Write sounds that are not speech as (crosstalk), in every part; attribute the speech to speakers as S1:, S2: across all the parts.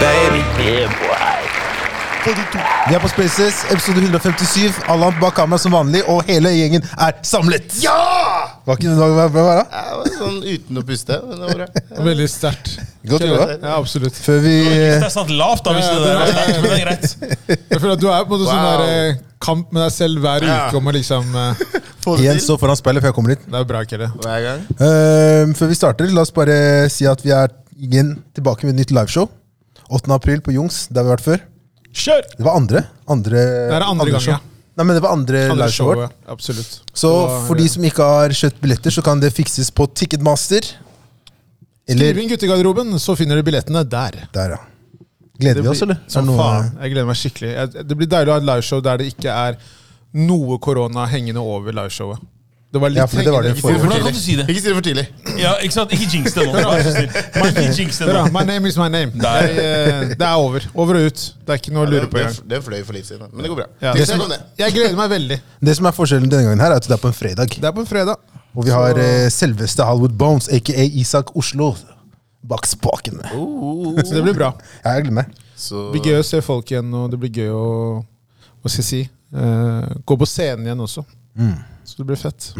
S1: baby. Yeah, boy.
S2: Vi er på Spaces, episode 157. Allan bak kamera som vanlig, og hele gjengen er samlet!
S3: Ja!
S2: Var ikke det dag hva hva var det?
S3: Jeg var sånn uten å puste. men det var bra.
S4: Veldig sterkt.
S2: Godt jobba.
S4: Ja, absolutt.
S2: Før vi
S5: Det er sant lavt, da, hvis
S4: Ja,
S5: det
S4: ja,
S5: der er
S4: det er-
S5: sterkt, men det er greit.
S4: Jeg føler at du er på en måte sånn
S3: Wow.
S4: der eh, kamp med deg selv hver
S3: Ja.
S4: uke om å liksom eh,
S3: Få det
S2: igjen
S3: til
S2: står foran speilet før jeg kommer dit.
S4: Det er bra, Kelle.
S3: hver gang.
S2: Ehm, før vi starter, la oss bare si at vi er igjen tilbake med et nytt liveshow. 8. april på Jungs, der vi har vært før.
S5: Kjør!
S2: Det var andre. andre
S4: Det er andre gangen,
S2: show.
S4: ja.
S2: Nei, men det var andre,
S4: Andre
S2: liveshowet vårt.
S4: showet. Absolutt.
S2: Så
S4: Og,
S2: for de
S4: eh,
S2: som ikke har kjøpt billetter, så kan det fikses på Ticketmaster. Eller
S4: Skriv inn guttegarderoben, så finner du billettene der.
S2: Der, ja. Gleder vi oss, eller? Er
S4: Som
S2: det noe-
S4: faen. Jeg gleder meg skikkelig. Jeg, det blir deilig å ha et liveshow der det ikke er noe korona hengende over liveshowet. Det var litt
S2: Ja, for det var det
S4: hengende-
S2: forrige.
S4: Ikke
S5: Hvordan kan du si det?
S3: Ikke si det for tidlig.
S5: Ja, ikke sant? Ikke jinx det nå. Vær så snill. Man, Ikke jinx det
S4: Hør da,
S5: nå.
S4: My name is my name.
S5: Der.
S4: Jeg, eh, det er over. Over og ut. Det er ikke noe å
S3: Det,
S4: lure på
S3: det,
S4: engang.
S3: det fløy for litt siden, men det går bra.
S4: Ja.
S3: Tusen takk om det.
S4: Jeg gleder meg veldig.
S2: Det som er forskjellen denne gangen, her er at det er på en fredag.
S4: Det er på en fredag.
S2: Og vi har eh, selveste Halwood Bones, aka Isak Oslo, bak spakene.
S3: Oh.
S4: Så det blir bra.
S2: Ja, Jeg gleder meg.
S3: Så
S4: Det blir gøy å se folk igjen, og det blir gøy å hva skal jeg si, eh, gå på scenen igjen også.
S3: Mm.
S4: Så det blir fett.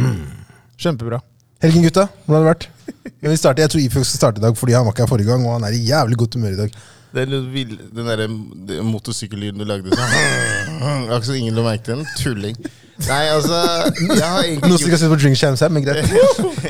S4: Kjempebra.
S2: Helgen, gutta. Hvordan har det vært? (laughs) Jeg, vil starte, jeg tror Ifjok skal starte i dag fordi han var ikke her forrige gang, og han er i jævlig godt humør i dag.
S3: den, vill- den der den motorsykkellyden du lagde sånn Akkurat som ingen la merke til den. Tulling. Nei, altså Jeg har
S2: Noen
S3: egentlig
S2: som ikke
S3: ikke
S2: har sett på Drink Champs her,
S3: (laughs)
S2: men greit.
S3: gjort,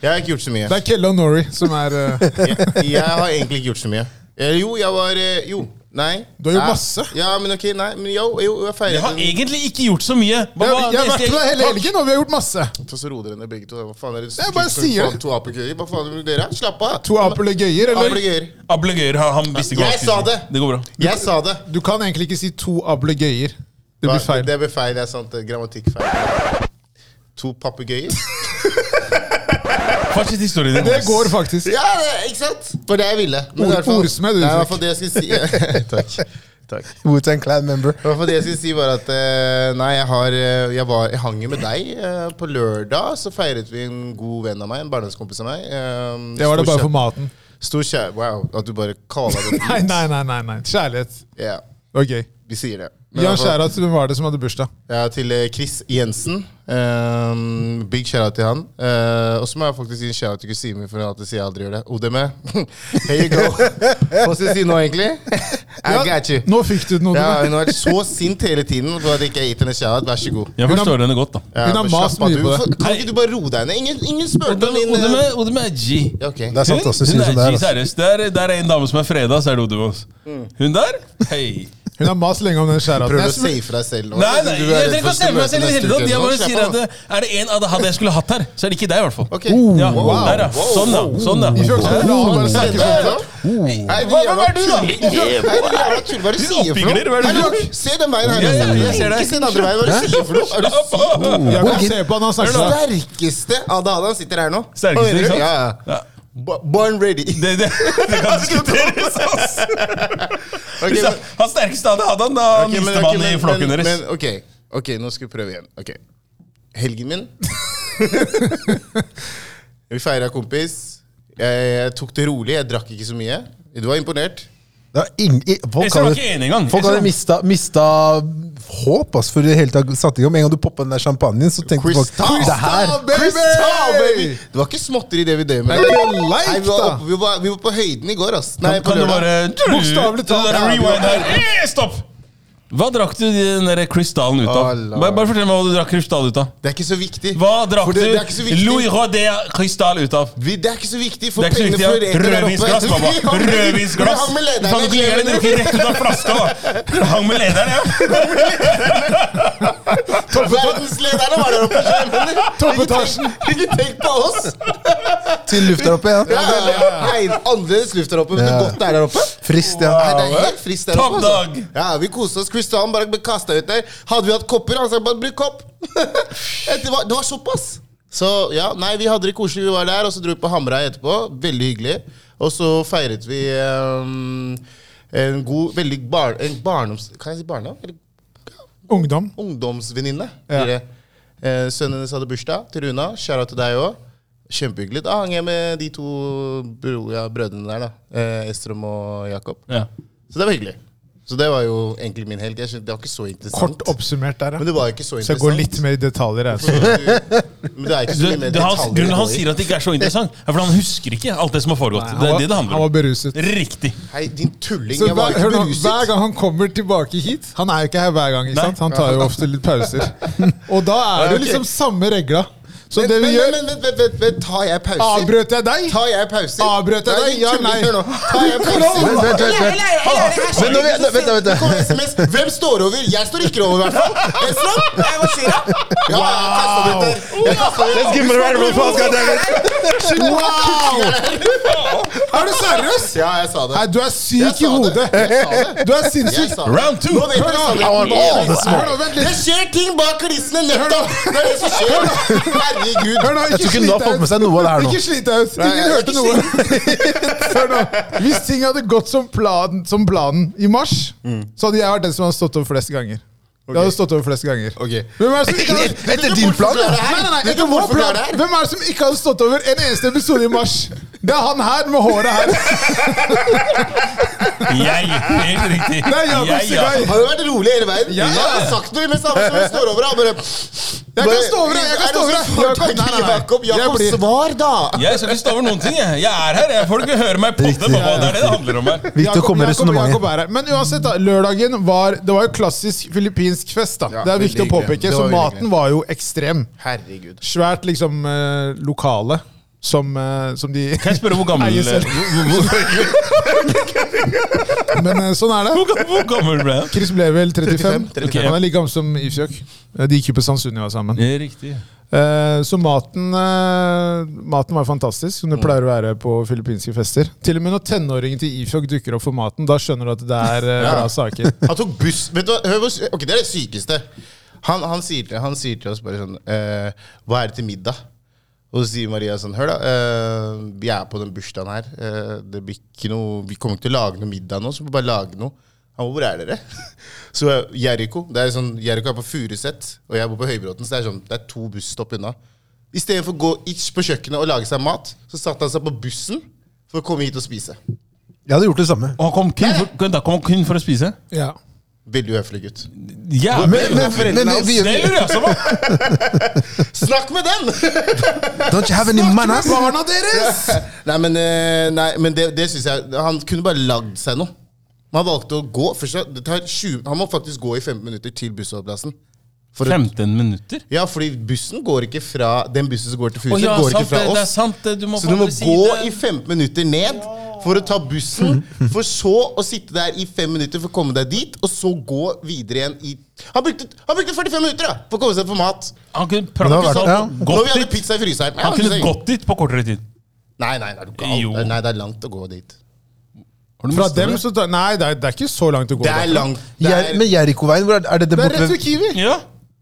S3: jeg har ikke gjort så mye.
S4: Det er Kelle og Nori som er
S3: (laughs)
S4: eh,
S3: Jeg, jeg har egentlig ikke gjort så mye. Eh, Jo, jeg var eh, Jo. Nei.
S4: Du har gjort
S3: Ja.
S4: masse.
S3: Ja, men ok, nei. Men jo, jo jeg feiret
S5: Jeg har
S3: den.
S5: egentlig ikke gjort så mye. Hva
S4: Jeg,
S5: var
S4: jeg
S5: det
S4: har vært med
S5: eneste
S4: deg hele helgen, og vi har gjort masse.
S3: Ta så roer dere ned begge to. da. Hva faen er det?
S4: Jeg bare sier det.
S3: faen, To apekøyer? Hva faen vil dere? Slapp av.
S4: To apelegøyer, eller?
S3: Apelgøyer.
S5: Ablegøyer har han visste ikke hva
S3: Jeg
S5: han skulle
S3: sa
S5: si.
S3: det.
S5: Det går bra.
S3: Jeg sa det.
S4: Du kan egentlig ikke si to ablegøyer. Det blir
S3: Hva-
S4: feil.
S3: Det blir feil, det er sant. Det er Grammatikkfeil. To
S4: (laughs)
S3: papegøyer?
S5: Fortsett historien din.
S4: Det går faktisk.
S3: Ja, det- ikke sant? For det jeg ville. Men
S4: Ord-
S3: i hvert fall-
S4: ordsmed,
S3: Nei, i hvert
S4: uttrykk.
S3: fall det jeg skulle si. (laughs) Takk. Takk.
S2: Wu-Tang Clan member.
S3: I hvert fall det jeg skulle si var at eh, Nei, jeg, har, eh, jeg, var, jeg hang jo med deg. eh, på lørdag så feiret vi en god venn av meg, en barndomskompis av meg. eh,
S4: Det var det
S3: stor
S4: bare for
S3: kjær-
S4: maten.
S3: Stor kjær... Wow, at du bare kaller det
S4: (laughs) Nei, nei, nei. nei, nei. Kjærlighet.
S3: Ja,
S4: Det var gøy.
S3: vi sier det. Men i
S4: Jan
S3: hvert fall-
S4: Skjærat, hvem var det som hadde bursdag?
S3: Ja, til eh, Chris Jensen. Um, big shout-out til han. Eh, og så må jeg faktisk gi en shout-out til kusinen min, for at jeg sier jeg aldri gjør det. ODM. (laughs) Here you go.
S5: (laughs)
S3: Hva skal jeg si nå, egentlig? I
S4: Ja,
S3: got you.
S4: Nå fikk du den,
S3: Ja,
S4: Oddvar.
S3: hun har vært så sint hele tiden for at jeg ikke har gitt henne shout-out. Vær så god.
S5: Jeg forstår henne godt, da.
S3: Ja,
S4: Hun har
S3: men
S4: mast
S3: slapp av,
S4: mye
S3: du.
S4: på det.
S3: Hvorfor- Kan ikke du bare roe deg ned? Ingen, ingen spurte om din eh,
S5: Odem er G.
S3: ja, Ok.
S2: Det er sant, altså. Synes det er,
S5: G,
S2: altså.
S5: seriøst. Der, der er en dame som er freda, så er det Odem hans. Hun der? Hei.
S4: Hun har mast lenge om den
S3: Prøv å
S4: skjæraten.
S3: safe deg selv nå.
S5: Nei, nei,
S3: Du er
S5: jeg
S3: redd
S5: trenger
S3: for
S5: ikke å
S3: å
S5: stemme meg
S3: møte
S5: selv i det
S3: neste
S5: hele tatt.
S3: uke
S5: Jeg
S3: nå.
S5: bare
S3: Slapp
S5: sier
S3: av
S5: at Oh. det, er det en av de hadde jeg skulle hatt her, så er det ikke deg, i hvert fall.
S3: Ok.
S5: Ja,
S3: Wow.
S5: der, ja. Sånn, ja. Sånn,
S4: Vi får
S5: ja.
S4: ikke la han bare snakke sånn.
S3: Hva
S5: Hva- hvem er du, da?
S3: Hva er det du sier for
S5: oppingler, hva er det du
S3: noe?
S5: gjør?
S3: Se den veien her.
S5: Ja, ja, jeg ser deg.
S3: Ikke se den andre veien. Hva er det du sier for noe? Er du
S4: Jeg kan se på han, han snakker sånn.
S3: sterkeste Adahada han sitter her nå?
S5: Sterkeste, ikke sant?
S3: Ja, ja.
S5: Ja.
S3: Bo- Born ready.
S5: Det, det, det kan diskuteres, ass.
S3: (laughs)
S5: (laughs)
S3: Ok,
S5: Hvis
S3: men-
S5: han- Han sterkeste hadde hadde han da han
S3: ok, men-
S5: miste
S3: ok,
S5: vannet
S3: men-
S5: i
S3: men-
S5: flokken deres.
S3: Men ok, ok, nå skal vi prøve igjen. Ok. Helgen min Vi feira kompis. Jeg tok det rolig, jeg drakk ikke så mye. Du var imponert.
S2: Det er ing- i-
S5: Jeg
S2: folk
S5: ser
S2: hadde-
S5: meg ikke enig engang.
S2: Folk
S5: Jeg
S2: hadde
S5: ser-
S2: mista, mista håp ass, for det hele tatt satte i gang. Med en gang du poppa den der champagnen, så tenkte folk
S3: Crystal,
S2: det her
S4: baby!
S3: Crystal, baby! Det var ikke småtteri, det vi drev med.
S4: Det er ikke leik,
S3: Nei, vi, var
S4: da.
S3: oppe, vi, var, vi var på høyden i går, ass. Nei,
S5: Kan,
S3: på
S5: kan du
S3: lørdag. (laughs)
S5: bare
S4: Bokstavelig talt.
S5: Det der Rewind her. Eh, Stopp! Hva drakk du den der krystallen ut av?
S3: Å, Lord.
S5: Bare, bare fortell meg hva du drakk krystall ut av.
S3: Det er ikke så viktig.
S5: Hva drakk
S3: For det, det er ikke så
S5: du
S3: viktig.
S5: Louis Rodet krystall ut av?
S3: Vi, det er ikke så viktig,
S5: Det
S3: for
S5: er ikke så
S3: pengene
S5: viktig. ja.
S3: florerer der oppe. (laughs)
S5: Rødvinsglass, pappa.
S3: Vi
S5: Rødvinsglass.
S3: hang med
S5: Du kan
S3: lederne.
S5: ikke gjøre det, drikke rett ut av flaska, da. Du hang med lederen, ja.
S3: Verdenslederne var der oppe. skjønner
S5: (laughs)
S3: du?
S4: Toppetasjen.
S3: Ikke tenk på oss!
S2: til luft der oppe.
S3: Ja,
S2: Ja.
S3: ja, ja. Hei, Annerledes luft der oppe, men
S2: Ja.
S3: det godt det er der oppe.
S2: Frist,
S3: Nei, det
S2: ja.
S3: er helt frist der
S5: Topp
S3: oppe.
S5: dag.
S3: Altså. Ja, vi koste oss. Christian bare ble kasta ut der. Hadde vi hatt kopper, han sa bare 'bruk kopp'. (laughs) det, var, det var såpass. Så ja, nei, vi hadde det koselig. Vi var der, og så dro vi på Hamra etterpå. Veldig hyggelig. Og så feiret vi ehm, en god, veldig bar, en barndoms... Kan jeg si barndom? Eller
S4: Ungdom.
S3: ungdomsvenninne.
S4: Ja.
S3: blir det. Eh, sønnen hennes hadde bursdag til Runa. Kjære til deg òg. Kjempehyggelig. Da hang jeg med de to bro, ja, brødrene der, da. Eh, Estrom og Jakob.
S5: ja.
S3: Så det var hyggelig. Så det var jo egentlig min helg. Jeg synes, det var ikke så interessant.
S4: Kort oppsummert der,
S3: Men
S4: ja.
S3: det var ikke så
S4: Så
S3: interessant.
S4: jeg går litt mer i detaljer. Jeg, så.
S3: Men det er ikke
S5: Du,
S3: så mye mer
S5: du, han,
S3: detaljer
S5: grunnen
S3: å
S5: han
S3: gå i.
S5: sier at det ikke er så interessant, er fordi han husker ikke alt det som har foregått.
S4: Han
S5: det
S4: var-
S5: er det det handler
S4: Han var
S5: om.
S4: beruset.
S5: Riktig.
S3: Hei, din tulling.
S4: Så
S3: jeg var
S4: hver,
S3: ikke
S4: hør nå,
S3: beruset.
S4: hver gang han kommer tilbake hit Han er jo ikke her hver gang, ikke
S5: Nei.
S4: sant? Han tar jo ofte litt
S3: (laughs)
S4: pauser. Og da er det
S3: ok.
S4: jo liksom samme regla. Så
S3: Men,
S4: det vi
S3: men,
S4: gjør
S3: men, men, vent, vent, vent, tar jeg pauser?
S4: Avbrøt jeg deg?
S3: Tar jeg pauser?
S4: Avbrøt
S3: Nei,
S4: jeg deg?
S3: din
S4: Ja,
S3: tulling,
S4: nei.
S3: hør nå. Tar
S4: (laughs)
S3: jeg pauser?
S2: Vent, vent, vent. vent. Men nå, vent, vent, vent,
S3: Kom,
S2: vent.
S3: SMS.
S4: (laughs)
S3: Hvem står over? Jeg står ikke over, i hvert fall. Esrom? Jeg må si det. Ja, jeg kastet det der. Jeg kastet det.
S1: Let's give him a round of applause, goddammit!
S4: Er du seriøs?
S3: Ja, jeg sa det.
S4: Nei, du er
S3: Jeg
S4: syk
S3: sa
S4: i hodet.
S3: det. Jeg sa det.
S4: Du er
S3: Jeg
S4: sinnssyk.
S3: sa det.
S5: Round two!
S3: Nå vet dere sannheten.
S1: all
S3: Nå vet
S1: smart.
S3: dere sannheten. Det skjer ting bak kulissene nettopp! Det er det som skjer. Herregud.
S4: Hør nå,
S2: Jeg tror ikke hun har fått med seg noe av det her nå.
S4: Ikke slit deg ut.
S3: Nei,
S4: Ingen
S3: jeg-
S4: hørte noe. (laughs) Hør nå. Hvis ting hadde gått som, plan, som planen i mars,
S3: Mm.
S4: så hadde jeg vært den som hadde stått over flest ganger. Jeg hadde stått over flest ganger.
S3: Ok.
S4: Hvem er det som ikke hadde
S2: Dette er din plan, ja.
S4: Nei, nei, nei,
S3: Vet
S4: etter
S3: du
S4: vår
S3: hvorfor det er
S4: plan,
S3: det her?
S4: Hvem er det som ikke hadde stått over en eneste episode i mars? Det er han her med håret her.
S5: Jeg! Helt riktig.
S4: Nei, ja,
S5: Jeg, ja.
S4: Sigurd.
S3: Har jo vært rolig hele veien.
S4: Ja.
S3: Jeg har sagt noe i det samme som hun står over. Han bare
S4: Jeg kan stå over det! Jeg kan stå over det! Jakob, nei, nei, nei.
S3: Jakob,
S4: Jeg
S3: Jakob,
S4: blir-
S3: svar, da!
S5: Jeg skal ikke stå over noen ting. Jeg, jeg er her. Jeg får ikke høre meg podde.
S2: Riktig.
S5: pappa. Det er det det handler om her.
S2: Viktig å komme med
S4: Jakob- Jakob
S2: resonnementet.
S4: er her. Men uansett, da. Lørdagen var Det var jo klassisk filippinsk fest, da.
S3: Ja,
S4: det er viktig å
S3: veldig hyggelig.
S4: påpeke.
S3: Det var
S4: Så
S3: veldig
S4: maten
S3: hyggelig.
S4: var jo ekstrem.
S3: Herregud.
S4: Svært liksom eh, lokale som, eh, som de (laughs)
S5: Kan jeg spørre hvor gammel,
S4: Eier selv.
S5: hvor, hvor,
S4: (laughs) Men eh, sånn er det.
S5: hvor, hvor gammel ble han?
S4: Chris ble vel 35.
S3: 35.
S5: Ok.
S4: Han er like gammel som Ifjøk. Eh, De gikk jo på Sandsund de var sammen.
S5: Ja, Riktig.
S4: Eh, så maten, eh, maten var fantastisk,
S5: Mm.
S4: som det pleier å være på filippinske fester. Til og med når tenåringen til Ifjok dukker opp for maten, da skjønner du at det er eh,
S3: Ja.
S4: bra
S5: (laughs)
S4: saker.
S3: Han tok buss. Vet du hva? Hør hvor, ok, Det er det sykeste. Han, han, sier, til, han sier til oss bare sånn eh, Hva er det til middag? Og så sier Maria sånn Hør, da. eh, vi er på den bursdagen her. eh, det blir ikke noe, vi kommer ikke til å lage noe middag nå, så vi må bare lage noe. Han bare, Hvor er dere? (laughs) Så eh, Jericho det er sånn, Jericho er på Furuset, og jeg bor på Høybråten, så det er, sånn, det er to busstopp unna. Istedenfor å gå itch på kjøkkenet og lage seg mat, så satte han seg på bussen for å komme hit og spise.
S2: Jeg hadde gjort det samme.
S5: Og han kom kun for, da kom han kun for å spise?
S4: Ja.
S3: Veldig uhøflig gutt.
S5: Ja,
S2: Men- men- men- men- vi-
S5: Det altså. lurer jeg også på.
S3: Snakk med den! (laughs)
S2: Don't you have any manners?
S4: Barna deres!
S3: (laughs) Nei, men, eh, nei, men det, det syns jeg Han kunne bare lagd seg noe. Men han valgte å gå. Først, det tar 20, han må faktisk gå i 15 minutter til bussholdeplassen. For å-
S5: 15 minutter?
S3: Ja, fordi bussen går ikke fra Den bussen som går til
S5: Å
S3: Furuset,
S5: ja,
S3: går
S5: sant
S3: ikke fra
S5: det. Det er
S3: oss.
S5: sant det. Du må
S3: Så
S5: på
S3: du må
S5: andre
S3: gå
S5: side.
S3: i 15 minutter ned for å ta
S5: (laughs)
S3: bussen, for så å sitte der i 5 minutter for å komme deg dit, og så gå videre igjen i Han brukte, han brukte 45 minutter da, for å komme seg på mat.
S5: Han kunne
S2: Men
S5: praktisk
S2: det har vært-
S5: talt
S2: ja.
S3: Når vi
S5: gått
S3: hadde
S5: dit.
S3: pizza i fryseren. Ja,
S5: Han
S3: det
S5: kunne
S3: er-
S5: gått dit på kortere tid.
S3: Nei, nei, nei, er du
S5: Jo.
S3: gal? Nei, det er langt å gå dit.
S5: Har du
S4: Fra
S5: mistet
S4: dem
S5: det?
S4: så tar, Nei, det er, det er ikke så langt å gå.
S3: Det er
S4: derfra.
S3: langt. Det
S2: Jer-
S3: er,
S2: Men Jerikoveien, hvor er det? Er det det
S4: Det er
S2: borte
S4: rett ved
S2: ved
S4: Kiwi.
S5: Ja.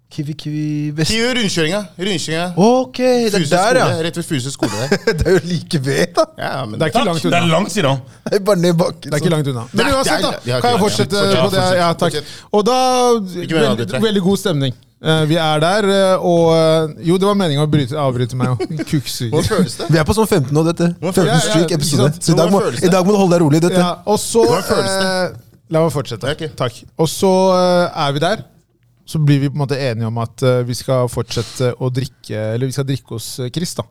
S2: Kiwi Kiwi Vest?
S3: Kiwi rundkjøringa. Rundkjøringa.
S2: Ok, det er
S3: Furuset
S2: der,
S3: skole.
S2: ja.
S3: Rett ved Furuset skole (laughs) der.
S2: (laughs) Det er jo like ved, da.
S3: Ja, men
S4: Det er ikke
S5: Takk.
S4: langt
S5: Det
S4: unna.
S5: er langt, sier han.
S2: Det er Bare ned bakken.
S4: Det er ikke langt unna. Men
S3: Nei, det
S4: uansett, da.
S3: er- ja, ok,
S4: Kan jeg
S3: ja.
S4: fortsette
S3: Fortsett,
S4: på det?
S3: fortsett,
S4: Ja, takk.
S3: fortsett.
S4: Og da
S3: mer
S4: veldig,
S3: avbryte.
S4: veldig god stemning. Eh, vi er der, eh, og eh, Jo, det var meningen å bryte, avbryte meg òg. Kukksuger.
S3: Hvordan føles det?
S2: Vi er på sånn 15 nå, dette.
S3: Hvorfor-
S2: 15
S4: Ja, ja,
S2: streak episode.
S4: ikke sant?
S2: Så i dag, må,
S3: Hvordan føles det?
S2: i dag må du holde deg rolig. dette.
S4: Ja, og så
S3: Hvordan føles
S4: eh, La meg fortsette.
S3: Ok.
S4: Takk. Og så eh, er vi der. Så blir vi på en måte enige om at eh, vi skal fortsette å drikke Eller vi skal drikke hos eh, Chris, da.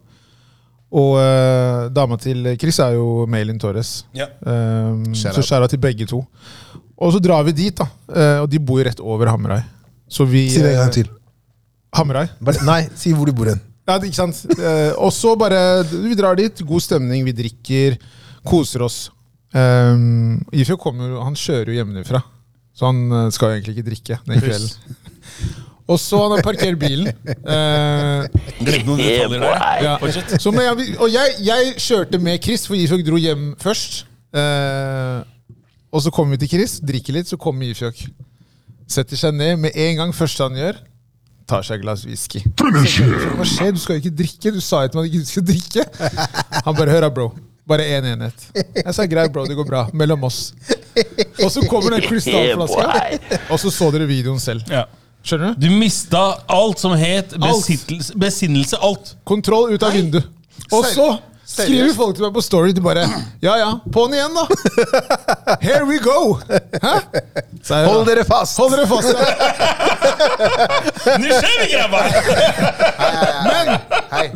S4: Og eh, dama til Chris er jo Maylin Torres.
S5: Ja.
S4: Um,
S3: Shout
S4: så
S3: out.
S4: skjæra til begge to. Og så drar vi dit, da. Eh, og de bor jo rett over Hamarøy. Så vi
S2: Si det en gang til.
S4: eh, Hamarøy?
S2: Bare, nei, si hvor du bor hen.
S4: Ja, det- ikke sant. Eh, og så bare Vi drar dit. God stemning, vi drikker, koser oss. Um, Ifjok kommer jo Han kjører jo hjemmefra, så han eh, skal jo egentlig ikke drikke den kvelden. Og så han har parkert bilen. Eh,
S5: Glemte noen
S1: Yeah,
S5: detaljer der.
S1: boy.
S4: ja. Så, men jeg, og jeg, jeg kjørte med Chris, for Ifjok dro hjem først. Eh, og så kommer vi til Chris, drikker litt, så kommer Ifjok. Setter seg ned med en gang, første han gjør, tar seg et glass whisky. Hva skjer? Du skal jo ikke drikke. Du sa jo til meg at du ikke skulle drikke. Han bare hører, bro. Bare én en enhet. Jeg sa greit, bro. Det går bra. Mellom oss. Og så kommer den krystallflaska, og så så dere videoen selv.
S5: Ja.
S4: Skjønner du?
S5: Du mista alt som het besittelse, besinnelse. Alt.
S4: Kontroll ut av vinduet. Og så Skriver folk til meg på Story de bare Ja ja, på'n igjen, da!
S2: (laughs)
S4: Here we go! Hæ? Så er jeg,
S2: Hold dere fast!
S4: Hold dere fast! da.
S5: Nå skjer det, (laughs) grabber!
S4: Men,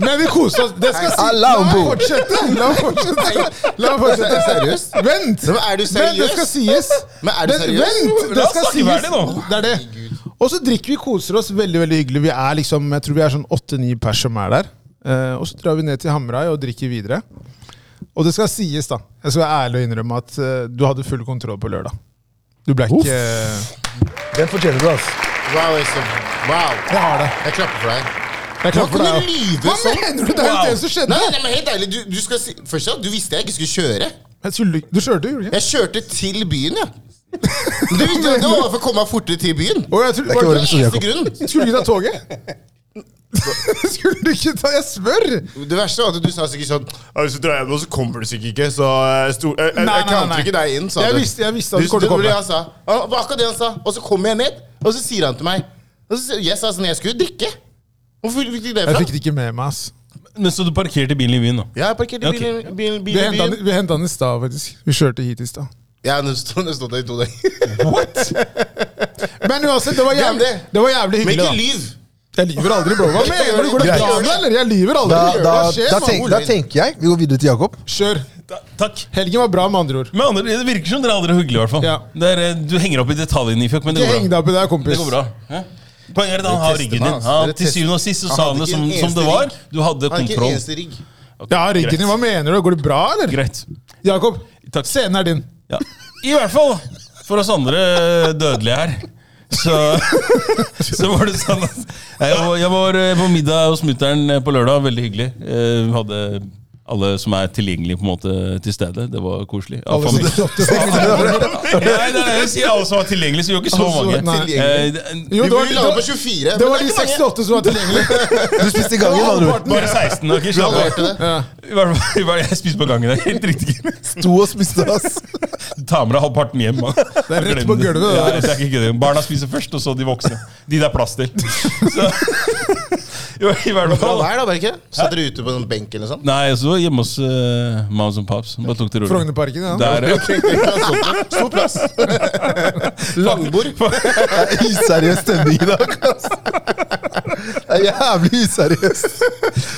S4: men vi koser oss. Det skal si.
S2: Hei.
S4: La
S2: Alla
S4: meg
S2: ombord.
S4: fortsette! La meg fortsette! La meg fortsette.
S3: Seriøst?
S4: Vent!
S3: Men er du
S4: Vent, det
S3: seriøs?
S4: skal sies.
S3: Men er du
S4: Men
S3: seriøs?
S4: Vent!
S5: La
S4: Det
S5: oss
S4: skal
S5: snakke
S4: sies.
S5: ferdig nå.
S4: Det er det. Og så drikker vi, koser oss. Veldig veldig hyggelig. Vi er liksom, Jeg tror vi er sånn åtte-ni pers som er der. Eh, og så drar vi ned til Hamrai og drikker videre. Og det skal sies, da. Jeg skal være ærlig og innrømme at eh, du hadde full kontroll på lørdag. Du ble ikke
S2: Den fortjener du, altså.
S3: Wow, Øystein. Wow.
S4: Jeg har det.
S3: Jeg klapper for deg.
S4: Jeg
S3: Hva kunne
S4: deg.
S3: lyde
S4: Hva
S3: sånn?
S4: mener du? Det er jo
S5: Wow.
S4: det som skjedde.
S3: Nei, nei, men helt ærlig, du, du skal si Først ja, du visste jeg ikke skulle kjøre.
S4: Jeg skulle, du kjørte, gjorde du ikke?
S3: Jeg kjørte til byen, (laughs) ja. Du visste jo det var for å komme meg fortere til byen.
S4: Å, jeg trodde-
S2: Det er ikke
S4: var
S2: vår
S4: det-
S2: episode,
S3: Eneste
S2: Jakob.
S3: grunnen.
S4: Skulle du ikke ta toget? (laughs) skulle du ikke ta Jeg spør!
S3: Det verste var at du sa sikkert sånn «Ja, Hvis du drar hjem nå, så kommer du sikkert ikke. Så eh, jeg, sto, jeg, jeg, jeg
S4: Nei, nei, nei,
S3: counter
S4: nei.
S3: ikke deg inn, sa
S4: Jeg
S3: du.
S4: visste- jeg visste at du kom
S3: det
S4: til å
S3: var det
S4: komme.
S3: han sa. Han- det var akkurat det han sa. Og så kommer jeg ned, og så sier han til meg og så, sier- Jeg sa sånn Jeg skulle drikke. Hvorfor fikk du det
S4: Jeg
S3: fra?
S4: fikk det ikke med meg, ass.
S5: Men så du parkerte bilen i byen, da?
S3: Ja, jeg parkerte bilen bilen-
S5: Ok.
S3: bilen-
S4: Vi
S3: bilen-
S4: henta
S3: bilen.
S4: den- vi henta den i stad, faktisk. Vi kjørte hit i stad.
S3: Ja, nå stod nå stod det i to dager.
S4: (laughs) Men uansett, det var
S3: Glem
S4: jævlig,
S3: det.
S4: det var jævlig
S3: Men
S4: hyggelig.
S3: ikke
S4: da.
S3: lyv!
S4: Jeg lyver aldri, bro. Hva mener du? Går det
S2: Greit.
S4: bra med deg, eller? Jeg lyver aldri.
S2: Da,
S4: Hva
S2: da,
S4: skjer,
S2: da,
S4: mann?
S2: tenk, da tenker jeg Vi går videre til Jakob.
S4: Kjør.
S5: Ta- Takk.
S4: Helgen var bra, med andre ord.
S5: Men andre, det virker som dere aldri er hyggelige, i hvert fall.
S4: Ja.
S5: Det er, eh, du henger opp i detaljene, Ifjok, men det
S4: Ikke
S5: går
S4: heng deg
S5: bra.
S4: opp i det, kompis.
S5: Det går bra. Hæ? Poenget er at
S3: Dere
S5: han har
S3: tester
S5: ryggen
S3: meg,
S5: din.
S3: altså.
S5: Han,
S3: Dere
S5: til syvende og sist så
S3: tester-
S5: sa
S3: Han
S5: han det
S3: hadde
S5: som,
S3: ikke en
S5: som det
S3: eneste
S5: var.
S3: rigg.
S5: Du hadde
S3: Han har ikke en
S5: kontroll.
S3: eneste rigg.
S4: Ja, ryggen din, hva mener du? Går det bra, eller?
S5: Greit.
S4: Jakob,
S5: Takk.
S4: scenen er din.
S5: Ja. I hvert fall for oss andre dødelige her. Så, så var det sånn at jeg var, jeg var eh, på middag hos mutter'n på lørdag. Veldig hyggelig. Eh, Vi hadde alle som er tilgjengelige, på en måte til stede. Det var koselig. Av
S4: Alle
S5: familie.
S4: 68
S5: (laughs)
S4: sekunder.
S5: Nei, nei, nei, jeg sier alle som var tilgjengelige, så vi var ikke så
S4: Altså,
S5: mange.
S4: nei.
S3: Vi
S4: Jo,
S5: Eh, det-
S4: det var,
S3: burde lande på
S4: det,
S3: 24.
S4: det
S3: men
S4: var
S3: er
S4: de
S3: ikke mange.
S4: 68 som var tilgjengelige.
S2: Du spiste i gangen, med andre ord.
S5: Bare 16, ok? Slapp
S3: Alle
S5: av.
S3: hørte det.
S4: Ja.
S5: I hvert fall- i hvert fall, Jeg spiste på gangen. Det er helt riktig.
S2: Sto og spiste, ass.
S5: Ta med deg halvparten hjem. Man. Det
S4: er rett på gulvet, det
S5: Ja,
S4: der.
S5: det er ikke gøy. Barna spiser først, og så de voksne. De det er plass til. Så, (laughs) jo, I hvert
S3: Bra
S5: fall.
S3: vær, da, var det ikke? Satt dere ute på en benk eller noe sånt?
S5: Nei, så hjemme hos uh, moms and pops. Bare tok det rolig.
S4: Frognerparken, ja.
S5: Der,
S3: (laughs) Stor plass.
S5: (laughs)
S3: Langbord.
S2: Det er Useriøs stemning i dag, ass. Det er jævlig useriøst.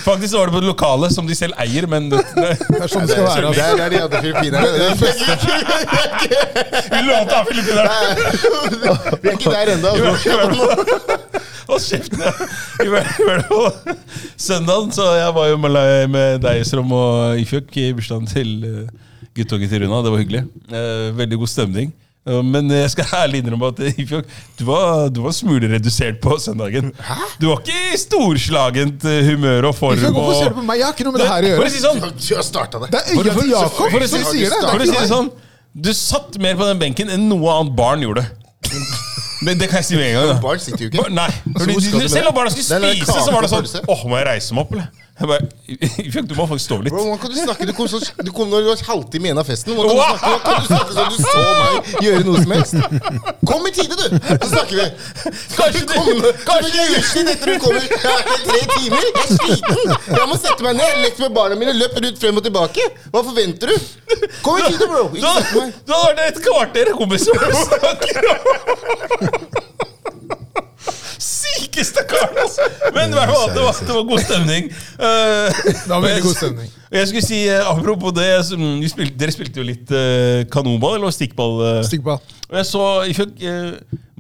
S5: faktisk så var det på det lokale, som de selv eier, men det,
S4: (laughs)
S5: det,
S4: Det er sånn det skal være. ass.
S3: Der er de andre filippinerne. Det er fest.
S5: vi lånte av filippinerne.
S3: Vi er ikke der ennå.
S5: I hvert-
S3: altså.
S5: i
S3: (laughs)
S5: hvert fall- Hold kjeft! ja. I hvert i hvert fall søndagen, så jeg var jo med, med deg, Strom, og Ifjok i bursdagen til eh, guttungen til Runa. Det var hyggelig. Eh, Veldig god stemning. Eh, Men jeg skal ærlig innrømme at eh, Ifjok, du var, du var en smule redusert på søndagen. Du var ikke i storslagent eh, humør og form.
S4: Hvorfor
S5: og-
S4: ser du på meg? Jeg har ikke noe med det her å
S5: For
S4: gjøre.
S5: å si sånn,
S3: Du har starta det.
S4: Det er øyet for Jakob
S5: for å si,
S4: som sier det.
S5: for å si det sånn, du satt mer på den benken enn noe annet barn
S4: (laughs)
S5: gjorde. Men det kan jeg si med en gang. da.
S3: Barn sitter jo
S5: Ba-
S3: ikke.
S5: Nei.
S3: Altså,
S5: Fordi
S3: hvor skal
S5: de,
S3: du
S5: selv
S3: med
S5: om
S3: det?
S5: barna
S3: Det
S5: skulle
S3: er en
S5: spise, så var det
S3: kake og
S5: sånn Åh, må jeg reise meg opp, eller? Jeg bare Fjøk, du må faktisk stå litt.
S3: Bro, hvordan kan du snakke? Du kom, så, du kom når du var halvtime igjen av festen. Hvordan
S5: Wow!
S3: kan du snakke, hvordan kan du snakke sånn? Du så meg gjøre noe som helst. Kom i tide, du! Så snakker vi. Skal du
S5: Kanskje du-
S3: komme?
S5: kanskje
S3: Kanskje du utslitt etter du kommer? Jeg har vært her i tre timer. Jeg er sliten. Jeg må sette meg ned. Jeg har lekt med barna mine. Løp rundt frem og tilbake. Hva forventer du? Kom i tide, bro.
S5: Du
S3: Ikke
S5: har
S3: snakk med meg.
S5: du har vært der et kvarter, kompis. og du snakker om- (laughs) Sykeste karen, altså! Men i hvert fall, det var, det var god stemning. Eh,
S4: var
S5: og
S4: veldig
S5: jeg-
S4: god stemning.
S5: Og jeg skulle si, eh, apropos det jeg- mm, vi spilte, Dere spilte jo litt eh, kanonball, eller stikkball? eh?
S4: Stikk ball.
S5: Og jeg så i fjor, eh,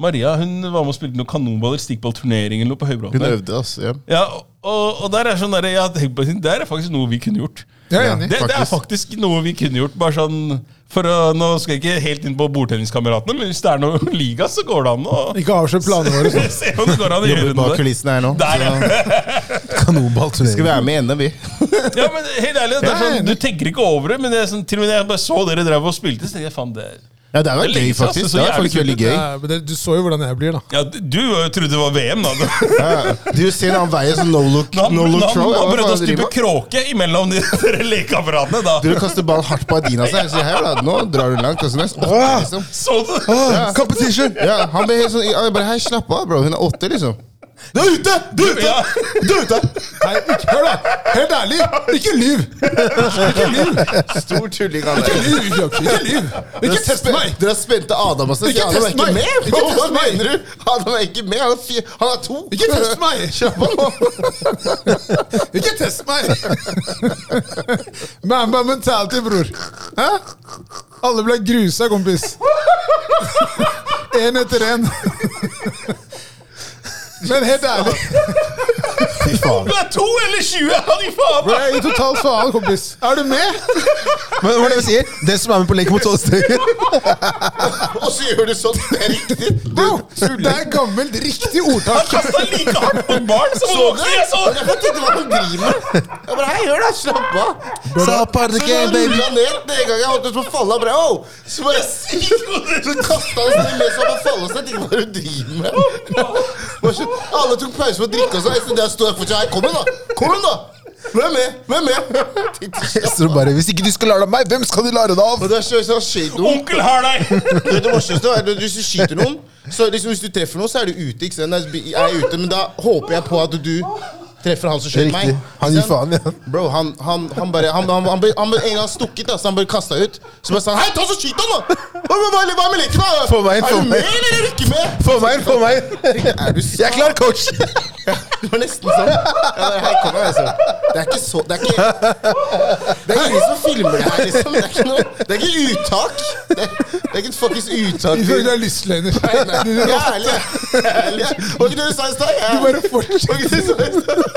S5: Maria hun var med og spilte noen kanonballer, stikkballturnering eller noe på Høybråten. der.
S3: altså. Ja.
S5: Ja, og, og der er sånn der, jeg har tenkt på det, der er faktisk noe vi kunne gjort.
S4: Jeg er enig.
S5: Det, det er faktisk noe vi kunne gjort. bare sånn, for å, Nå skal jeg ikke helt inn på bordtenniskameratene, men hvis det er noe (laughs) liga, så går det an å (laughs)
S4: Ikke avslør planene (laughs) våre. sånn.
S5: se om det går an å gjøre
S3: Jobber bak
S5: noe.
S3: kulissene her nå.
S5: Der, ja.
S2: Kanonball
S3: Skal
S2: turnering.
S3: være med i NM, vi.
S5: Ja, men helt ærlig, det er sånn, Du tenker ikke over det, men det er sånn, til og med når jeg bare så dere drev og spilte, så tenkte jeg faen det er-
S3: Ja, det er
S5: Det er
S3: jo gøy,
S5: lenge siden,
S3: faktisk.
S5: altså, så
S3: Det er
S5: jævlig
S3: faktisk
S5: kult.
S3: veldig gøy.
S4: Ja, men det, du så jo hvordan jeg blir, da.
S5: Ja, Du eh, trodde det var VM,
S3: (laughs)
S5: da. (laughs)
S3: Ja, Du ser den veien som no look,
S5: Nå,
S3: no
S5: nå,
S3: look
S5: nå,
S3: throw. Ja, hva
S5: prøvde å
S3: faen driver
S5: stupe
S3: med?
S5: kråke imellom de (laughs) dere lekekameratene, da.
S3: Driver og kaster ball hardt på Adina seg. Så her, da. Nå drar du langt. Og sånn,
S2: Åh!
S3: liksom.
S5: Så du?
S2: Ah, Competition!
S3: ja, han ble helt sånn jeg bare, Hei, slapp av, bro. Hun er åtte, liksom. Du er ute! Du er ute!
S5: Ja. (laughs)
S3: Du er ute!
S4: Nei, ikke, hør da! Helt ærlig, ikke lyv! Ikke lyv!
S1: Stor tulling av
S4: Ikke
S1: deg.
S4: lyv, Jakob. Ikke lyv!
S3: Dere
S4: Ikke
S3: er
S4: test
S3: spen-
S4: meg!
S3: Dere har spente Adam og Sven.
S4: Ikke
S3: Adam er
S4: test
S3: ikke
S4: meg!
S3: med!
S4: Ikke
S3: bro. Hva
S4: test meg!
S3: mener du? Adam er ikke med. Han er, fire, han er to.
S4: Ikke test meg! (laughs) Ikke test meg! Mamba mentality, bror. Hæ? Alle ble grusa, kompis. Én etter én. Men helt ærlig,
S2: Fy faen.
S5: Du er to eller 20! Han gir faen!
S4: bro, jeg gir totalt faen, kompis. Er du med?
S2: Men hva er det vi sier? Den som er med på Leken mot tolv stykker.
S3: Og så gjør du sånn. Det er riktig.
S4: Bro, det er gammelt, riktig ordtak.
S5: Han kasta like hardt på barn som
S3: Så
S5: voksne! Jeg så
S3: Jeg tenkte hva han driver med. Jeg bare, hei, hør da, slapp av.
S2: Sa part
S3: Så jeg
S2: again, baby.
S3: rullet ned den ene gangen jeg holdt ut på å falle av, bare, «Au!» Så bare Så kastet han seg med som å falle av seg. Jeg tenkte, hva er det du driver med? Bare så- Alle tok pause for å drikke og så jeg stod der og sto jeg fortsatt her. Kom igjen, da! Kom igjen, da! Hvem er med? Hvem er med? Jeg tenkte, slapp
S2: Så du bare, Hvis ikke du skal lære deg av meg, hvem skal du lære deg av?
S3: og det er så, så skjøt noen.
S5: Onkel har deg!
S3: Det, det morsomste er at hvis du skyter noen, så liksom hvis du treffer noen, så er du ute. ikke sant? Da Er jeg ute, Men da håper jeg på at du treffer han som
S2: Det er
S3: skjøt meg.
S2: riktig. Han gir
S3: Ikke sant?
S2: faen, ja.
S3: Bro, han, han, han bare Han, han, han, ble, han ble en gang stukket, altså, han ble kasta ut. Så bare sa han Hei, ta så skyt han, da! Hva, hva, hva hva er med leken, da?
S2: Få meg inn,
S3: er
S2: få
S3: du
S2: meg
S3: med,
S2: inn.
S3: eller er du ikke med?
S2: Få meg inn, få meg inn.
S3: sånn. Er du
S2: Jeg er klar, coach.
S3: Det var nesten sånn. Ja, nei, her kommer jeg, altså. Det er ikke så Det er ikke Det er ingen som filmer det her, liksom. Det er ikke, noe, det er ikke uttak. Det er, det er ikke et fuckings uttak.
S4: Ifølge deg lystløgner.
S3: Ja, ærlig. ærlig. Var ikke det du sa i stad?
S4: Du bare
S3: Var
S4: fortsetter.
S3: ikke det du sa i stad?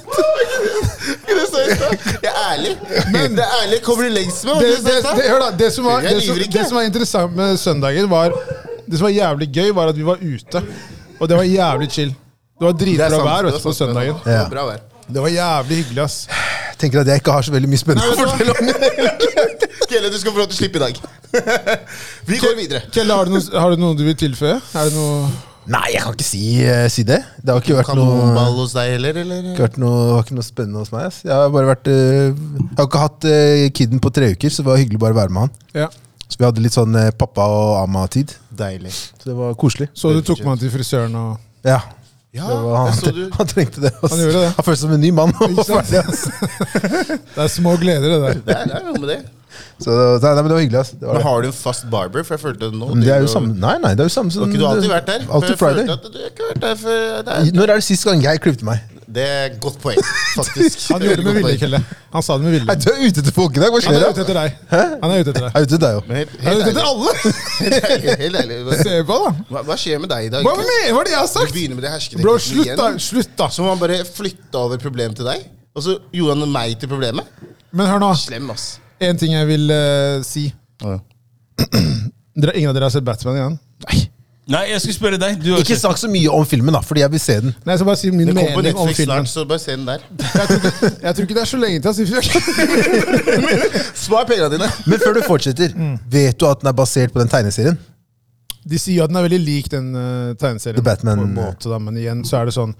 S3: Var ikke det du sa i stad? Jeg er ærlig. Men det er ærlig kommer du lengst med. Var
S4: det,
S3: ikke det du sa i
S4: det, det,
S3: stad?
S4: hør da, det som, var,
S3: Jeg
S4: det, som,
S3: lyver ikke.
S4: det som var interessant med søndagen, var Det som var jævlig gøy, var at vi var ute. Og det var jævlig chill. Det var
S3: Det er
S4: dritbra
S3: sant,
S4: vær
S3: det
S4: vet
S3: er
S4: du, på
S3: sant, det er
S4: søndagen.
S3: sant. Det var Bra vær.
S4: Det var jævlig hyggelig, ass.
S2: Jeg tenker at jeg ikke har så veldig mye spennende å
S3: Nei, vet
S2: fortelle om.
S3: Kelle, du skal få lov til å slippe i dag. Vi går videre.
S4: Kjelle, har du, noe, har du noe du vil tilføye? Er det noe
S2: Nei, jeg kan ikke si, eh, si det. Det har ikke vært noe
S3: Kanonball hos deg heller, eller?
S2: ikke vært noe, det har ikke noe spennende hos meg. ass. Jeg har bare vært eh, Jeg har ikke hatt eh, kidden på tre uker, så det var hyggelig bare å være med han.
S4: ja.
S2: Så vi hadde litt sånn eh, pappa og amma-tid.
S3: Deilig.
S2: Så det var koselig.
S4: Så du tok med han til frisøren og
S2: Ja.
S3: Ja,
S2: det var,
S3: jeg
S2: han,
S3: så du.
S2: (laughs) han trengte det. ass.
S4: Han gjorde det.
S2: Han følte seg som en ny mann.
S4: Ikke sant?
S2: Ferdig, ass.
S4: (laughs) Det er små gleder, det der.
S3: Det er, det er noe med det.
S2: (laughs) så det, nei, men det var hyggelig. ass. Det var
S3: Men
S2: det.
S3: har du en fast barber? For jeg følte det nå.
S2: Men det er jo
S3: driver-
S2: samme Nei, nei, det er jo samme som
S3: Har ikke du alltid vært der? For
S2: Alltid
S3: jeg følte
S2: Friday.
S3: at Du har ikke vært der for det er,
S2: Når er det sist gang jeg klippet meg?
S3: det er et godt poeng, faktisk.
S4: (laughs) Han gjorde det med vilje, Kjelle. Han sa det med
S2: Nei,
S4: vilje.
S2: Du er ute etter folk i dag, hva
S4: Han
S2: skjer
S4: er
S2: da?
S4: ute etter deg. Han er ute etter deg.
S2: Jeg er ute etter deg jo.
S3: Men helt,
S4: Han
S3: helt,
S4: er ute etter
S3: ærlig,
S4: alle!
S3: (laughs) helt ærlig, helt ærlig. Hva-
S4: Se på, da.
S3: Hva, hva skjer med deg i dag?
S4: Hva
S3: egentlig?
S4: mener hva er det jeg har
S3: Du
S4: sagt?
S3: begynner med det hersketeknikken
S4: Bro, slutt, da.
S3: igjen.
S4: Slutt, da.
S3: Som om han bare flytta over problemet til deg. Og så gjorde han meg til problemet.
S4: Men hør nå.
S3: Slem, ass.
S4: En ting jeg vil eh, si. Dere, ingen av dere har sett Batman igjen?
S5: Nei, jeg skulle spørre deg. Du har
S2: (laughs) Ikke
S5: sett-
S2: snakk så mye om filmen, da, fordi jeg vil se den.
S4: Nei, jeg skal bare si min
S3: Det kommer på
S4: mening om
S3: Netflix
S4: filmen.
S3: snart, så bare se den
S4: (laughs)
S3: der.
S4: Jeg tror, ikke, jeg tror ikke det er så lenge til, altså. ass. Ifjøk.
S3: Spar pengene dine.
S2: Men før du fortsetter,
S3: Mm.
S2: vet du at den er basert på den tegneserien?
S4: (laughs) De sier jo at den er veldig lik den eh,
S2: The
S4: tegneserien.
S2: Batman.
S4: På en måte, da, men igjen så er det sånn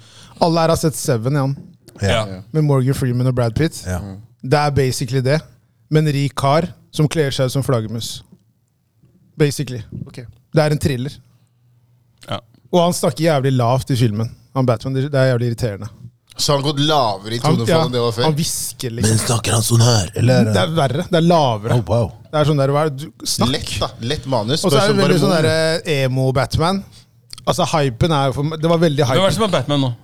S4: Alle her har sett Seven, Jan.
S5: Ja.
S4: Med Morgan Freeman og Brad Pitt.
S2: Ja.
S4: Det er basically det. Med en rik kar som kler seg ut som flaggermus. Basically. Det er en thriller.
S5: Ja.
S4: Og han snakker jævlig lavt i filmen. Han Batman, Det det er jævlig irriterende.
S3: Så han har gått lavere i
S4: Han,
S3: tonefall
S4: ja,
S3: enn det var før?
S4: han hvisker liksom.
S2: Snakker han sånn her, eller?
S4: Det er verre. Det er lavere.
S2: Oh, wow.
S4: Det er sånn der, hva er det du, Snakk!
S3: Lett, da. Lett manus.
S4: Og så
S3: Bare
S4: er det
S3: sånn,
S4: veldig
S3: bare
S4: sånn
S3: mor.
S4: der, eh, emo-Batman. Altså, hypen er jo for Det var veldig
S5: Hvem er det
S4: hype.
S5: som er Batman nå?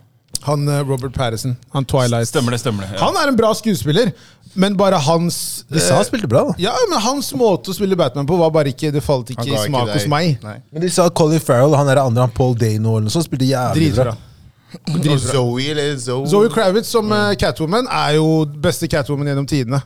S4: Han eh, Robert Patterson. Han Twilight.
S5: Stemmer det, stemmer det. Ja.
S4: Han er en bra skuespiller, men bare hans
S2: De sa
S4: eh,
S2: han spilte bra, da.
S4: Ja, men hans måte å spille Batman på var bare ikke Det falt ikke
S3: Han
S4: i
S3: ga ikke
S4: smak
S3: deg-
S4: hos meg.
S3: Nei.
S2: Men de sa Colin Farrell og han der andre, han Paul Dano eller noe sånt, spilte jævlig
S4: Dritbra.
S2: bra.
S3: Og Zoe eller Zoe,
S4: Zoe Kravitz som
S3: Mm.
S4: eh, Catwoman er jo beste Catwoman gjennom tidene.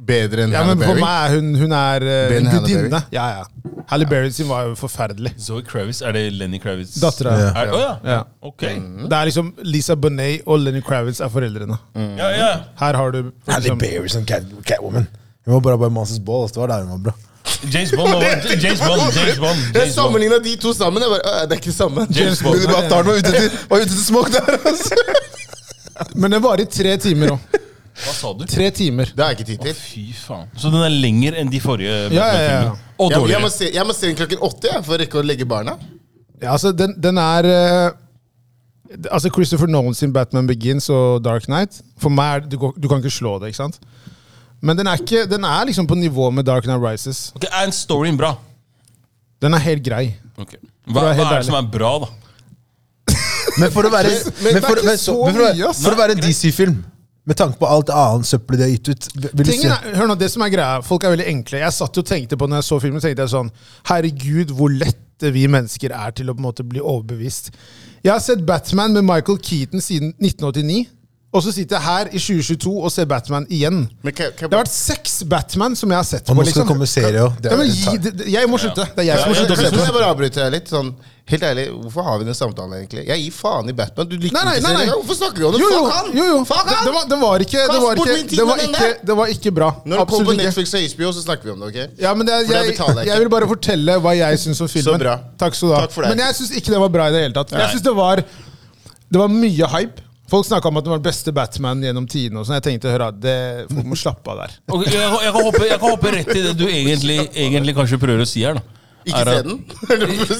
S3: Bedre enn
S4: Ja,
S3: Halle
S4: men For
S3: Berry.
S4: meg er hun, hun er eh,
S3: Ben
S4: en
S3: Halle
S4: gudinne.
S3: Berry.
S4: Ja, ja. Halle Berry sin var jo forferdelig.
S5: Zoe Kravitz, er det Lenny Kravitz?
S4: Dattera.
S2: Ja.
S5: Er, å ja.
S4: Ja.
S5: Ok.
S4: Det er liksom Lisa Bonet og Lenny Kravitz er foreldrene.
S5: Ja, ja.
S4: Her har du
S2: Halle
S4: liksom,
S2: Berry som Cat, Catwoman. Hun var bare bare Masters Ball. ass. Det var der hun var bra.
S5: James (laughs) Bond. over- James Bond. James Bond.
S3: Jeg
S5: James Bond.
S3: sammenligna de to sammen. Jeg bare, «Øh, det er ikke det samme.
S5: James Bond.
S2: Men de bare tar den var ute etter- var ute etter smoke der, altså.
S4: Men den varer i tre timer òg.
S5: Hva sa du?
S4: (laughs) Tre timer.
S3: Det har jeg ikke tid til.
S5: Fy faen. Så den er lenger enn de forrige
S4: Ja, ja, ja.
S5: Batman-filmene? Og
S3: Jeg, jeg, må
S5: dårligere.
S3: se, jeg må se den klokken åtte jeg, for å rekke å legge barna.
S4: Ja, altså, den, den er eh, Altså, Christopher Nolan sin Batman Begins og Dark Knight For meg er det, du, går- du kan ikke slå det, ikke sant? Men den er, ikke, den er liksom på nivå med Dark Knight Rises.
S5: Ok, Er en storyen bra?
S4: Den er helt grei.
S5: Ok. Hva,
S4: For å
S5: hva
S4: være helt
S5: er det
S4: ærlig.
S5: som er bra, da?
S2: Men for å være
S4: (laughs) Men- men
S2: men for-
S4: det er ikke
S2: men-
S4: så
S2: men for å være-
S4: mye, ass.
S2: For å være en DC-film, med tanke på alt annet søppel de har gitt ut vil- vil du
S4: Tingen
S2: si,
S4: er, hør nå, det som er greia, Folk er veldig enkle. Jeg satt jo og tenkte på når jeg så filmen, tenkte jeg sånn Herregud, hvor lette vi mennesker er til å på en måte bli overbevist. Jeg har sett Batman med Michael Keaton siden 1989. Og så sitter jeg her i 2022 og ser Batman igjen.
S3: Men kan- kan-
S4: det har vært seks Batman som jeg har sett på. liksom.
S2: Og nå skal det komme serie òg.
S4: ja, men, gi, det, det- jeg må slutte. Det er jeg som må
S3: Jeg,
S4: slutte. å
S3: jeg,
S4: se på
S3: jeg
S4: det.
S3: bare avbryter deg litt. Sånn, helt ærlig, Hvorfor har vi den samtalen egentlig? Jeg gir faen i Batman. Du liker
S4: Nei, nei,
S3: ikke
S4: nei, nei.
S3: serien. Hvorfor snakker vi om det?
S4: Jo, jo,
S3: Fuck han!
S4: jo, jo.
S3: Fuck
S4: Det,
S3: han!
S4: det, var, det var ikke Det
S3: Kast
S4: var
S3: bort
S4: ikke,
S3: min tid
S4: det var
S3: med den
S4: ikke,
S3: der.
S4: det var ikke bra.
S3: Når det kommer på
S4: Absolutt ikke.
S3: Netflix og HBO, så snakker vi om det. ok?
S4: Ja, men det, er-
S3: For det
S4: jeg,
S3: betaler jeg
S4: jeg,
S3: ikke.
S4: vil bare fortelle hva jeg syns om
S3: Så
S4: filmen.
S3: bra.
S4: Takk skal du ha.
S3: Takk for det.
S4: Men jeg syns ikke det var bra i det hele tatt.
S3: Nei.
S4: Jeg synes det var Det var mye hype. Folk snakka om at det var den beste Batman gjennom tidene. og sånn. Jeg tenkte, hør da, det, folk må slappe av der.
S5: Ok, jeg, kan- jeg, kan hoppe, jeg kan hoppe rett til det du egentlig, egentlig kanskje prøver å si her. da.
S3: Ikke
S5: Er at-
S3: se den? (laughs)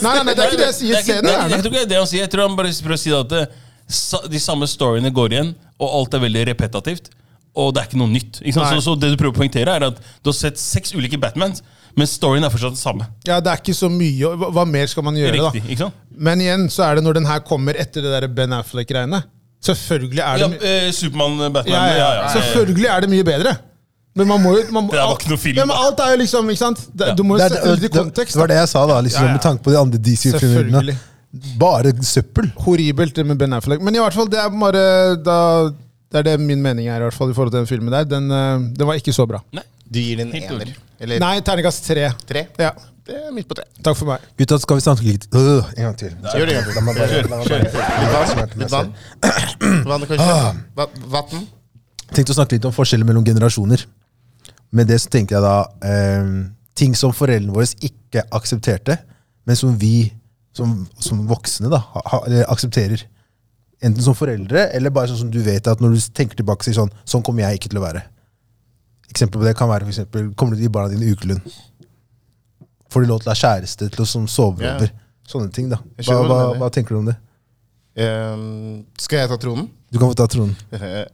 S4: Nei, nei, nei, det er ikke det jeg
S5: Det
S4: sier. Se
S5: er
S4: det
S5: ikke- det er ikke- Jeg
S4: gjerne.
S5: tror ikke det er det han sier. Jeg tror han bare prøver å si det at det, sa- de samme storyene går igjen, og alt er veldig repetativt. Og det er ikke noe nytt. Ikke sant?
S4: Nei.
S5: Så, så det du prøver å poengtere, er at du har sett seks ulike Batmans, men storyen er fortsatt den samme.
S4: Ja, det er ikke så mye. og Hva, hva mer skal man gjøre,
S5: Riktig,
S4: da?
S5: ikke sant?
S4: Men igjen så er det når den her kommer etter det der Ben Affleck-greiene. Selvfølgelig er
S5: Ja,
S4: det my-
S5: eh, Supermann, Batman
S4: ja, ja, ja. Selvfølgelig er det mye bedre. Men man må jo man må,
S5: Det der var ikke noe film.
S4: Ja, men alt er jo liksom, ikke sant? Det,
S5: Ja.
S4: Du må jo
S2: Det,
S4: sette
S2: er-
S4: det litt i
S2: det,
S4: kontekst.
S2: det var det jeg sa, da. Liksom,
S4: Ja, ja.
S2: Med tanke på de andre DC-filmene.
S4: Selvfølgelig.
S2: Bare søppel.
S4: horribelt det med Ben Affleck. Men i hvert fall, det er bare da, Det er det min mening er i hvert fall i forhold til den filmen der. Den, eh, den var ikke så bra.
S5: Nei.
S3: Du gir den en
S5: Helt
S3: ener.
S5: ordentlig.
S3: Eller
S4: Nei, terningkast tre.
S3: tre?
S4: Ja,
S3: Det er midt på tre.
S4: takk for meg.
S2: Gutta, skal vi snakke litt øh, En gang til.
S3: Gjør det en gang
S2: La meg bare- la meg bare-
S3: Litt vann? Vann,
S2: Ah.
S3: kanskje? Va- Vann?
S2: tenkte å snakke litt om forskjeller mellom generasjoner. Med det så tenkte jeg da eh, ting som foreldrene våre ikke aksepterte, men som vi som, som voksne da, ha, ha, eller aksepterer. Enten som foreldre, eller bare sånn som du vet at når du tenker tilbake, sier sånn Sånn kommer jeg ikke til å være. Eksempel på det kan være for eksempel, Kommer du til å gi barna dine ukelønn? Får de lov til å ha kjæreste til å som sover
S3: Ja.
S2: over? Sånne ting, da.
S3: Jeg
S2: Hva,
S3: skjønner hva
S2: hva,
S3: du mener.
S2: hva tenker du om det?
S3: Ehm, Skal jeg ta tronen? (laughs)
S2: Du kan få ta tronen.
S3: Eh,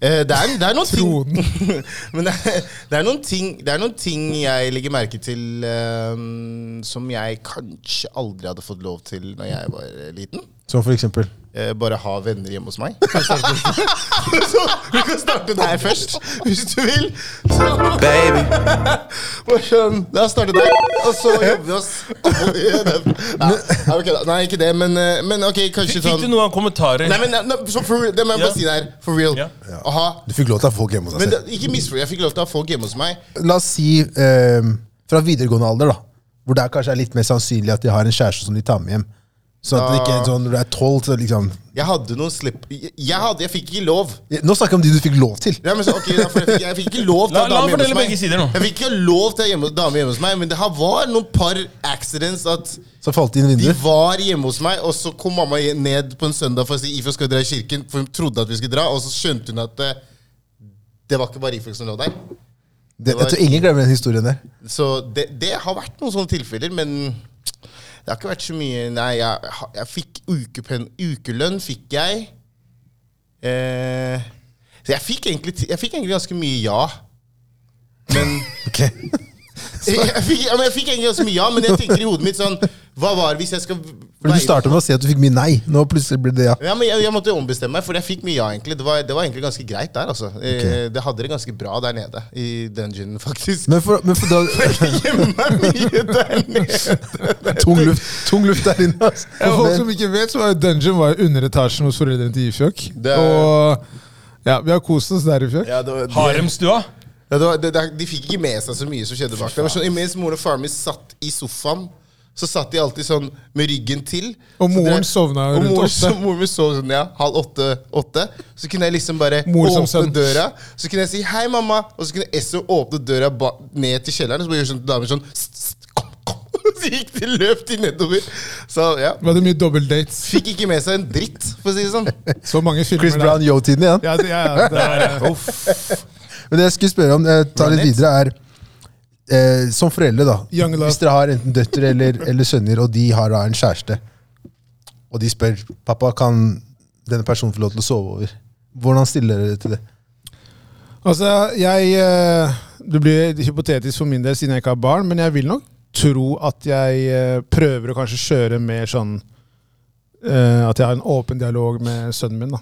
S3: Det er, det er noen ting (laughs) Men det er, det, er noen ting, det er noen ting jeg legger merke til eh, som jeg kanskje aldri hadde fått lov til når jeg var liten.
S2: Som for eksempel.
S3: Eh, bare ha venner hjemme hos meg. (laughs) så vi kan starte der først, hvis du vil. Så,
S1: Baby.
S3: bare sånn, La oss starte der, og så jobber vi oss Nei, ok da. Nei, ikke det, men, eh, men ok, kanskje
S5: Fikk du
S3: sånn
S5: noen kommentarer?
S3: Nei, men nei, så for, real, det må jeg bare
S5: Ja.
S3: si der. For real.
S5: Ja.
S3: Å ha
S2: Du fikk lov til å ha folk hjemme hos deg
S3: men
S2: selv.
S3: det, ikke misforstå, jeg fikk lov til å ha folk hjemme hos meg.
S2: la oss si eh, fra videregående alder, da, hvor det er kanskje er litt mer sannsynlig at de har en kjæreste som de tar med hjem. Sånn at det ikke er sånn når du er tolv, så liksom
S3: Jeg hadde noen slipp... Jeg, jeg hadde, jeg fikk ikke lov.
S2: Nå snakker jeg om de du fikk lov til.
S3: Ja, men så, ok, da, for jeg, fikk, jeg fikk ikke lov til å ha
S5: La- la
S3: dame hjemme
S5: fortelle
S3: hos meg.
S5: begge sider nå.
S3: Jeg fikk ikke lov til å ha hjemme, dame hjemme hos meg, men det her var noen par accidents at
S2: Så falt det inn
S3: de
S2: vinduer.
S3: var hjemme hos meg, og så kom mamma ned på en søndag for å si Ifjok skal dra i kirken, for hun trodde at vi skulle dra, og så skjønte hun at eh, det var ikke bare Ifjok som lå der.
S2: Det, jeg tror ingen glemmer den historien der.
S3: Så det, det har vært noen sånne tilfeller, men det har ikke vært så mye Nei, jeg, ha- jeg fikk ukepenn, ukelønn, fikk jeg. Eh, så jeg fikk, egentlig, ti- jeg fikk egentlig ganske mye ja. Men
S2: (laughs) Ok.
S3: jeg, (laughs) jeg, fikk, ja, men jeg fikk egentlig ganske mye ja, men jeg tenker i hodet mitt sånn Hva var det hvis jeg skal
S2: For Du starta med å si at du fikk mye nei. Nå plutselig blir det ja.
S3: ja, men jeg, jeg måtte ombestemme meg, for jeg fikk mye ja, egentlig. Det var, det var egentlig ganske greit der, altså. Eh, det hadde det ganske bra der nede, i dungeon, (laughs) faktisk.
S2: Men for, men for da,
S3: Hjemme er mye der nede.
S2: tung, luft, tung luft der inne. altså. ass.
S4: For folk som ikke vet, så var jo Dungeon var jo underetasjen hos foreldrene til Ifjok.
S3: Det er-
S4: Og ja, vi har kost oss der, Ifjok.
S3: Ja, det var, de,
S5: Haremstua?
S3: ja, det var, det, det, de fikk ikke med seg så mye som skjedde bak der. Det var Sånn, mens moren og faren min satt i sofaen, så satt de alltid sånn med ryggen til. Så
S4: Og moren
S3: dere-
S4: sovna
S3: og
S4: rundt
S3: moren,
S4: åtte.
S3: Så, (laughs) moren min sov sånn, ja, halv åtte, åtte. Så kunne jeg liksom bare
S4: Mor som
S3: åpne
S4: sønn.
S3: døra. Så kunne jeg si 'hei, mamma', og så kunne Esso åpne døra ba ned til kjelleren. Så bare gjorde sånn til damen sånn «Sst, sst, kom, kom. (laughs) Så gikk de løp de nedover. Så ja.
S4: Vi hadde mye dobbeltdates.
S3: Fikk ikke med seg en dritt, for å si det sånn.
S4: Så mange filmer
S2: Chris Brown Yo-tiden igjen.
S4: Ja, det, ja, ja, det
S3: (laughs)
S4: er,
S2: Men det jeg skulle spørre om, eh, ta litt videre, er eh, Som foreldre, da.
S4: Young love. (laughs)
S2: Hvis dere har enten døtre eller, eller sønner, og de har da en kjæreste, og de spør pappa, kan denne personen få lov til å sove over. Hvordan stiller dere til det?
S4: Altså, jeg eh, Det blir hypotetisk for min del siden jeg ikke har barn, men jeg vil nok tro at jeg eh, prøver å kanskje kjøre mer sånn eh, At jeg har en åpen dialog med sønnen min. da.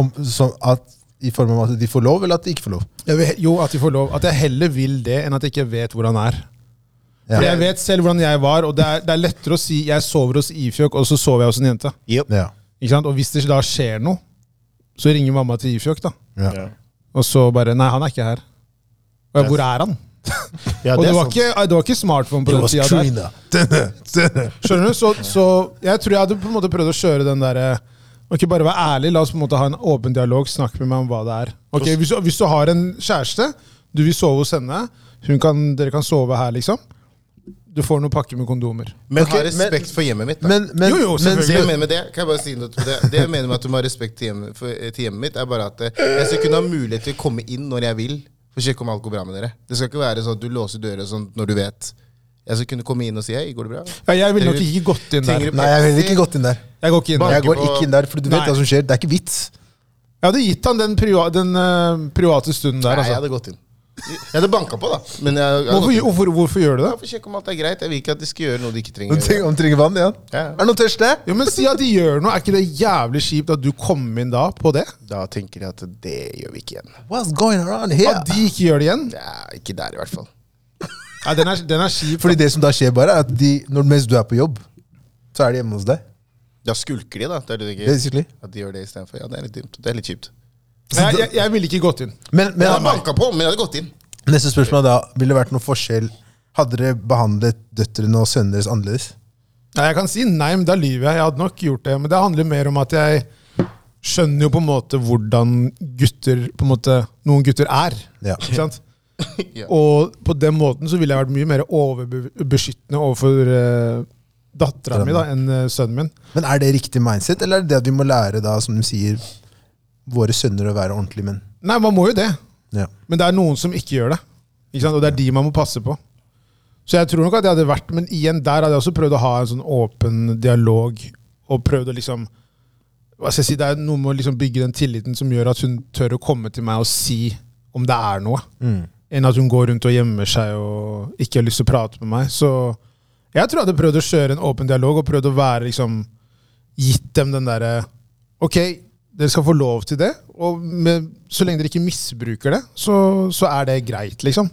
S2: Om, sånn at, I form av at de får lov, eller at de ikke får lov?
S4: Jeg vil, he- jo, at de får lov. At jeg heller vil det enn at jeg ikke vet hvor han er.
S2: Ja.
S4: For jeg vet selv hvordan jeg var, og det er, det er lettere å si 'jeg sover hos Ifjøk', og så sover jeg hos en jente.
S2: Ja.
S4: Ikke sant? Og hvis det da skjer noe, så ringer mamma til Ifjøk, da.
S2: Ja.
S1: Ja.
S4: Og så bare 'nei, han er ikke her'. Og jeg, hvor er han?
S3: Ja, det er
S4: Og det
S3: sånn.
S4: var
S3: sant.
S4: ikke, det var ikke smartphone på
S2: Det
S4: den
S2: var
S4: tida der.
S2: screena. Denne, denne.
S4: Skjønner du? Så, så jeg tror jeg hadde på en måte prøvd å kjøre den derre Ok, bare vær ærlig. La oss på en måte ha en åpen dialog. Snakk med meg om hva det er. Ok, Hvis, du- hvis du har en kjæreste, du vil sove hos henne, hun kan, dere kan sove her, liksom. Du får noen pakker med kondomer.
S3: Men
S2: Ok,
S3: ha
S2: men-
S3: respekt for hjemmet mitt. da.
S2: Men, men,
S4: Jo, jo,
S2: men,
S3: Det jeg mener med det, kan jeg bare si noe til det. Det jeg mener med at du må ha respekt til hjemmet, for, til hjemmet mitt, er bare at eh, jeg skal kunne ha mulighet til å komme inn når jeg vil, for å sjekke om alt går bra med dere. Det skal ikke være sånn at du låser dører sånn når du vet. Jeg skal kunne komme inn og si hei, går det bra?
S4: Ja, jeg ville nok ikke gått inn der.
S3: Trenger du-
S2: nei, jeg ville ikke gått inn der.
S4: Jeg går ikke inn der.
S2: Jeg går
S3: på-
S2: ikke inn der, for du vet
S4: Nei.
S2: hva som skjer. Det er ikke vits.
S4: Jeg hadde gitt han den, priva, den eh, private stunden der,
S3: Nei, jeg
S4: altså.
S3: hadde gått inn. Jeg hadde banka på, da. Men jeg, jeg hadde
S4: Hvorfor,
S3: gått inn.
S4: hvorfor, hvorfor gjør du det?
S3: Ja, for å sjekke om alt er greit. Jeg vil ikke at de skal gjøre noe de ikke
S2: Om
S3: trenger. å
S2: du
S3: gjøre.
S2: trenger, om du trenger vann, ja.
S3: Ja,
S2: Er det noe tørst, det?
S4: Jo, men Si at de gjør noe. Er ikke det jævlig kjipt at du kom inn da på det?
S3: Da tenker jeg at det gjør vi ikke igjen.
S2: What's going around here?
S4: At de ikke gjør det igjen?
S3: Det er ikke der, i hvert fall.
S4: Ja, den er, den er kjip.
S2: Fordi det som da skjer, bare er at de, når, mens du er på jobb, så er de hjemme hos deg.
S3: Da skulker de, da. Det er det du tenker.
S2: Basically.
S3: At de gjør det istedenfor. Ja, det er litt dumt. Det er litt kjipt.
S4: Jeg, jeg, jeg ville ikke gått inn.
S2: Men,
S3: Jeg
S2: men
S3: hadde banka på, men jeg hadde gått inn.
S2: neste spørsmål er da, ville det vært noen forskjell Hadde dere behandlet døtrene og sønnene deres annerledes?
S4: Nei, jeg kan si nei, men da lyver jeg. Jeg hadde nok gjort det. Men det handler mer om at jeg skjønner jo på en måte hvordan gutter på en måte, Noen gutter er.
S2: Ja.
S4: Ikke sant?
S3: Ja.
S4: Og på den måten så ville jeg vært mye mer overbeskyttende overfor uh, dattera mi da, enn eh, sønnen min.
S2: Men er det riktig mindset, eller er det det at vi må lære da, som de sier, våre sønner å være ordentlige menn?
S4: Nei, man må jo det.
S2: Ja.
S4: Men det er noen som ikke gjør det. Ikke sant? Og det er de man må passe på. Så jeg tror nok at jeg hadde vært Men igjen, der hadde jeg også prøvd å ha en sånn åpen dialog. Og prøvd å liksom hva skal jeg si, Det er noe med å liksom bygge den tilliten som gjør at hun tør å komme til meg og si om det er noe.
S2: Mm.
S4: Enn at hun går rundt og gjemmer seg og ikke har lyst til å prate med meg. Så jeg tror jeg hadde prøvd å kjøre en åpen dialog og prøvd å være liksom Gitt dem den derre Ok, dere skal få lov til det, og med, så lenge dere ikke misbruker det, så, så er det greit, liksom.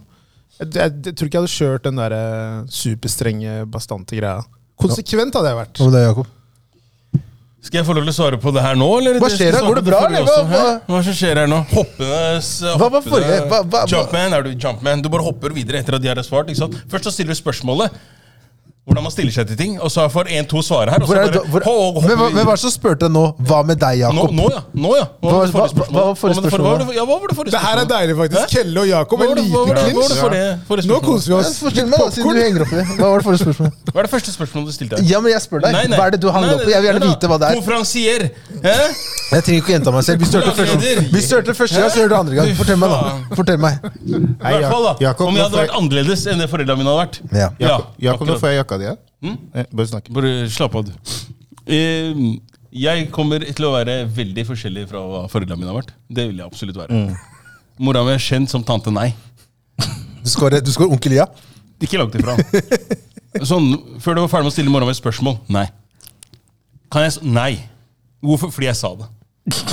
S4: Jeg, jeg, jeg tror ikke jeg hadde kjørt den derre superstrenge, bastante greia. Konsekvent hadde jeg vært.
S2: Hva med deg, Jakob?
S5: Altså, Skal jeg få lov til å svare på det her nå? Eller?
S2: Hva skjer da? Går det bra,
S5: Forrige
S2: eller?
S5: også,
S2: Hva-
S5: hæ? Hva som skjer her nå? Hoppende s-
S2: Hva var
S5: hoppende-
S2: forrige? Hva- hva- hva-
S5: Jumpman, er du jumpman? Du bare hopper videre etter at de har svart. ikke sant? Først så stiller du spørsmålet. Hvordan man stiller seg til ting. Og så får én-to svare her. Og så
S2: Hvor er,
S5: bare,
S2: da- hvor,
S5: ho- hopper
S2: men, hva, men hva
S5: vi videre.
S2: er det som spurte deg nå? Hva med deg,
S5: nå,
S2: Jakob?
S5: nå, ja. Nå, ja. Hva var
S2: Hva-
S5: det forrige
S2: hva- hva var forrige
S5: spørsmål? Hva var
S2: spørsmål,
S5: det for- Ja, hva var det forrige
S4: Det her er
S5: spørsmål?
S4: deilig, faktisk.
S5: Hæ?
S4: Kelle og Jakob,
S5: Hva
S4: en
S5: var det- hva var
S4: liten
S5: det- hva var
S4: clinch.
S5: det for det- for det
S4: Nå
S5: spørsmålet?
S4: koser vi
S2: Ja,
S4: oss.
S2: Fortell meg, da, siden du henger opp i det. Hva var det forrige spørsmål?
S5: Hva er det første spørsmålet du stilte? her?
S2: Ja, men jeg spør deg.
S5: Nei, nei.
S2: Hva er det du hang
S5: Nei,
S2: opp i? Jeg vil
S5: nei,
S2: gjerne
S5: nei.
S2: vite hva det er.
S5: Konferansier! Hæ?
S2: Jeg trenger ikke å gjenta meg selv. Vi størte første,
S5: Programleder.
S2: vi størte første gang, så gjør du det andre gang. Fortell meg, da. Fortell meg.
S5: I hvert fall, da.
S3: Jakob,
S5: Om jeg hadde
S3: nå får
S5: vært annerledes enn det foreldrene mine hadde vært.
S2: Ja.
S3: Jakob, nå
S5: akkurat.
S3: får jeg jakka di. Ja. Eh, Bare snakk.
S5: Bare slapp av, du. Eh, Jeg kommer til å være veldig forskjellig fra hva foreldrene mine har vært. Det vil jeg absolutt være. Mora mi er kjent som tante nei.
S2: Du skårer du skårer onkel Ja.
S5: Ikke langt ifra. (laughs) Sånn, Før du var ferdig med å stille mora mi et spørsmål nei. Kan jeg s Nei. Hvorfor? Fordi jeg sa (laughs) det.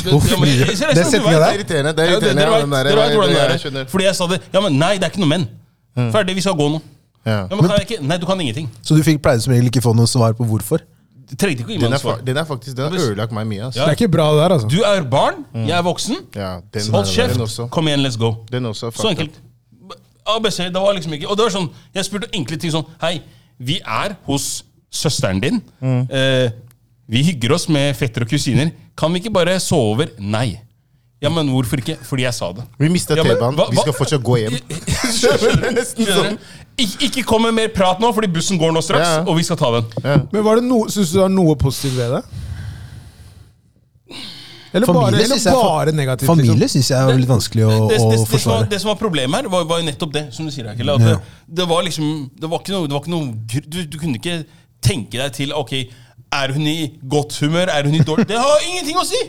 S2: Hvorfor
S5: men-
S2: blir det-
S5: seriøst,
S2: Den
S5: du
S2: setningen
S5: vet.
S2: der?
S3: Det er irriterende. det er
S5: Ja, det-
S3: irriterende.
S5: Dere
S3: ja, den
S5: vet
S3: der-
S5: dere vet hvordan det
S3: jeg
S5: er.
S3: skjønner.
S5: Fordi jeg sa det. Ja, men nei, det er ikke noe men. Ferdig, vi skal gå nå.
S3: Ja.
S5: Ja, men kan jeg ikke? Nei, du kan ingenting.
S2: Så du fikk pleide som regel ikke få noe svar på hvorfor.
S5: Du trengte ikke å gi
S3: Den er,
S5: meg noe
S3: fa-
S5: svar.
S3: den er faktisk, den har ødelagt meg mye.
S5: Ja.
S3: Altså.
S4: Det er ikke bra, det der, altså.
S5: Du er barn, jeg er voksen.
S3: Ja, den,
S5: Hold
S3: den
S5: kjeft,
S3: også.
S5: kom igjen, let's go.
S3: Den også er
S5: Så
S3: fucked
S5: enkelt. ABC, det var liksom ikke Og det var sånn, jeg spurte enkle ting sånn Hei, vi er hos søsteren din.
S3: Mm.
S5: Eh, vi hygger oss med fetter og kusiner. Kan vi ikke bare sove over? Nei. Ja, men hvorfor ikke? Fordi jeg sa det.
S3: Vi mistet
S5: men
S3: T-banen.
S5: hva-
S3: Vi skal
S5: hva-
S3: fortsatt gå hjem.
S5: (laughs) Skjønner du?
S3: nesten sånn.
S5: Ik ikke kom med mer prat nå, fordi bussen går nå straks,
S3: Ja.
S5: og vi skal ta den.
S4: Men var det noe, syns du det var noe positivt ved det? Eller
S2: Familie
S4: bare, eller
S2: synes jeg er fa-
S4: bare negativt? liksom?
S2: Familie syns jeg er veldig vanskelig å, å
S5: det, det, det, det, som var,
S2: forsvare.
S5: det som var problemet her, var, var jo nettopp det. som du sier, Akil, at det, det var liksom, det var ikke noe, det var ikke noe gr- du, du kunne ikke tenke deg til ok, Er hun i godt humør? Er hun i dårlig Det har ingenting å si!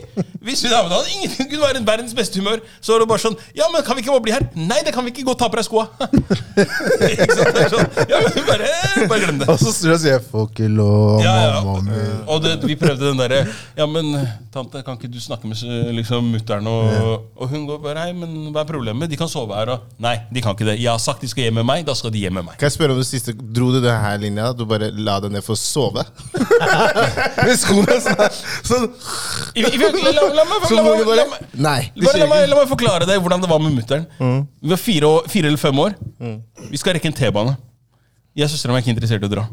S5: Hvis hun er med, hadde ingenting kunne være verdens beste humør. Så er det bare sånn Ja, men kan vi ikke bare bli her? Nei, det kan vi ikke. Gå og ta på deg skoa. (laughs) Ikke sant? Det er sånn, ja, men bare, bare glem det.
S2: Og så snur jeg og sier 'får ikke lov',
S5: Ja, ja.
S2: mamma mi.
S5: Og det, vi prøvde den derre Ja, men tante, kan ikke du snakke med s- liksom, mutter'n? Og, og hun går bare Nei, men hva er problemet? De kan sove her og Nei, de kan ikke det. Jeg har sagt de skal hjem med meg, da skal de hjem med
S3: (laughs)
S5: meg.
S3: Kan jeg spørre om det siste? Dro du denne her linja? At du bare la deg ned for å sove? Med skoene sånn her. Sånn.
S5: I, i, virkelig, la, la, meg,
S3: Så moren
S5: la, meg,
S3: din
S5: la,
S3: bare
S5: meg,
S3: Nei. det
S5: bare, la,
S3: skjer
S5: meg,
S3: ikke.
S5: la meg forklare deg hvordan det var med mutter'n. Vi var fire, år, fire eller fem år. Vi skal rekke en T-bane. Jeg og søstera mi er ikke interessert i å dra.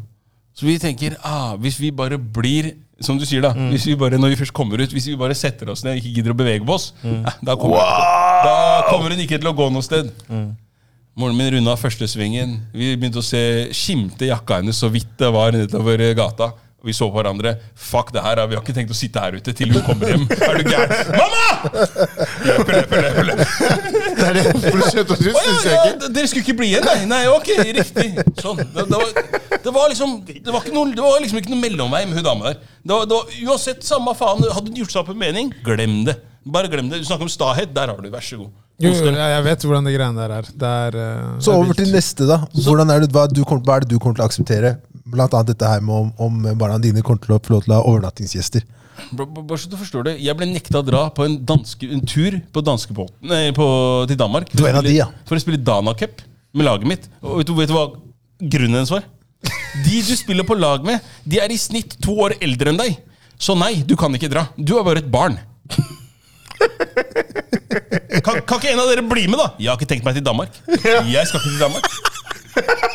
S5: Så vi tenker ah, hvis vi bare blir som du sier da, hvis vi bare, når vi først kommer ut, hvis vi bare setter oss ned og ikke gidder å bevege på oss, eh, (laughs) da, kommer da kommer hun ikke til å gå noe sted. Moren min runda første svingen. Vi begynte å se skimte i jakka hennes så vidt det var nedover gata. Og Vi så på hverandre. Fuck det her, vi har ikke tenkt å sitte her ute til hun kommer hjem. Er du gæren? Mamma! Løper, løper, løper, løper.
S3: Det er det. For du skjønte at du
S5: Å,
S3: synes
S5: ja,
S3: jeg
S5: ja,
S3: ikke.
S5: d- dere skulle ikke bli igjen? Nei, nei, ok, riktig. Sånn. Det, det, var, det var liksom Det var, ikke noe, det var liksom ikke noe mellomvei med hun dama der. Det var, det var, uansett, samme faen. Hadde hun gjort seg opp en mening, glem det. Bare glem det. Du snakker om stahet. Der har du. Vær så god.
S4: Jo, jo, jeg jeg vet hvordan de greiene der er. Det er eh,
S2: Så
S4: det er
S2: over til
S4: vilt.
S2: neste, da. Hvordan er det, hva, du kommer, hva er det du kommer til å akseptere? Blant annet dette her med om, om barna dine kommer til å få lov til å ha overnattingsgjester.
S5: B- b- Bare så du forstår det Jeg ble nekta å dra på en, danske, en tur på danskebåten nei, på, til Danmark.
S2: Du er en av de, ja.
S5: For å spille Dana Cup med laget mitt. Og vet du, vet du hva grunnen hennes var? De du spiller på lag med, de er i snitt to år eldre enn deg. Så nei, du kan ikke dra. Du er bare et barn. Kan, kan ikke en av dere bli med, da? Jeg har ikke tenkt meg til Danmark. Jeg skal ikke til Danmark.
S2: (laughs)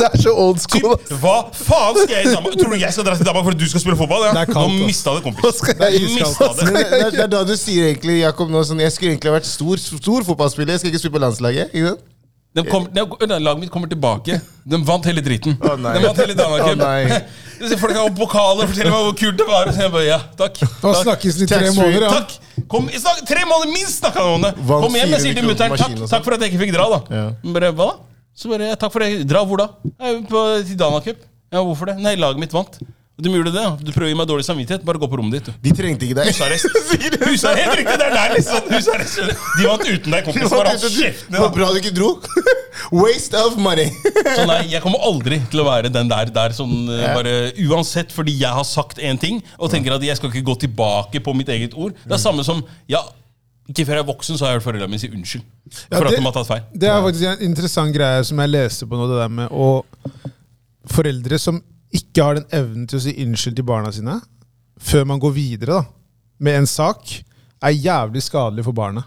S2: Det er så old
S5: Typ,
S2: school! ass.
S5: hva faen skal jeg i Danmark? Tror du jeg skal dra til Danmark for at du skal spille fotball? Ja?
S4: Det er kaldt,
S5: Nå
S4: ass.
S5: mista det, kompis.
S2: Hva skal jeg
S5: Mistet det.
S3: Men Det, det, er- det er da du sier egentlig Jakob, nå, sånn, jeg skulle egentlig ha vært stor, stor fotballspiller. Jeg skal ikke spille på landslaget. Ikke sant?
S5: De kom, de, laget mitt kommer tilbake. De vant hele driten.
S3: Å, nei.
S5: De vant hele
S3: Å,
S5: (laughs)
S3: nei.
S5: Danmark. Folk har pokaler og forteller meg hvor kult det var. Og så jeg bare, ja, takk.
S4: Nå
S5: takk.
S4: snakkes det i tre
S3: Tax-free.
S4: måneder, ja.
S5: Takk! Kom, i snak, tre måneder minst snakka han om det!
S3: Vant
S5: Kom hjem, jeg sier til
S3: 400
S5: mutter'n
S3: kroner
S5: takk,
S3: maskin og sånt.
S5: takk for at jeg ikke fikk dra, da.
S3: Ja.
S5: Hun Bare, hva da? Så bare, ja, takk for det. Dra hvor da? «Nei, På, til Dana Cup. Ja, hvorfor det? Nei, laget mitt vant. Og De gjorde det. ja. Du prøver å gi meg dårlig samvittighet. Bare gå på rommet ditt, du.
S3: De trengte ikke deg. (laughs)
S5: Husarrest. Husarrest, helt riktig! Det er der, liksom. Husarrest. skjønner du. De vant uten deg,
S3: (laughs)
S5: kompis. Bare hold kjeften din,
S3: Hvor
S5: da.
S3: bra du ikke dro. (laughs) Waste of money.
S5: Så nei, jeg kommer aldri til å være den der, der som eh, bare Uansett, fordi jeg har sagt én ting, og tenker at jeg skal ikke gå tilbake på mitt eget ord. Det er
S3: Mm.
S5: samme som Ja, ikke før jeg er voksen, så har jeg hørt foreldrene mine si unnskyld. For at
S4: det-
S5: de har tatt feil.
S4: Det er faktisk en interessant greie som jeg leste på nå, det der med å Foreldre som ikke har den evnen til å si unnskyld til barna sine før man går videre da, med en sak, er jævlig skadelig for barna.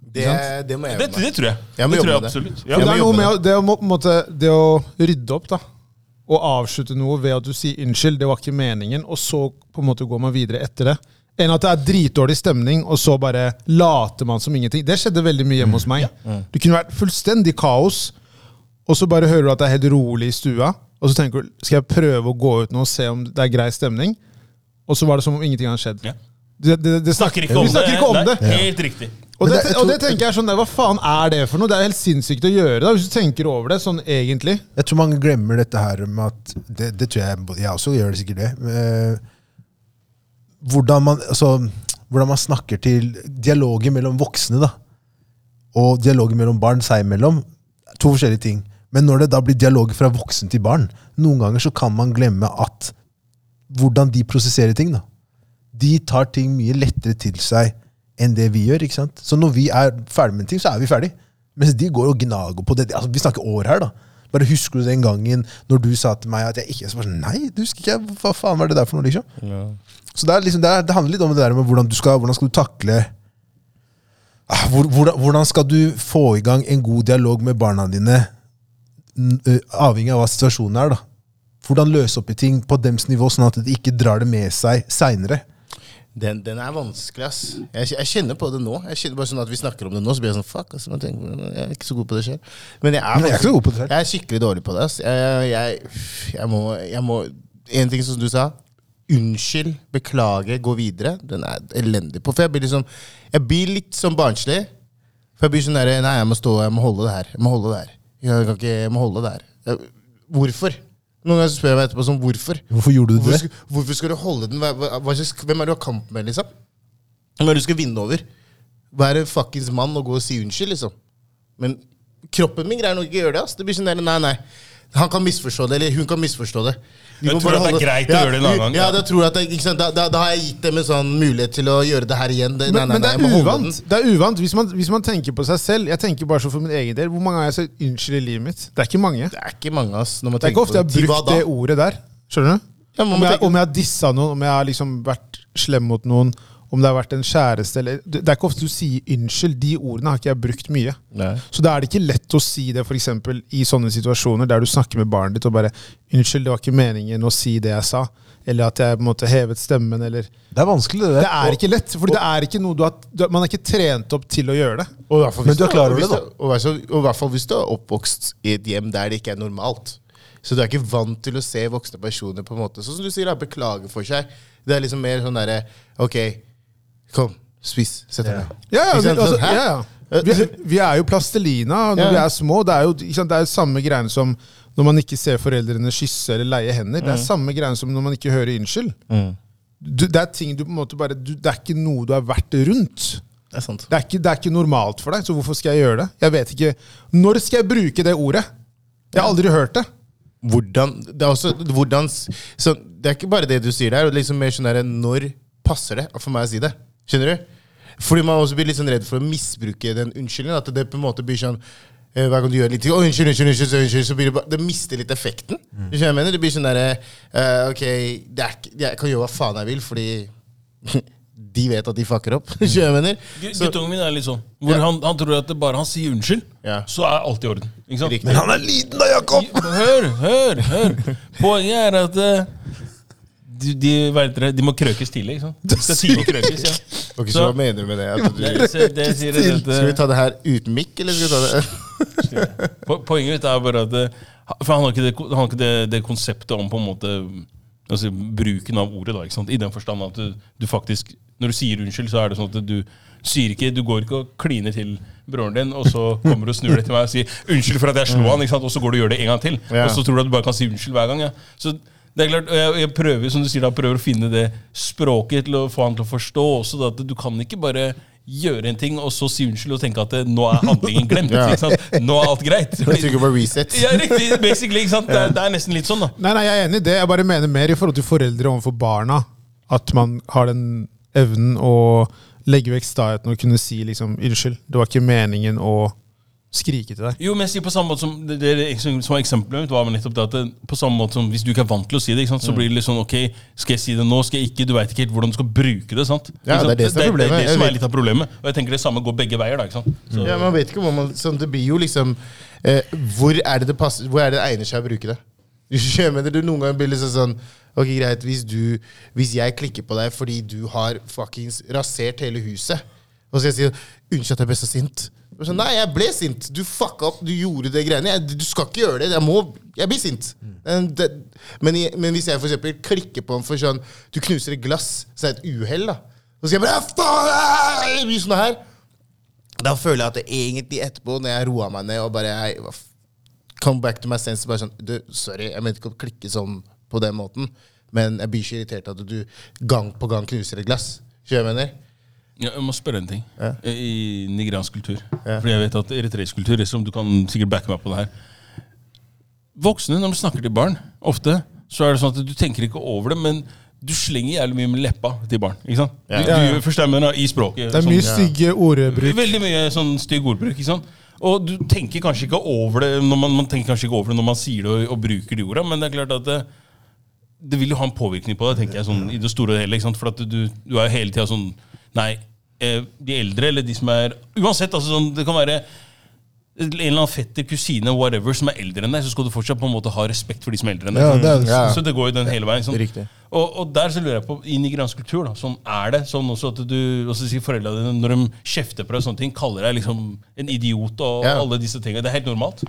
S3: Det, det må jeg
S5: Det,
S3: gjøre.
S5: det tror jeg.
S3: Jeg må
S5: det tror jeg
S3: jobbe med det.
S5: absolutt.
S3: Jeg
S5: Ja.
S4: Men
S3: må
S4: det er
S3: jobbe
S4: noe
S3: med
S4: med å- det å, må- på en måte, det å rydde opp, da. Og avslutte noe ved at du sier unnskyld, det var ikke meningen, og så på en måte går man videre etter det. Enn at det er dritdårlig stemning, og så bare later man som ingenting. Det skjedde veldig mye
S5: Mm,
S4: hjemme hos meg. Det kunne vært fullstendig kaos, og så bare hører du at det er helt rolig i stua, og så tenker du skal jeg prøve å gå ut nå og se om det er grei stemning, og så var det som om ingenting hadde skjedd.
S5: Ja.
S4: Det, det, det
S5: Snakker ikke om
S4: vi snakker ikke om
S5: Nei,
S4: det.
S5: Helt riktig.
S4: Og
S2: Men
S4: det,
S2: det- jeg
S4: og det
S2: tror-
S4: tenker jeg sånn der, Hva faen er det for noe? Det er helt sinnssykt å gjøre, da, hvis du tenker over det sånn egentlig.
S2: Jeg tror mange glemmer dette her med at Det, det tror jeg Jeg også gjør det sikkert det. eh, Hvordan man, altså, hvordan man snakker til dialoger mellom voksne da, og dialoger mellom barn seg imellom. er To forskjellige ting. Men når det da blir dialoger fra voksen til barn, noen ganger så kan man glemme at hvordan de prosesserer ting. da. De tar ting mye lettere til seg enn det vi gjør. ikke sant? Så når vi er ferdig med en ting, så er vi ferdig. Mens de går og gnager på det. Altså, vi snakker år her, da. Bare husker du den gangen når du sa til meg at jeg ikke så bare sånn, Nei, du husker ikke jeg, hva faen var det der for noe? liksom? Så det, er liksom, det, er, det handler litt om det der med hvordan du skal, hvordan skal du takle Ah, hvor, hvordan, hvordan skal du få i gang en god dialog med barna dine, n- ø, avhengig av hva situasjonen er? da? Hvordan løse opp i ting på dems nivå, sånn at de ikke drar det med seg seinere?
S3: Den, den er vanskelig, ass. Jeg, jeg kjenner på det nå. Jeg kjenner bare sånn at Vi snakker om det nå, så blir jeg sånn fuck. Ass, man tenker, jeg er ikke så god på det selv. Men jeg er,
S2: Men jeg er ikke så god på det selv.
S3: Jeg er skikkelig dårlig på det. ass. Jeg, jeg, jeg, må, jeg må En ting som du sa. Unnskyld, beklage, gå videre. Den er elendig på. For jeg blir liksom Jeg blir litt sånn barnslig. For jeg blir sånn der Nei, jeg må stå, jeg må holde det her. Jeg må holde det her. Jeg kan ikke, jeg må holde det her. Jeg- Hvorfor? Noen ganger så spør jeg meg etterpå sånn, hvorfor?
S2: Hvorfor gjorde du
S3: Hvorfor
S2: det?
S3: skal, hvorfor skal du holde den? Hva, hva, hva slags, hvem er det du har kamp med, liksom? Hvem er det du skal vinne over? Være en fuckings mann og gå og si unnskyld, liksom. Men kroppen min greier nok ikke å gjøre det. ass. Det blir sånn der, nei, nei. Han kan misforstå det, eller hun kan misforstå det. Vi
S5: Jeg
S3: må
S5: tror
S3: bare
S5: at det er
S3: holde-
S5: greit å gjøre det en annen gang,
S3: Ja,
S5: ja.
S3: da tror jeg at det, ikke sant? Da, da, da har jeg gitt dem en sånn mulighet til å gjøre det her igjen. Det, nei,
S4: Men,
S3: nei,
S4: men det
S3: nei, jeg
S4: er
S3: må holde
S4: uvant. Det er uvant hvis, man, hvis man tenker på seg selv. Jeg tenker bare så for min egen del. Hvor mange har jeg sagt unnskyld i livet mitt? Det er ikke mange.
S3: Det er ikke mange, ass. Når man
S4: Det er ikke
S3: tenker
S4: ofte jeg
S3: på
S4: har brukt
S3: Til hva da?
S4: det ordet der. Skjønner du?
S3: Ja, man
S4: om,
S3: må
S4: jeg,
S3: tenke-
S4: om jeg har dissa noen, om jeg har liksom vært slem mot noen, om det har vært en kjæreste eller Det det er ikke ofte du sier unnskyld. De ordene har ikke jeg brukt mye.
S3: Nei.
S4: Så da er det ikke lett å si det for eksempel, i sånne situasjoner der du snakker med barnet ditt og bare 'Unnskyld, det var ikke meningen å si det jeg sa.' Eller at jeg på en måte hevet stemmen, eller
S2: Det er vanskelig, det
S4: Det
S2: der.
S4: er ikke lett, for det er ikke noe du har, du, man er ikke trent opp til å gjøre det.
S3: Og i hvert fall
S2: Men
S3: hvis
S2: du er klar over
S3: hvis
S2: det, da?
S3: du- Og i hvert fall- og i hvert fall hvis du er oppvokst i et hjem der det ikke er normalt. Så du er ikke vant til å se voksne personer på en måte Sånn som du sier, da, beklage for seg. Det er liksom mer sånn derre OK, kom, spis, sett deg ned.
S4: Ja, ja,
S3: Ikke
S4: vi,
S3: sant?
S4: altså,
S3: Sånn, hæ?
S4: ja, ja. Vi, vi er jo plastelina når
S3: Ja.
S4: vi er små. Det er jo ikke sant, det er jo samme greiene som når man ikke ser foreldrene kysse eller leie hender. Det er
S3: Mm.
S4: samme greiene som når man ikke hører unnskyld. Du, det er ting du på en måte bare du, Det er ikke noe du har vært rundt.
S3: Det er sant.
S4: Det er, ikke, det er ikke normalt for deg, så hvorfor skal jeg gjøre det? Jeg vet ikke, Når skal jeg bruke det ordet? Jeg har aldri hørt det.
S3: Hvordan Det er også hvordan s- Så det er ikke bare det du sier der, og det er liksom mer sånn derre Når passer det for meg å si det? Skjønner du? Fordi man også blir litt sånn redd for å misbruke den unnskyldningen. At det på en måte blir sånn eh, hver gang du gjør litt ting, å, unnskyld, unnskyld, unnskyld, så unnskyld, så blir det bare, det mister litt effekten. Du skjønner hva jeg mener? Det blir sånn derre eh, Ok, det er, ikke- jeg kan gjøre hva faen jeg vil, fordi (laughs) de vet at de fucker opp. (laughs) Skjønner du hva jeg mener?
S5: Gu-
S3: Så-
S5: Guttungen min er litt sånn. Hvor
S3: Ja.
S5: han, han tror at det bare han sier unnskyld,
S3: Ja.
S5: så er alt i orden. Ikke sant?
S3: Riktig.
S2: Han er liten da, Jakob!
S5: Hør, hør, hør. Poenget er at eh, de, de, hva heter det, de må krøkes tidlig, ikke sant? De skal tidlig krøkes, ja.
S3: Ok, så
S5: Så-
S3: hva mener du med det? At
S5: Det,
S3: du,
S5: det, det sier jeg at,
S3: skal vi ta det her uten mikk, eller skal vi ta
S5: (laughs)
S3: det
S5: Po- Poenget mitt er bare at eh, For han har ikke det, han har ikke det, det konseptet om på en måte altså, bruken av ordet, da, ikke sant? i den forstand at du, du faktisk Når du sier unnskyld, så er det sånn at du sier ikke Du går ikke og kliner til broren din, og så kommer du og snur deg til meg og sier 'unnskyld for at jeg slo han', ikke sant? og så går du og gjør det en gang til.
S3: Ja.
S5: Og så tror du at du bare kan si unnskyld hver gang. Ja. Så det er klart, og jeg, jeg prøver som du sier da, prøver å finne det språket til å få han til å forstå også. Da, at du kan ikke bare gjøre en ting og så si unnskyld og tenke at eh, nå er handlingen glemt.
S3: Ja.
S5: ikke sant? Nå er alt
S3: (laughs)
S5: greit.
S3: Jeg trykker på reset.
S5: (laughs) Ja, riktig. Basically, ikke sant? Det er, det er nesten litt sånn, da.
S4: Nei, nei, jeg er enig i det. Jeg bare mener mer i forhold til foreldre overfor barna. At man har den evnen å legge vekk staheten og kunne si liksom, 'unnskyld, det var ikke meningen å skrike til deg'.
S5: Jo, men jeg sier på samme måte som det, det, det som var eksempelet mitt, var nettopp det at det, på samme måte som hvis du ikke er vant til å si det, ikke sant, så blir det litt sånn ok, skal jeg si det nå, skal jeg ikke, du veit ikke helt hvordan du skal bruke det. sant?
S3: Ja,
S5: Ikke sant?
S3: det er det som er
S5: Det,
S3: problemet.
S5: det, som
S3: Jeg
S5: er litt av problemet. Og jeg tenker det samme går begge veier, da. ikke sant? Så,
S3: Ja, man vet ikke hvor man sånn, Det blir jo liksom eh, Hvor er det det passer Hvor er det det egner seg å bruke det? (laughs) Du skjønner du noen ganger blir liksom sånn Ok, greit, hvis du Hvis jeg klikker på deg fordi du har fuckings rasert hele huset, og så jeg sier Unnskyld at jeg ble så sint. Og Så, Nei, jeg ble sint. Du fucka opp. Du gjorde det greiene. Jeg, du skal ikke gjøre det. Jeg må Jeg blir sint. Men, det, men, i- men hvis jeg for eksempel klikker på ham for sånn Du knuser et glass, så er det et uhell, da. Så skal jeg bare «Ah, Faen! ah!» Jeg blir sånn her. Da føler jeg at det egentlig etterpå, når jeg roa meg ned og bare jeg, hva f- Come back to my senses. Bare sånn du, Sorry, jeg mente ikke å klikke sånn på den måten. Men jeg blir ikke irritert at du gang på gang knuser et glass. Skjønner du hva jeg mener?
S5: Ja, jeg må spørre en ting. I nigeriansk kultur. Fordi jeg vet at eritreisk kultur liksom, Du kan sikkert backe meg på det her. Voksne, når de snakker til barn, ofte så er det sånn at du tenker ikke over det, men du slenger jævlig mye med leppa til barn. Ikke sant? Du, du
S4: Ja, ja.
S5: gjør- forstår meg da, i språket.
S4: Det er
S5: sånn.
S4: mye stygge ordbruk.
S5: Veldig mye sånn stygg ordbruk. ikke sant? Og du tenker kanskje ikke over det når man, man tenker kanskje ikke over det når man sier det og, og bruker de orda, men det er klart at det, det vil jo ha en påvirkning på deg, tenker jeg, sånn i det store og hele. ikke sant? For at du, du er jo hele tida sånn Nei, eh, de eldre eller de som er Uansett, altså sånn, det kan være en eller annen fetter, kusine, whatever, som er eldre enn deg, så skal du fortsatt på en måte ha respekt for de som er eldre enn deg.
S2: Ja, det er,
S3: Ja.
S5: Så det går jo den hele veien. Sånn.
S3: Riktig.
S5: Og, og der så lurer jeg på, i nigeriansk kultur, da, sånn er det sånn også at du også sier foreldrene dine, når de kjefter på deg og sånne ting, kaller deg liksom en idiot og
S3: Ja.
S5: alle disse tingene. Det er helt normalt.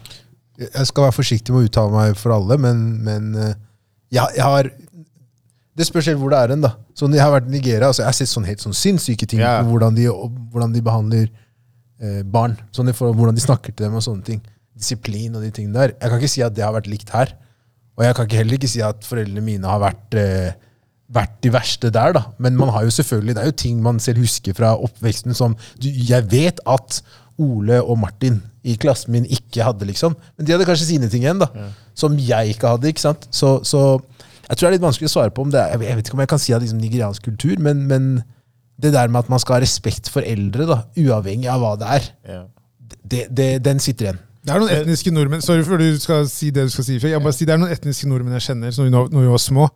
S2: Jeg skal være forsiktig med å uttale meg for alle, men, men eh, jeg, jeg har Det spørs helt hvor det er hen, da. Så når jeg har vært i Nigeria, altså, jeg har sett sånn helt sånn sinnssyke ting
S3: Ja.
S2: på hvordan de, og, hvordan de behandler eh, barn. Sånn i forhold- hvordan de snakker til dem og sånne ting. Disiplin og de tingene der. Jeg kan ikke si at det har vært likt her. Og jeg kan ikke heller ikke si at foreldrene mine har vært, eh, vært de verste der, da. Men man har jo selvfølgelig, det er jo ting man selv husker fra oppveksten som du, Jeg vet at Ole og Martin i klassen min ikke hadde, liksom. Men de hadde kanskje sine ting igjen, da. Som jeg ikke hadde, ikke sant. Så, så jeg tror det er litt vanskelig å svare på om det er Jeg vet- jeg vet ikke om jeg kan si at liksom, nigeriansk kultur, men, men det der med at man skal ha respekt for eldre, da, uavhengig av hva det er,
S3: Ja.
S2: det, det, den sitter igjen.
S4: Det er noen etniske nordmenn Sorry for du skal si det du skal si. Fredrik. Jeg må bare si Det er noen etniske nordmenn jeg kjenner som vi nå- når vi var små,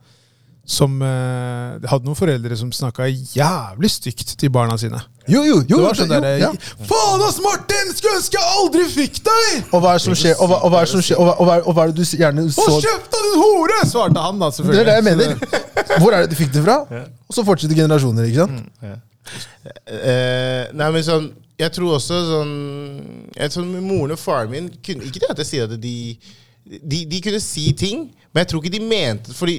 S4: som eh, hadde noen foreldre som snakka jævlig stygt til barna sine.
S2: Jo, jo, jo.
S4: Det var sånn
S2: jo,
S4: der,
S2: ja.
S4: Faen ass, Martin! Skulle ønske jeg aldri fikk deg!
S2: Og hva er det som skjer, og hva, og hva er det som skjer, og hva, og hva, og hva er det du s- gjerne så
S4: Og kjøpt av din hore! Svarte han, da,
S2: Det
S4: selvfølgelig.
S2: er det jeg mener. (laughs) Hvor er det du fikk det fra? Og så fortsetter generasjoner, ikke sant?
S3: Eh, nei, men sånn Jeg tror også sånn jeg tror Moren og faren min kunne Ikke det at jeg sier at de de, de kunne si ting, men jeg tror ikke de mente det, fordi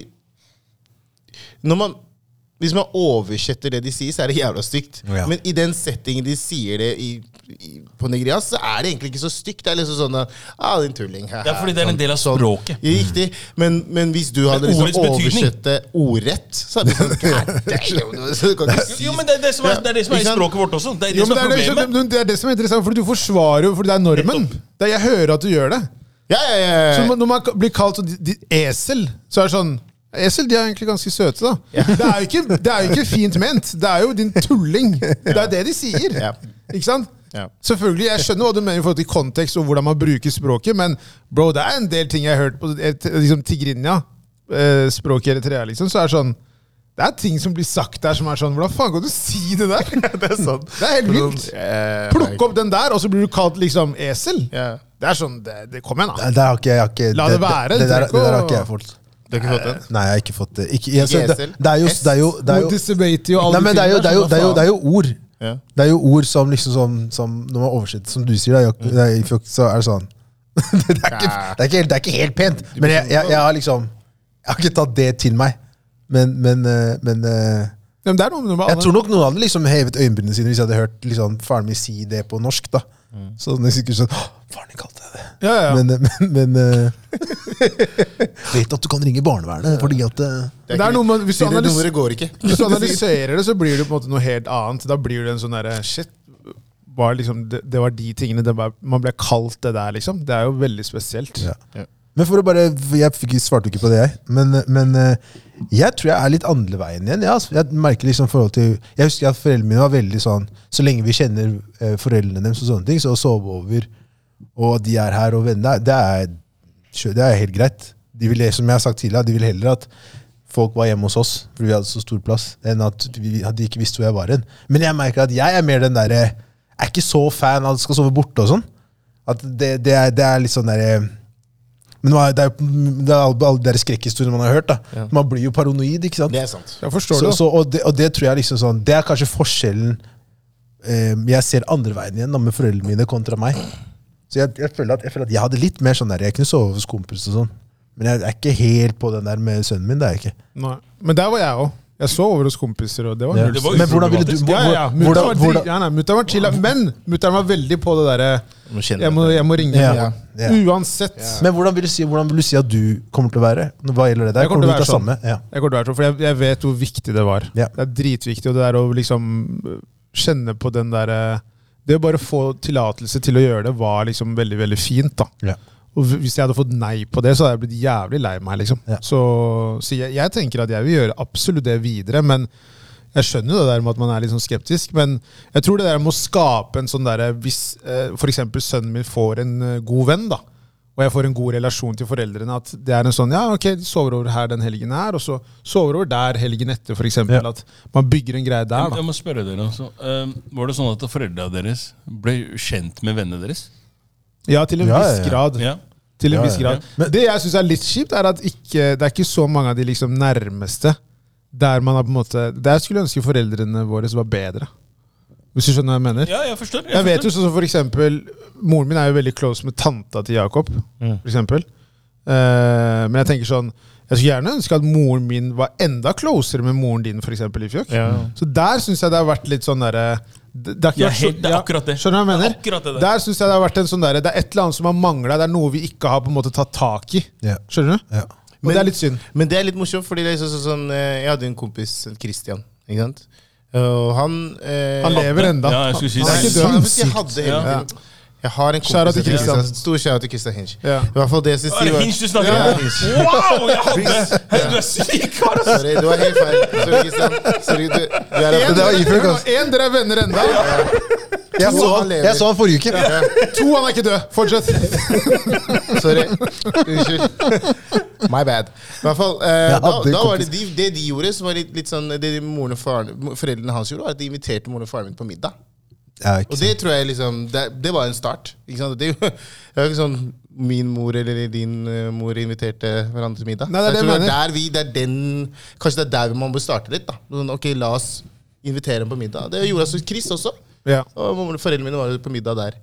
S3: når man, Hvis man oversetter det de sier, så er det jævla stygt.
S2: Ja.
S3: Men i den settingen de sier det i, i, på nigeriansk, så er det egentlig ikke så stygt. Det er liksom sånn at ah, din tulling. haha».
S5: Det er fordi det er en del av språket.
S3: Ja, Riktig. Men, men hvis du hadde
S5: Men
S3: liksom
S5: ordets betydning.
S3: oversett det ordrett, så hadde du sagt
S5: Jo, men det er det som er, det er, det som er i språket vårt også. Det er det
S4: Jo, men
S5: som
S4: det,
S5: er
S4: er det,
S5: problemet.
S4: men det er det som er interessant, for du forsvarer jo fordi det er normen. Det er, jeg hører at du gjør det.
S3: Ja, ja,
S4: Så
S3: ja.
S4: når man blir kalt sånn, de, de, esel, så er det sånn Esel de er egentlig ganske søte, da. Det, er jo ikke, det er jo ikke fint ment. Det er jo din tulling. Det er det de sier.
S3: Ja.
S4: Ikke sant?
S3: Ja.
S4: Selvfølgelig, Jeg skjønner hva du mener i forhold til kontekst og hvordan man bruker språket, men bro, det er en del ting jeg har hørt på eh, t- liksom tigrinja, eh, språket i Eritrea, liksom, så er det sånn Det er ting som blir sagt der som er sånn Hvordan faen kan du si det
S3: (laughs)
S4: der?!
S3: Det er sånn.
S4: Det er helt vilt! Plukke opp den der, og så blir du kalt liksom esel?
S3: Ja.
S4: Det er sånn Det, det kom igjen, da.
S2: Nei, Det har ikke jeg har ikke,
S4: La det være,
S2: Det, det,
S4: du
S2: der,
S4: trenger
S2: det der har
S4: ikke å-
S2: ikke jeg fått.
S3: Du har ikke fått den?
S2: Nei, jeg har ikke fått det. Ikke, jeg, så,
S3: Ikke
S2: det,
S3: esel?
S2: det er jo det er jo, det er jo,
S4: Modisabate og alle
S2: nei, men det er jo, det er jo, det er jo, det er jo ord.
S3: Ja.
S2: Det er jo ord som liksom som, som Når man oversetter, som du sier, da,
S4: Mm.
S2: Jakob- nei, Fjokk, så er det sånn (laughs) det, er ikke, det, er ikke, helt- det er ikke helt pent, men
S4: sånn,
S2: jeg, jeg, jeg har liksom Jeg har ikke tatt det til meg. Men, men, eh, men eh,
S4: Ja, men det er noe med noe med
S2: Jeg
S4: alle-
S2: tror nok noen hadde liksom hevet øyenbrynene sine hvis jeg hadde hørt liksom, faren min si det på norsk. da. Så det er sikkert sånn «Åh, Faren din kalte jeg det.
S4: Mm. ja, ja.
S2: Men, eh, (laughs) men, men eh, Vet at du kan ringe barnevernet fordi at eh,
S4: Men det er noe med, hvis, du
S3: Siden det
S4: analyser,
S3: nummeret går ikke.
S4: hvis du analyserer det, så blir det på en måte noe helt annet. Da blir det en sånn derre Shit. Var liksom, det, det var de tingene det var, Man ble kalt det der, liksom. Det er jo veldig spesielt.
S2: Ja. Men for å bare, for jeg fikk, svarte jo ikke på det, jeg. Men, men eh, jeg tror jeg er litt andreveien igjen. Jeg, altså. jeg merker liksom forhold til, jeg husker at foreldrene mine var veldig sånn Så lenge vi kjenner eh, foreldrene deres, og sånne ting, så å sove over, og de er her og venner, det er, kjø- det er helt greit. De ville, som jeg har sagt tidligere, de ville heller at folk var hjemme hos oss, fordi vi hadde så stor plass, enn at vi, at de ikke visste hvor jeg var hen. Men jeg merker at jeg er mer den derre Jeg er ikke så fan av at du skal sove borte og sånn. At det, det, er, det er litt sånn derre men nå er det, er, jo- det er alle alle de der skrekkhistoriene man har hørt. da. Man blir jo paranoid. ikke sant?
S3: Det er sant.
S4: Jeg forstår
S2: så,
S4: det.
S2: så, og, det, og det tror jeg liksom sånn, det er kanskje forskjellen eh, jeg ser andre veien igjen da, med foreldrene mine kontra meg. Så jeg, jeg, føler at, jeg føler at jeg hadde litt mer sånn der, jeg kunne sove hos kompis og sånn. Men jeg er ikke helt på den der med sønnen min. det er jeg ikke.
S4: Nei. Men der var jeg òg. Jeg så over hos kompiser, og det var null.
S5: Det var
S2: Men hvordan ville du...
S5: uproblematisk.
S2: hvor-
S4: Ja, ja, ja.
S2: hvor-
S4: Mutter'n
S2: Hvordan,
S4: var, dri-
S2: hvordan,
S4: nei, nei, mutter'n var chilla, men mutter'n var veldig på det derre
S3: må kjenne
S4: jeg, må- jeg må ringe.
S2: Ja.
S4: Ja.
S2: Ja.
S4: Uansett.
S2: men hvordan vil, du si, hvordan vil du si at du kommer til å være? Hva gjelder det der?
S4: Jeg kommer til å
S2: du
S4: være sånn.
S2: samme? Ja.
S4: Jeg går til å være sånn, for jeg, jeg vet hvor viktig det var.
S2: Ja.
S4: Det er dritviktig, og det der å liksom øh, kjenne på den derre Det å bare få tillatelse til å gjøre det, var liksom veldig, veldig fint, da.
S2: Ja.
S4: Og hv- hvis jeg hadde fått nei på det, så hadde jeg blitt jævlig lei meg, liksom.
S2: Ja.
S4: Så, så jeg, jeg tenker at jeg vil gjøre absolutt det videre, men jeg skjønner jo det der med at man er litt sånn skeptisk, men jeg tror det der med å skape en sånn derre Hvis eh, f.eks. sønnen min får en eh, god venn, da, og jeg får en god relasjon til foreldrene, at det er en sånn Ja, ok, de sover over her den helgen her, og så sover over der helgen etter, f.eks.
S2: Ja.
S4: At man bygger en greie der, da.
S5: Jeg må spørre dere også. eh, Var det sånn at foreldra deres ble kjent med vennene deres?
S4: Ja, til en
S2: Ja, ja,
S4: viss
S2: ja.
S4: grad.
S5: Ja.
S4: Til en
S2: Ja,
S4: viss
S2: ja, ja.
S4: grad. det jeg syns er litt kjipt, er at ikke, det er ikke så mange av de liksom nærmeste der man har på en måte Der skulle jeg ønske foreldrene våre var bedre. Hvis du skjønner hva jeg mener?
S5: Ja, jeg forstår.
S4: Jeg vet jo sånn som for eksempel Moren min er jo veldig close med tanta til Jakob,
S5: Mm.
S4: for eksempel. Eh, men jeg tenker sånn Jeg skulle gjerne ønske at moren min var enda closere med moren din, for eksempel, i fjøk. Så der syns jeg det har vært litt sånn derre det, det, har ikke
S5: Ja,
S4: vært så-
S5: helt- det er
S4: ja,
S5: akkurat det.
S4: Skjønner du hva jeg
S5: Det
S4: mener?
S5: er akkurat det der.
S4: Der syns jeg det har vært en sånn derre Det er et eller annet som har mangla. Det er noe vi ikke har på en måte tatt tak i.
S2: Ja.
S4: Skjønner du?
S2: Ja.
S4: Og det er litt synd.
S3: Men det er litt morsomt, fordi det er sånn, sånn, eh, jeg hadde en kompis, Christian. Ikke sant? Og han eh,
S4: Han lever enda.
S5: Ja, jeg skulle si
S4: Han
S3: Nei,
S4: er ikke
S3: faen,
S4: død.
S3: jeg jeg hadde hele
S5: Ja.
S3: tiden. Jeg har en
S4: Shout
S3: kompis
S4: out til
S3: som heter
S4: Christian.
S3: Christian. Stor shout til Christian Hinch.
S4: Ja.
S3: I hvert fall det jeg skulle si
S5: Er det
S3: var-
S5: Hinch du snakker
S3: Ja,
S5: om?
S3: Hinch.
S5: Wow, jeg hadde Hei, Du er syk, kar! ass.
S3: Sorry, det var helt feil. Sorry, Christian. Sorry, du, du er
S4: En,
S2: Det var Ifjok,
S4: dere-
S2: altså.
S4: en dere er venner enda.
S2: Jeg så,
S3: han
S2: han,
S3: lever.
S2: jeg så han forrige uke.
S4: To, han er ikke død. (laughs) Fortsett.
S3: Sorry. Unnskyld. My bad. I hvert fall, eh, da,
S2: hadde
S3: da var det,
S2: kompis-
S3: de, det de gjorde, som var litt, litt sånn Det de moren og faren, foreldrene hans gjorde, var at de inviterte moren og faren min på middag.
S2: Ja, ikke
S3: Og
S2: sant.
S3: det tror jeg liksom Det, det var en start. Ikke sant? Det, (laughs) er jo- det er jo ikke sånn min mor eller din eh, mor inviterte hverandre til middag.
S4: Nei, det er det
S3: jeg tror
S4: jeg
S3: det er der vi, det er den, Kanskje det er der man bør starte litt. da sånn, Ok, la oss invitere dem på middag. Det gjorde altså Chris også.
S4: Ja.
S3: Og mamma- foreldrene mine var jo på middag der.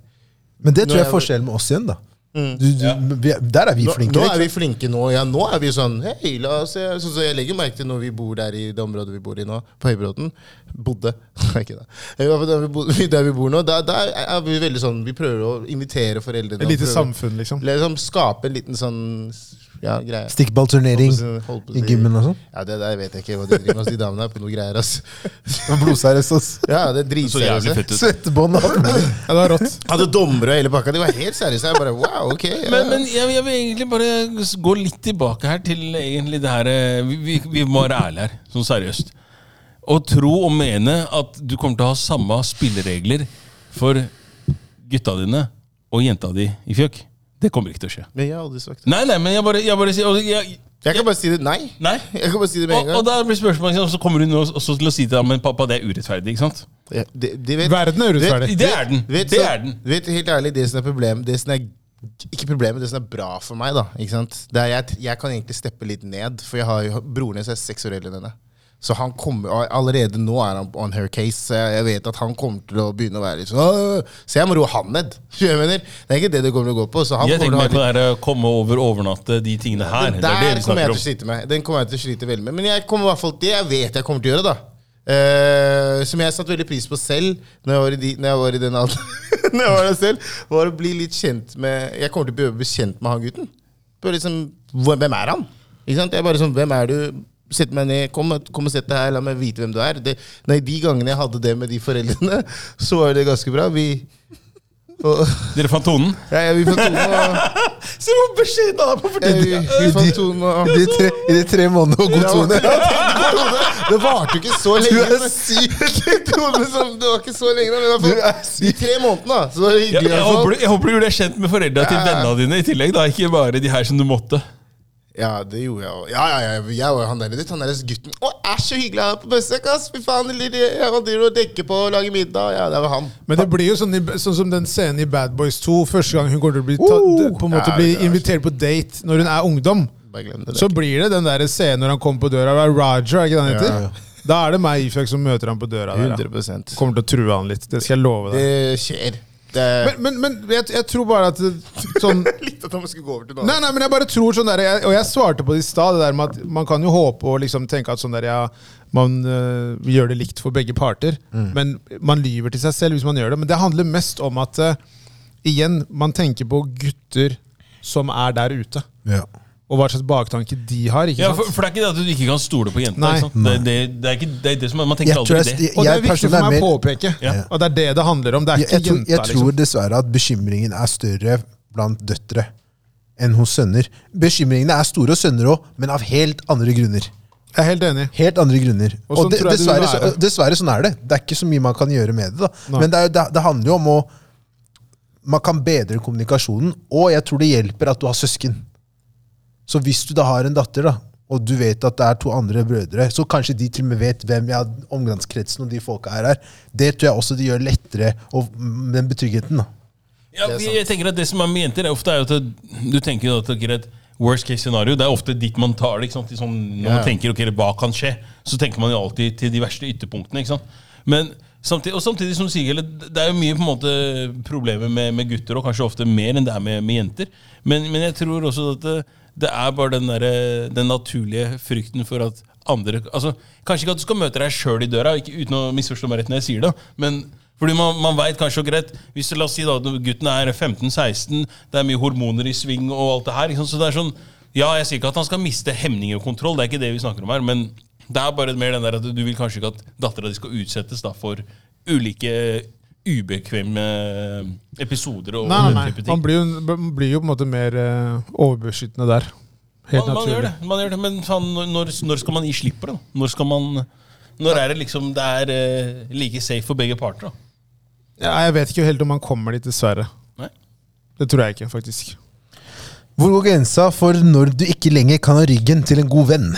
S2: Men det tror
S3: Nå
S2: jeg er
S3: er vi-
S2: forskjellen med oss igjen, da. Du, du, vi er- der er vi
S3: Nå,
S2: flinke.
S3: nå
S2: ikke
S3: er vi flinke nå. Ja, nå er vi sånn Hei, la oss se. Sånn som jeg legger merke til når vi bor der i det området vi bor i nå, på Høybråten. Bodde. (laughs) Nei, ikke da. I hvert fall Der vi, bo- (laughs) der vi bor nå, der, der er vi veldig sånn Vi prøver å invitere foreldrene.
S4: Et lite
S3: prøver-
S4: samfunn, liksom.
S3: Liksom skape en liten sånn ja, greie.
S2: Stikkballturnering
S3: Holdt på å si- holdt på å
S2: i
S3: si-
S2: gymmen og sånn.
S3: Ja, det der vet jeg ikke hva de driver med. ass. De damene er på noe greier, ass.
S2: Blodseriøst,
S3: (laughs)
S2: ass.
S3: Ja, det er
S5: Så
S3: dritseriøst.
S5: jævlig fett ut.
S2: Svettebånd og alt mulig.
S4: Ja, det var rått.
S3: Hadde dommere og hele pakka. De var helt seriøse. Jeg bare wow, ok. Ja.
S5: Men, men jeg, jeg vil egentlig bare s- gå litt tilbake her til egentlig det her eh, Vi, vi, vi må være ærlige her, sånn seriøst. Å tro og mene at du kommer til å ha samme spilleregler for gutta dine og jenta di i fjøk, det kommer ikke til å skje.
S3: Men jeg har aldri sagt det.
S5: Nei, nei, men jeg bare, jeg bare sier og jeg,
S3: Jeg kan bare si det. Nei.
S5: Nei.
S3: Jeg kan bare si det med en
S5: Og,
S3: gang.
S5: og da blir spørsmålet ikke sant, Så kommer hun nå også til å si til deg Men pappa, det er urettferdig, ikke sant?
S3: Ja, de, de vet,
S4: Verden er urettferdig.
S5: Det er den!
S3: vet,
S5: det
S3: så-
S5: er den
S3: Vet, helt ærlig, det som er problemet Det som er ikke problemet, det som er bra for meg, da. Ikke sant? Det er, jeg, jeg kan egentlig steppe litt ned, for jeg har jo broren hennes er seks år eldre enn henne. Så han kommer, og Allerede nå er han on her case. så Jeg jeg vet at han kommer til å begynne å være litt sånn «Åh!» Så jeg må roe han ned. (laughs) Skjønner du hva Jeg mener? Det er ikke det det kommer til å gå på. Så han
S5: Jeg
S3: kommer
S5: tenker
S3: til å
S5: meg
S3: ha
S5: på det her å komme over overnatte, de tingene her.
S3: den
S5: Det er det
S3: der
S5: vi
S3: kommer jeg til å
S5: snakker om.
S3: slite med. Den kommer jeg til å slite veldig med. Men jeg kommer i hvert fall det jeg vet jeg kommer til å gjøre, da. Eh, som jeg satte veldig pris på selv når jeg var i, de, når jeg var i den alderen. (laughs) når jeg var der selv, var å bli litt kjent med Jeg kommer til å bli- bli kjent med han gutten. Bare liksom, hvor- Hvem er han? Ikke sant? Jeg er bare sånn, Hvem er du? Sett meg ned, kom, kom og sett deg her, la meg vite hvem du er. Det, nei, De gangene jeg hadde det med de foreldrene, (laughs) så var det ganske bra. Vi, og, (laughs)
S5: Dere fant tonen?
S3: ja, ja, vi fant tonen, og,
S5: Se hvor beskjeden han er på
S3: ja,
S5: fortiden!
S3: vi, vi fant tonen og
S2: I de tre, i de tre månedene og god
S3: (laughs)
S2: tone.
S3: Det varte jo ikke så lenge.
S2: Du er
S3: (laughs) syk! det var ikke så lenge, da, men i hvert
S2: Du er
S3: fall de
S2: syk.
S3: tre månedene. da, Så det var
S5: Jeg,
S3: hyggelig. i
S5: jeg,
S3: hvert
S5: håper,
S3: fall.
S5: du- jeg håper du ble kjent med foreldra til
S3: Ja.
S5: vennene dine i tillegg. da Ikke bare de her som du måtte.
S3: Ja, det gjorde jeg òg. Ja, ja, ja, jeg var jo han der litt, han der gutten. Å, er så hyggelig han er på besøk, ass! Fy faen, lille, han driver og dekker på og lager middag. Ja, det var han.
S4: Men det blir jo sånn, i, sånn som den scenen i Bad Boys 2. Første gang hun kommer til å bli, ta, på en måte
S3: Oh! Ja,
S4: bli
S3: det er
S4: invitert på date når hun er ungdom.
S3: Bare glem det.
S4: Så blir det den der scenen når han kommer på døra. Det er Roger, er ikke det han heter?
S2: Ja, ja.
S4: Da er det meg Ifjok som møter han på døra. Der, da.
S3: 100
S4: Kommer til å true han litt. Det skal jeg love
S3: Det
S4: deg.
S3: skjer. Det
S4: Men, men, men jeg, jeg tror bare at det- sånn
S3: (laughs) Litt at han skulle gå over til
S4: Nei, nei, men jeg bare tror sånn der jeg, Og jeg svarte på det i stad, det der med at man kan jo håpe og liksom tenke at sånn der ja, man øh, gjør det likt for begge parter.
S2: Mm.
S4: Men man lyver til seg selv hvis man gjør det. Men det handler mest om at øh, igjen, man tenker på gutter som er der ute.
S2: Ja.
S4: Og hva slags baktanke de har. ikke
S5: Ja,
S4: sant?
S5: for, for det er ikke det at du ikke kan stole på jenta.
S4: Nei.
S5: Ikke sant? Det, det, det er ikke det, er det som er, Man
S2: Jeg
S5: tenker
S2: tror
S5: aldri
S2: jeg-
S5: det.
S4: og det er
S2: jeg
S4: viktig for
S2: personlig er
S4: meg å
S2: mer-
S4: påpeke.
S5: Ja.
S4: Og det er det det handler om. Det er
S2: Jeg,
S4: ikke
S2: jeg, tror, jeg
S4: jenta.
S2: tror
S4: liksom.
S2: dessverre at bekymringen er større blant døtre enn hos sønner. Bekymringene er store hos sønner òg, men av helt andre grunner.
S4: Jeg er helt enig.
S2: Helt andre grunner.
S4: Og
S2: Og,
S4: sånn
S2: det,
S4: tror jeg det vil
S2: dessverre, så,
S4: være.
S2: dessverre sånn er det. Det er ikke så mye man kan gjøre med det. da.
S4: Nei.
S2: Men det, er, jo- det, det handler jo om å Man kan bedre kommunikasjonen, og jeg tror det hjelper at du har søsken. Så hvis du da har en datter, da, og du vet at det er to andre brødre, så kanskje de til og med vet hvem jeg omgangskretsen og de folka er her. Det tror jeg også de gjør lettere, og med den betryggheten. da.
S5: Ja, jeg tenker at Det som er med jenter, er ofte er jo at det- du tenker jo at ok, et worst case scenario Det er ofte dit man tar det. ikke sant? I Sånn, når man tenker ok, hva kan skje, så tenker man jo alltid til de verste ytterpunktene. ikke sant? Men samtidig, og samtidig som du sier, eller, det er jo mye på en måte problemer med, med gutter, og kanskje ofte mer enn det er med, med jenter. Men, men jeg tror også at det, det er bare den, derre- den naturlige frykten for at andre altså, Kanskje ikke at du skal møte deg sjøl i døra, ikke, uten å misforstå meg rett når jeg sier det, men fordi man, man vet kanskje og greit Hvis du la oss si da at gutten er 15-16, det er mye hormoner i sving og alt det her. Ikke sant? Så det er sånn Ja, jeg sier ikke at han skal miste hemning og kontroll, det er ikke det vi snakker om her, men det er bare mer den der at du vil kanskje ikke at dattera di skal utsettes da for ulike ubekvemme episoder og
S4: Nei, nei,
S5: den type
S4: nei.
S5: ting.
S4: Man blir jo, man blir jo på en måte mer eh, overbeskyttende der. Helt
S5: man, man gjør
S4: naturlig.
S5: det, man gjør det, men faen, når- når, når skal man gi slipp på det? da? Når skal man... Når er det liksom det er eh, like safe for begge parter? da?
S4: Ja, jeg vet ikke helt om man kommer dit, dessverre.
S5: Nei?
S4: Det tror jeg ikke, faktisk.
S2: Hvor går grensa for når du ikke lenger kan ha ryggen til en god venn?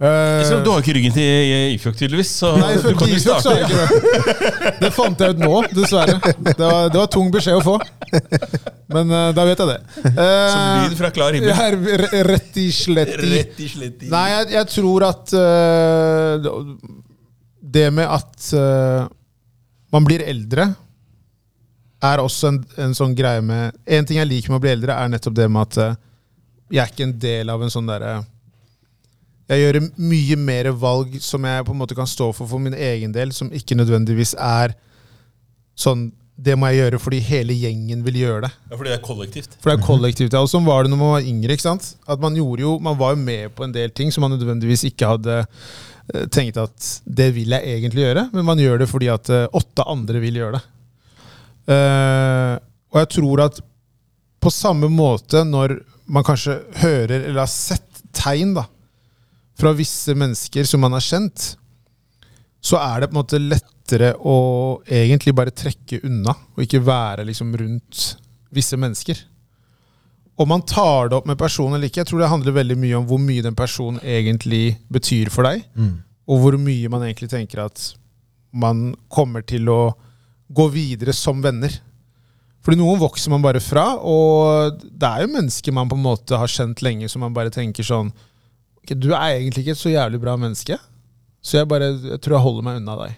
S4: Eh,
S5: Så Du har ikke ryggen til Ifjok, tydeligvis. Så
S4: Nei,
S5: du kan
S4: ifølge
S5: ikke
S4: Isak så
S5: starte.
S4: er det ikke det. Det fant jeg ut nå, dessverre. Det var, det var tung beskjed å få. Men eh, da vet jeg det. Eh,
S5: Som lyd fra klar himmel.
S4: ja, re- rett i slett i
S5: Rett i slett. i-
S4: Nei, jeg, jeg tror at eh, det med at eh, man blir eldre, er også en, en sånn greie med En ting jeg liker med å bli eldre, er nettopp det med at eh, jeg er ikke en del av en sånn derre Jeg gjør mye mer valg som jeg på en måte kan stå for for min egen del, som ikke nødvendigvis er sånn Det må jeg gjøre fordi hele gjengen vil gjøre det.
S5: Ja, fordi det er kollektivt.
S4: For det er kollektivt. ja. Og sånn var det når man var yngre. ikke sant? At Man gjorde jo, man var jo med på en del ting som man nødvendigvis ikke hadde eh, tenkt at det vil jeg egentlig gjøre, men man gjør det fordi at eh, åtte andre vil gjøre det. Eh, og jeg tror at på samme måte når man kanskje hører eller har sett tegn da, fra visse mennesker som man har kjent, så er det på en måte lettere å egentlig bare trekke unna og ikke være liksom rundt visse mennesker. Om man tar det opp med personen eller ikke, jeg tror det handler veldig mye om hvor mye den personen egentlig betyr for deg, og hvor mye man egentlig tenker at man kommer til å gå videre som venner. Fordi noen vokser man bare fra, og det er jo mennesker man på en måte har kjent lenge, som man bare tenker sånn «Ok, Du er egentlig ikke et så jævlig bra menneske, så jeg bare jeg tror jeg holder meg unna deg.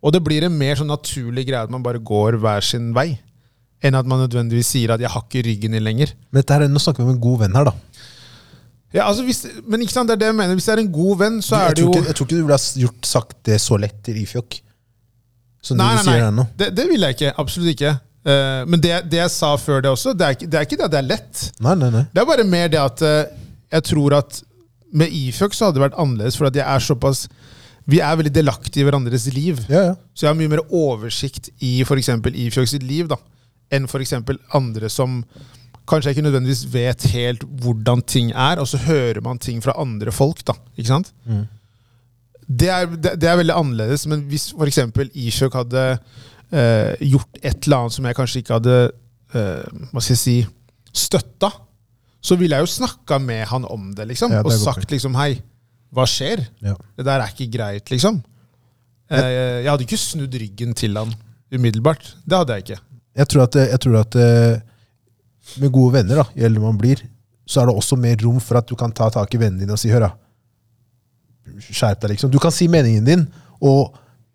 S4: Og det blir en mer sånn naturlig greie at man bare går hver sin vei, enn at man nødvendigvis sier at 'jeg har ikke ryggen din lenger'.
S2: Men dette her, nå snakker vi om en god venn her, da.
S4: Ja, altså hvis, men ikke sant, det er det jeg mener. Hvis det er en god venn, så er
S2: Jeg
S4: det
S2: tror
S4: jo
S2: ikke, jeg tror ikke du ville ha gjort, sagt det så lett til Ifjok. Som
S4: Nei,
S2: du
S4: nei,
S2: sier her
S4: nei.
S2: nå.
S4: Det, det vil jeg ikke. Absolutt ikke. Eh, men det, det jeg sa før det også, det er, ikke- det er ikke det at det er lett.
S2: Nei, nei, nei.
S4: Det er bare mer det at eh, jeg tror at med Iføk så hadde det vært annerledes, for at jeg er såpass Vi er veldig delaktige i hverandres liv.
S2: Ja, ja.
S4: Så jeg har mye mer oversikt i f.eks. Ifjok sitt liv da, enn f.eks. andre som kanskje ikke nødvendigvis vet helt hvordan ting er, og så hører man ting fra andre folk. da, ikke sant?
S2: Mm.
S4: Det, er, det, det er veldig annerledes, men hvis f.eks. Ifjok hadde eh, gjort et eller annet som jeg kanskje ikke hadde eh, hva skal jeg si, støtta, så ville jeg jo snakka med han om det, liksom,
S2: Ja, det er
S4: og
S2: godt
S4: sagt liksom hei, hva skjer?
S2: Ja.
S4: Det der er ikke greit, liksom. Eh, Jeg hadde ikke snudd ryggen til han umiddelbart. Det hadde jeg ikke.
S2: Jeg tror at, jeg tror at eh, med gode venner, da, jo eldre man blir, så er det også mer rom for at du kan ta tak i vennene dine og si 'hør, da'. Skjerp deg, liksom. Du kan si meningen din, og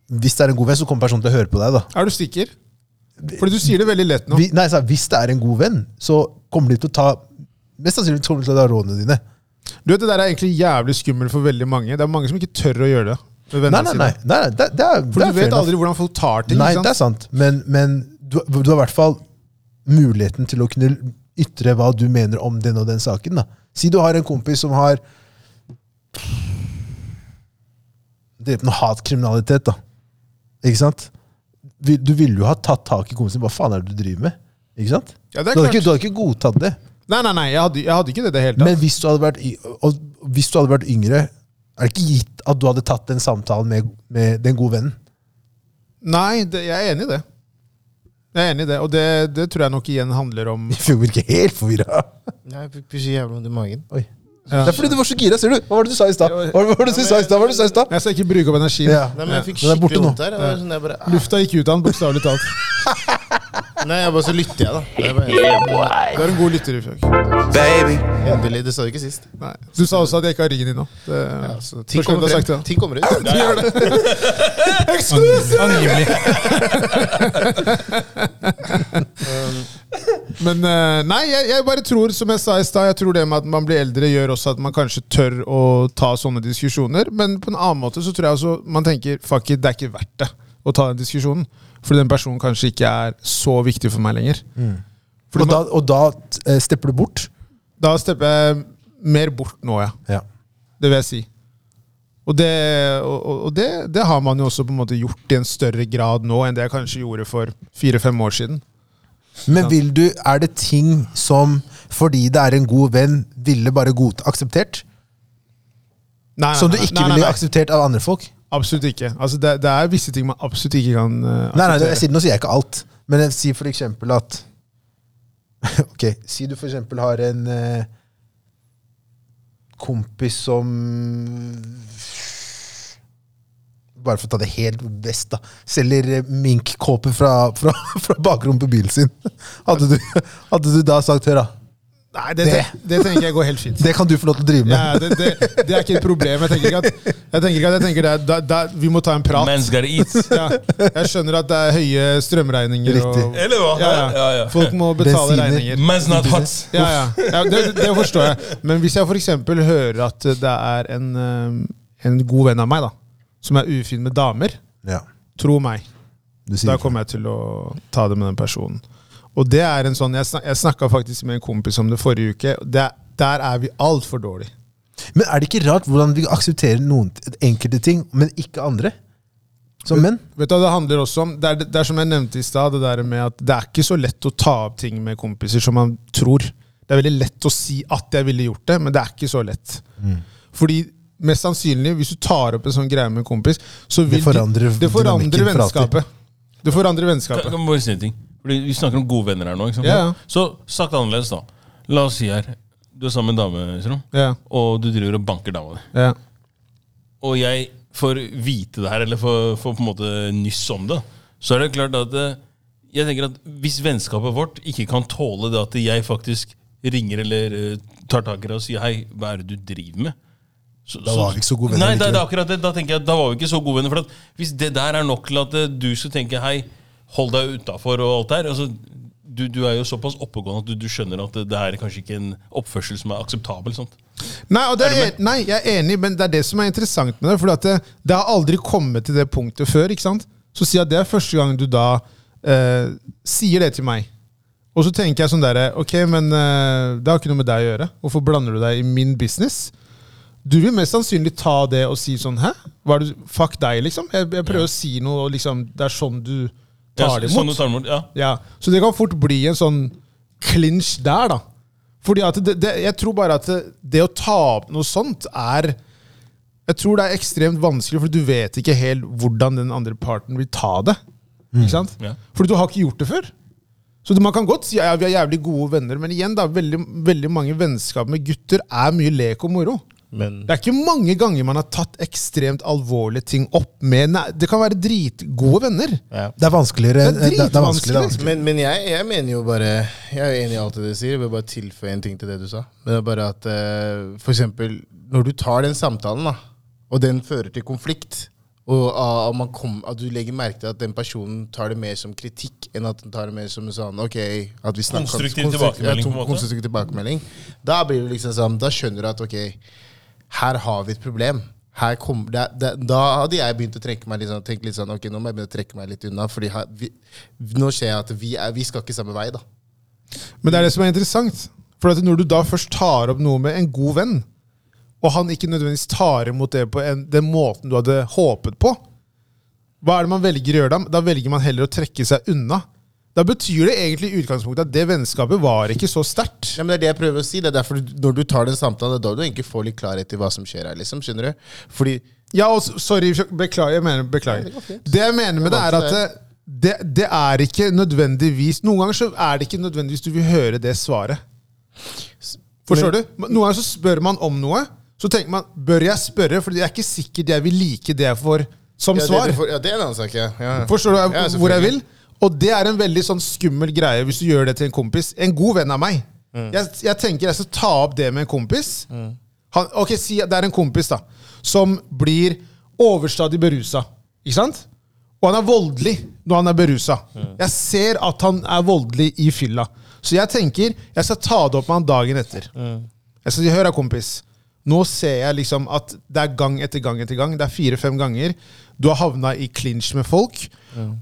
S2: hvis det er en god venn, så kommer personen til å høre på deg. da.
S4: Er du sikker? Fordi du sier det veldig lett nå.
S2: Vi, nei, så, Hvis det er en god venn, så kommer de til å ta Mest sannsynlig kommer de til å ta rådene dine.
S4: Du vet, Det der er egentlig jævlig skummelt for veldig mange. Det er mange som ikke tør å gjøre det.
S2: Nei,
S4: med vennene
S2: nei,
S4: sine.
S2: nei. nei, nei det, det er, det er
S4: For du
S2: fair
S4: vet
S2: enough.
S4: aldri hvordan folk tar ting.
S2: Nei,
S4: ikke sant?
S2: det er sant. Men, men du, du har i hvert fall muligheten til å kunne ytre hva du mener om den og den saken. Da. Si du har en kompis som har drevet noe hatkriminalitet, da. Ikke sant? Vi- Du ville jo ha tatt tak i kompisen. Hva faen er det du driver med? Ikke sant?
S4: Ja, det er
S2: du, hadde ikke,
S4: klart.
S2: du hadde ikke godtatt det.
S4: nei, nei, nei, jeg hadde, jeg hadde ikke det i det hele tatt.
S2: Men hvis du hadde vært, y- og hvis du hadde vært yngre, er det ikke gitt at du hadde tatt den samtalen med, med den gode vennen.
S4: nei, det, jeg er enig i det. Jeg er enig i det, Og det, det tror jeg nok igjen handler
S2: (laughs)
S4: om
S2: Jeg virker helt forvirra.
S3: Nei, jeg fikk pushe jævla vondt i magen.
S2: Oi.
S4: Ja.
S2: Det er fordi du var så gira, ser du. Hva var det du sa i stad? Hva var det du sa i stad? Hva var det du sa i stad?
S4: Jeg skal ikke bruke opp energien.
S2: Ja.
S3: Nei, men jeg fikk
S2: Den er borte
S3: skikkelig
S2: nå.
S3: vondt her. Jeg var sånn, jeg bare, ah.
S4: Lufta gikk ut av den, bokstavelig talt.
S3: Nei, jeg bare så lytter jeg, da. Jeg bare,
S4: Du er en god lytter. Ifjok.
S1: Baby.
S3: endelig, det sa du ikke sist.
S4: Nei. Du sa også at jeg ikke har ryggen din nå. Det,
S3: Ja, så ting,
S4: Forstår du
S3: kommer
S4: hva jeg har
S3: frem.
S4: sagt,
S3: ting kommer ut.
S4: Du gjør det. Exclusive! (laughs) Men eh, nei, jeg, jeg bare tror, som jeg sa i stad, jeg tror det med at man blir eldre, gjør også at man kanskje tør å ta sånne diskusjoner. Men på en annen måte så tror jeg også man tenker fuck it, det er ikke verdt det å ta den diskusjonen. Fordi den personen kanskje ikke er så viktig for meg lenger.
S2: Og da, og da eh, stepper du bort,
S4: Da stepper jeg mer bort nå, ja.
S2: Ja.
S4: Det vil jeg si. Og det, og, og- og det, det har man jo også på en måte gjort i en større grad nå enn det jeg kanskje gjorde for fire-fem år siden.
S2: Men vil du, er det ting som, fordi det er en god venn, ville bare god, akseptert?
S4: Nei, nei,
S2: Som du
S4: nei,
S2: ikke
S4: nei, nei,
S2: ville
S4: nei.
S2: akseptert av andre folk?
S4: Absolutt ikke. Altså, det, det er visse ting man absolutt ikke kan eh,
S2: Nei, nei,
S4: akseptere.
S2: jeg sier, nå sier jeg ikke alt. Men jeg sier for eksempel at (laughs) Ok, si du for eksempel har en eh, kompis som Bare for å ta det helt best, da. Selger eh, minkkåper fra, fra, (laughs) fra bakrommet på bilen sin. (laughs) Hadde du, hadde du da sagt Hør, da.
S4: nei, det, det, det tenker jeg går helt fint.
S2: Det kan du få lov til å drive med.
S4: Ja, det, det, det er ikke et problem. Jeg tenker ikke at, jeg tenker ikke at jeg tenker det, er- da, da, vi må ta en prat.
S5: Man's gotta eat.
S4: Ja, jeg skjønner at det er høye strømregninger. Og,
S5: (laughs) Eller hva?
S4: ja, ja. Folk må betale
S2: Bensiner.
S4: regninger.
S5: Man's not hot.
S4: Ja, ja. ja det, det forstår jeg. Men hvis jeg f.eks. hører at det er en, eh, en god venn av meg da, som er ufin med damer,
S2: Ja,
S4: tro meg,
S2: du sier
S4: da
S2: det.
S4: kommer jeg til å ta det med den personen. Og det er en sånn, Jeg, snak, jeg snakka faktisk med en kompis om det forrige uke. Det, der er vi altfor dårlige.
S2: Men er det ikke rart hvordan vi aksepterer noen enkelte ting, men ikke andre? Som menn?
S4: Vet du, hva Det handler også om, det er, det er som jeg nevnte i stad, det der med at det er ikke så lett å ta opp ting med kompiser som man tror. Det er veldig lett å si at jeg ville gjort det, men det er ikke så lett.
S2: Mm.
S4: Fordi mest sannsynlig, hvis du tar opp en sånn greie med en kompis, så vil
S2: Det forandrer
S4: de, det forandrer
S2: dynamikken for alltid.
S4: vennskapet. Det forandrer
S5: Kan-
S4: vennskapet.
S5: kan bare si en ting. Fordi Vi snakker om gode venner her nå. ikke sant?
S4: Ja, ja.
S5: Så sagt annerledes, da. La oss si her Du er sammen med en dame, Isrom,
S4: Ja,
S5: og du driver og banker dama di.
S4: ja.
S5: Og jeg får vite det her, eller får, får på en måte nyss om det. Så er det klart at eh, jeg tenker at hvis vennskapet vårt ikke kan tåle det at jeg faktisk ringer eller eh, tar tak i det og sier 'hei, hva er det du driver med'? Så-
S2: Da var vi ikke så gode venner
S5: Nei, det, det er
S2: likevel.
S5: akkurat det. Da tenker jeg at da var vi ikke så gode venner. For at hvis det der er nok til at eh, du skal tenke hei, hold deg utafor og alt der altså, du, du er jo såpass oppegående at du, du skjønner at det, det her er kanskje ikke en oppførsel som er akseptabel. Sant?
S4: Nei, og det er, en- nei, jeg er enig, men det er det som er interessant med det. For det, det har aldri kommet til det punktet før. ikke sant? Så si at det er første gang du da eh, sier det til meg. Og så tenker jeg sånn derre Ok, men eh, det har ikke noe med deg å gjøre. Hvorfor blander du deg i min business? Du vil mest sannsynlig ta det og si sånn Hæ? Hva er det, du- fuck deg, liksom. Jeg, jeg prøver å si noe, og liksom Det er sånn du
S5: Ja,
S4: tar det
S5: så-
S4: imot.
S5: sånn du tar det imot, ja.
S4: Ja, Så det kan fort bli en sånn clinch der, da. Fordi at det, det, Jeg tror bare at det, det å ta opp noe sånt er Jeg tror det er ekstremt vanskelig, for du vet ikke helt hvordan den andre parten vil ta det. Ikke sant?
S5: Ja.
S4: Fordi du har ikke gjort det før. Så du- man kan godt si ja, vi er jævlig gode venner, men igjen da, veldig, veldig mange vennskap med gutter er mye lek og moro.
S3: Men
S4: Det er ikke mange ganger man har tatt ekstremt alvorlige ting opp med nei, Det kan være dritgode venner.
S3: ja.
S2: Det er vanskeligere.
S4: Det er
S2: Det er, det er vanskelig, det er vanskelig.
S3: Men, men jeg, jeg mener jo bare Jeg er jo enig i alt det du sier. Jeg vil bare tilføye en ting til det du sa. Men det er bare at eh, for eksempel, når du tar den samtalen, da, og den fører til konflikt, og ah, at, man kom, at du legger merke til at den personen tar det mer som kritikk enn at den tar det mer som en sånn ok, at vi snakker
S5: Konstruktiv
S3: konstrukt- ja,
S5: tilbakemelding, på en måte.
S3: Konstruktiv tilbakemelding. Da blir det liksom sånn, da skjønner du at ok, her har vi et problem. Her kom, det, det, da hadde jeg begynt å trekke meg litt sånn, tenke litt sånn Ok, nå må jeg begynne å trekke meg litt unna, Fordi her, vi, nå ser jeg at vi, er, vi skal ikke samme vei, da.
S4: Men det er det som er interessant. For at når du da først tar opp noe med en god venn, og han ikke nødvendigvis tar imot det på en, den måten du hadde håpet på, hva er det man velger å gjøre da? Da velger man heller å trekke seg unna. Da betyr det egentlig i utgangspunktet at det vennskapet var ikke så sterkt.
S3: Ja, men det er det jeg prøver å si. Det er derfor du, når du tar den samtalen, det er da du egentlig får litt klarhet i hva som skjer her, liksom. Skjønner du? Fordi
S4: Ja, og s- sorry, beklager. Jeg mener, beklager. Det jeg mener med det, er at eh, det, det er ikke nødvendigvis Noen ganger så er det ikke nødvendigvis du vil høre det svaret. Forstår du? Noen ganger så spør man om noe, så tenker man Bør jeg spørre? For jeg er ikke sikkert jeg vil like det jeg får som
S3: ja,
S4: svar.
S3: Det, du får- ja, det er en annen sak, ja. ja.
S4: Forstår du
S3: Ja,
S4: jeg- hvor jeg vil? Og det er en veldig sånn skummel greie hvis du gjør det til en kompis. En god venn av meg.
S3: Mm.
S4: Jeg, jeg tenker jeg skal ta opp det med en kompis. Han, ok, si at Det er en kompis da som blir overstadig berusa. Ikke sant? Og han er voldelig når han er berusa.
S3: Mm.
S4: Jeg ser at han er voldelig i
S3: Mm.
S4: fylla. Så jeg tenker jeg skal ta det opp med han dagen etter. Jeg skal si, hør da, kompis. Nå ser jeg liksom at det er gang etter gang etter gang. Det er fire-fem ganger. Du har havna i clinch med folk.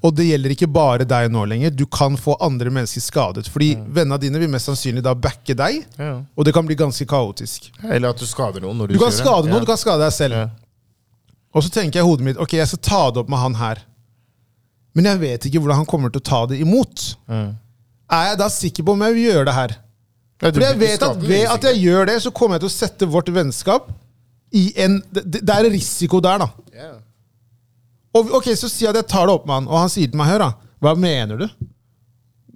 S4: Og det gjelder ikke bare deg nå lenger. Du kan få andre mennesker skadet. Fordi vennene dine vil mest sannsynlig da backe deg,
S3: Ja.
S4: og det kan bli ganske kaotisk.
S3: Eller at du skader noen når du,
S4: Du kan
S3: kjører.
S4: skade
S3: Ja.
S4: noen, du kan skade deg selv.
S3: Ja.
S4: Og så tenker jeg i hodet mitt ok, jeg skal ta det opp med han her. Men jeg vet ikke hvordan han kommer til å ta det imot.
S3: Mm.
S4: Er jeg da sikker på om jeg vil gjøre det her?
S3: Ja, du
S4: For jeg
S3: blir
S4: vet at
S3: skadet,
S4: ved
S3: liksom.
S4: at jeg gjør det, så kommer jeg til å sette vårt vennskap i en Det, det- det er en risiko der, da.
S3: Ja.
S4: Og, ok, Så sier jeg at jeg tar det opp med han, og han sier til meg Hør, da. Hva mener du?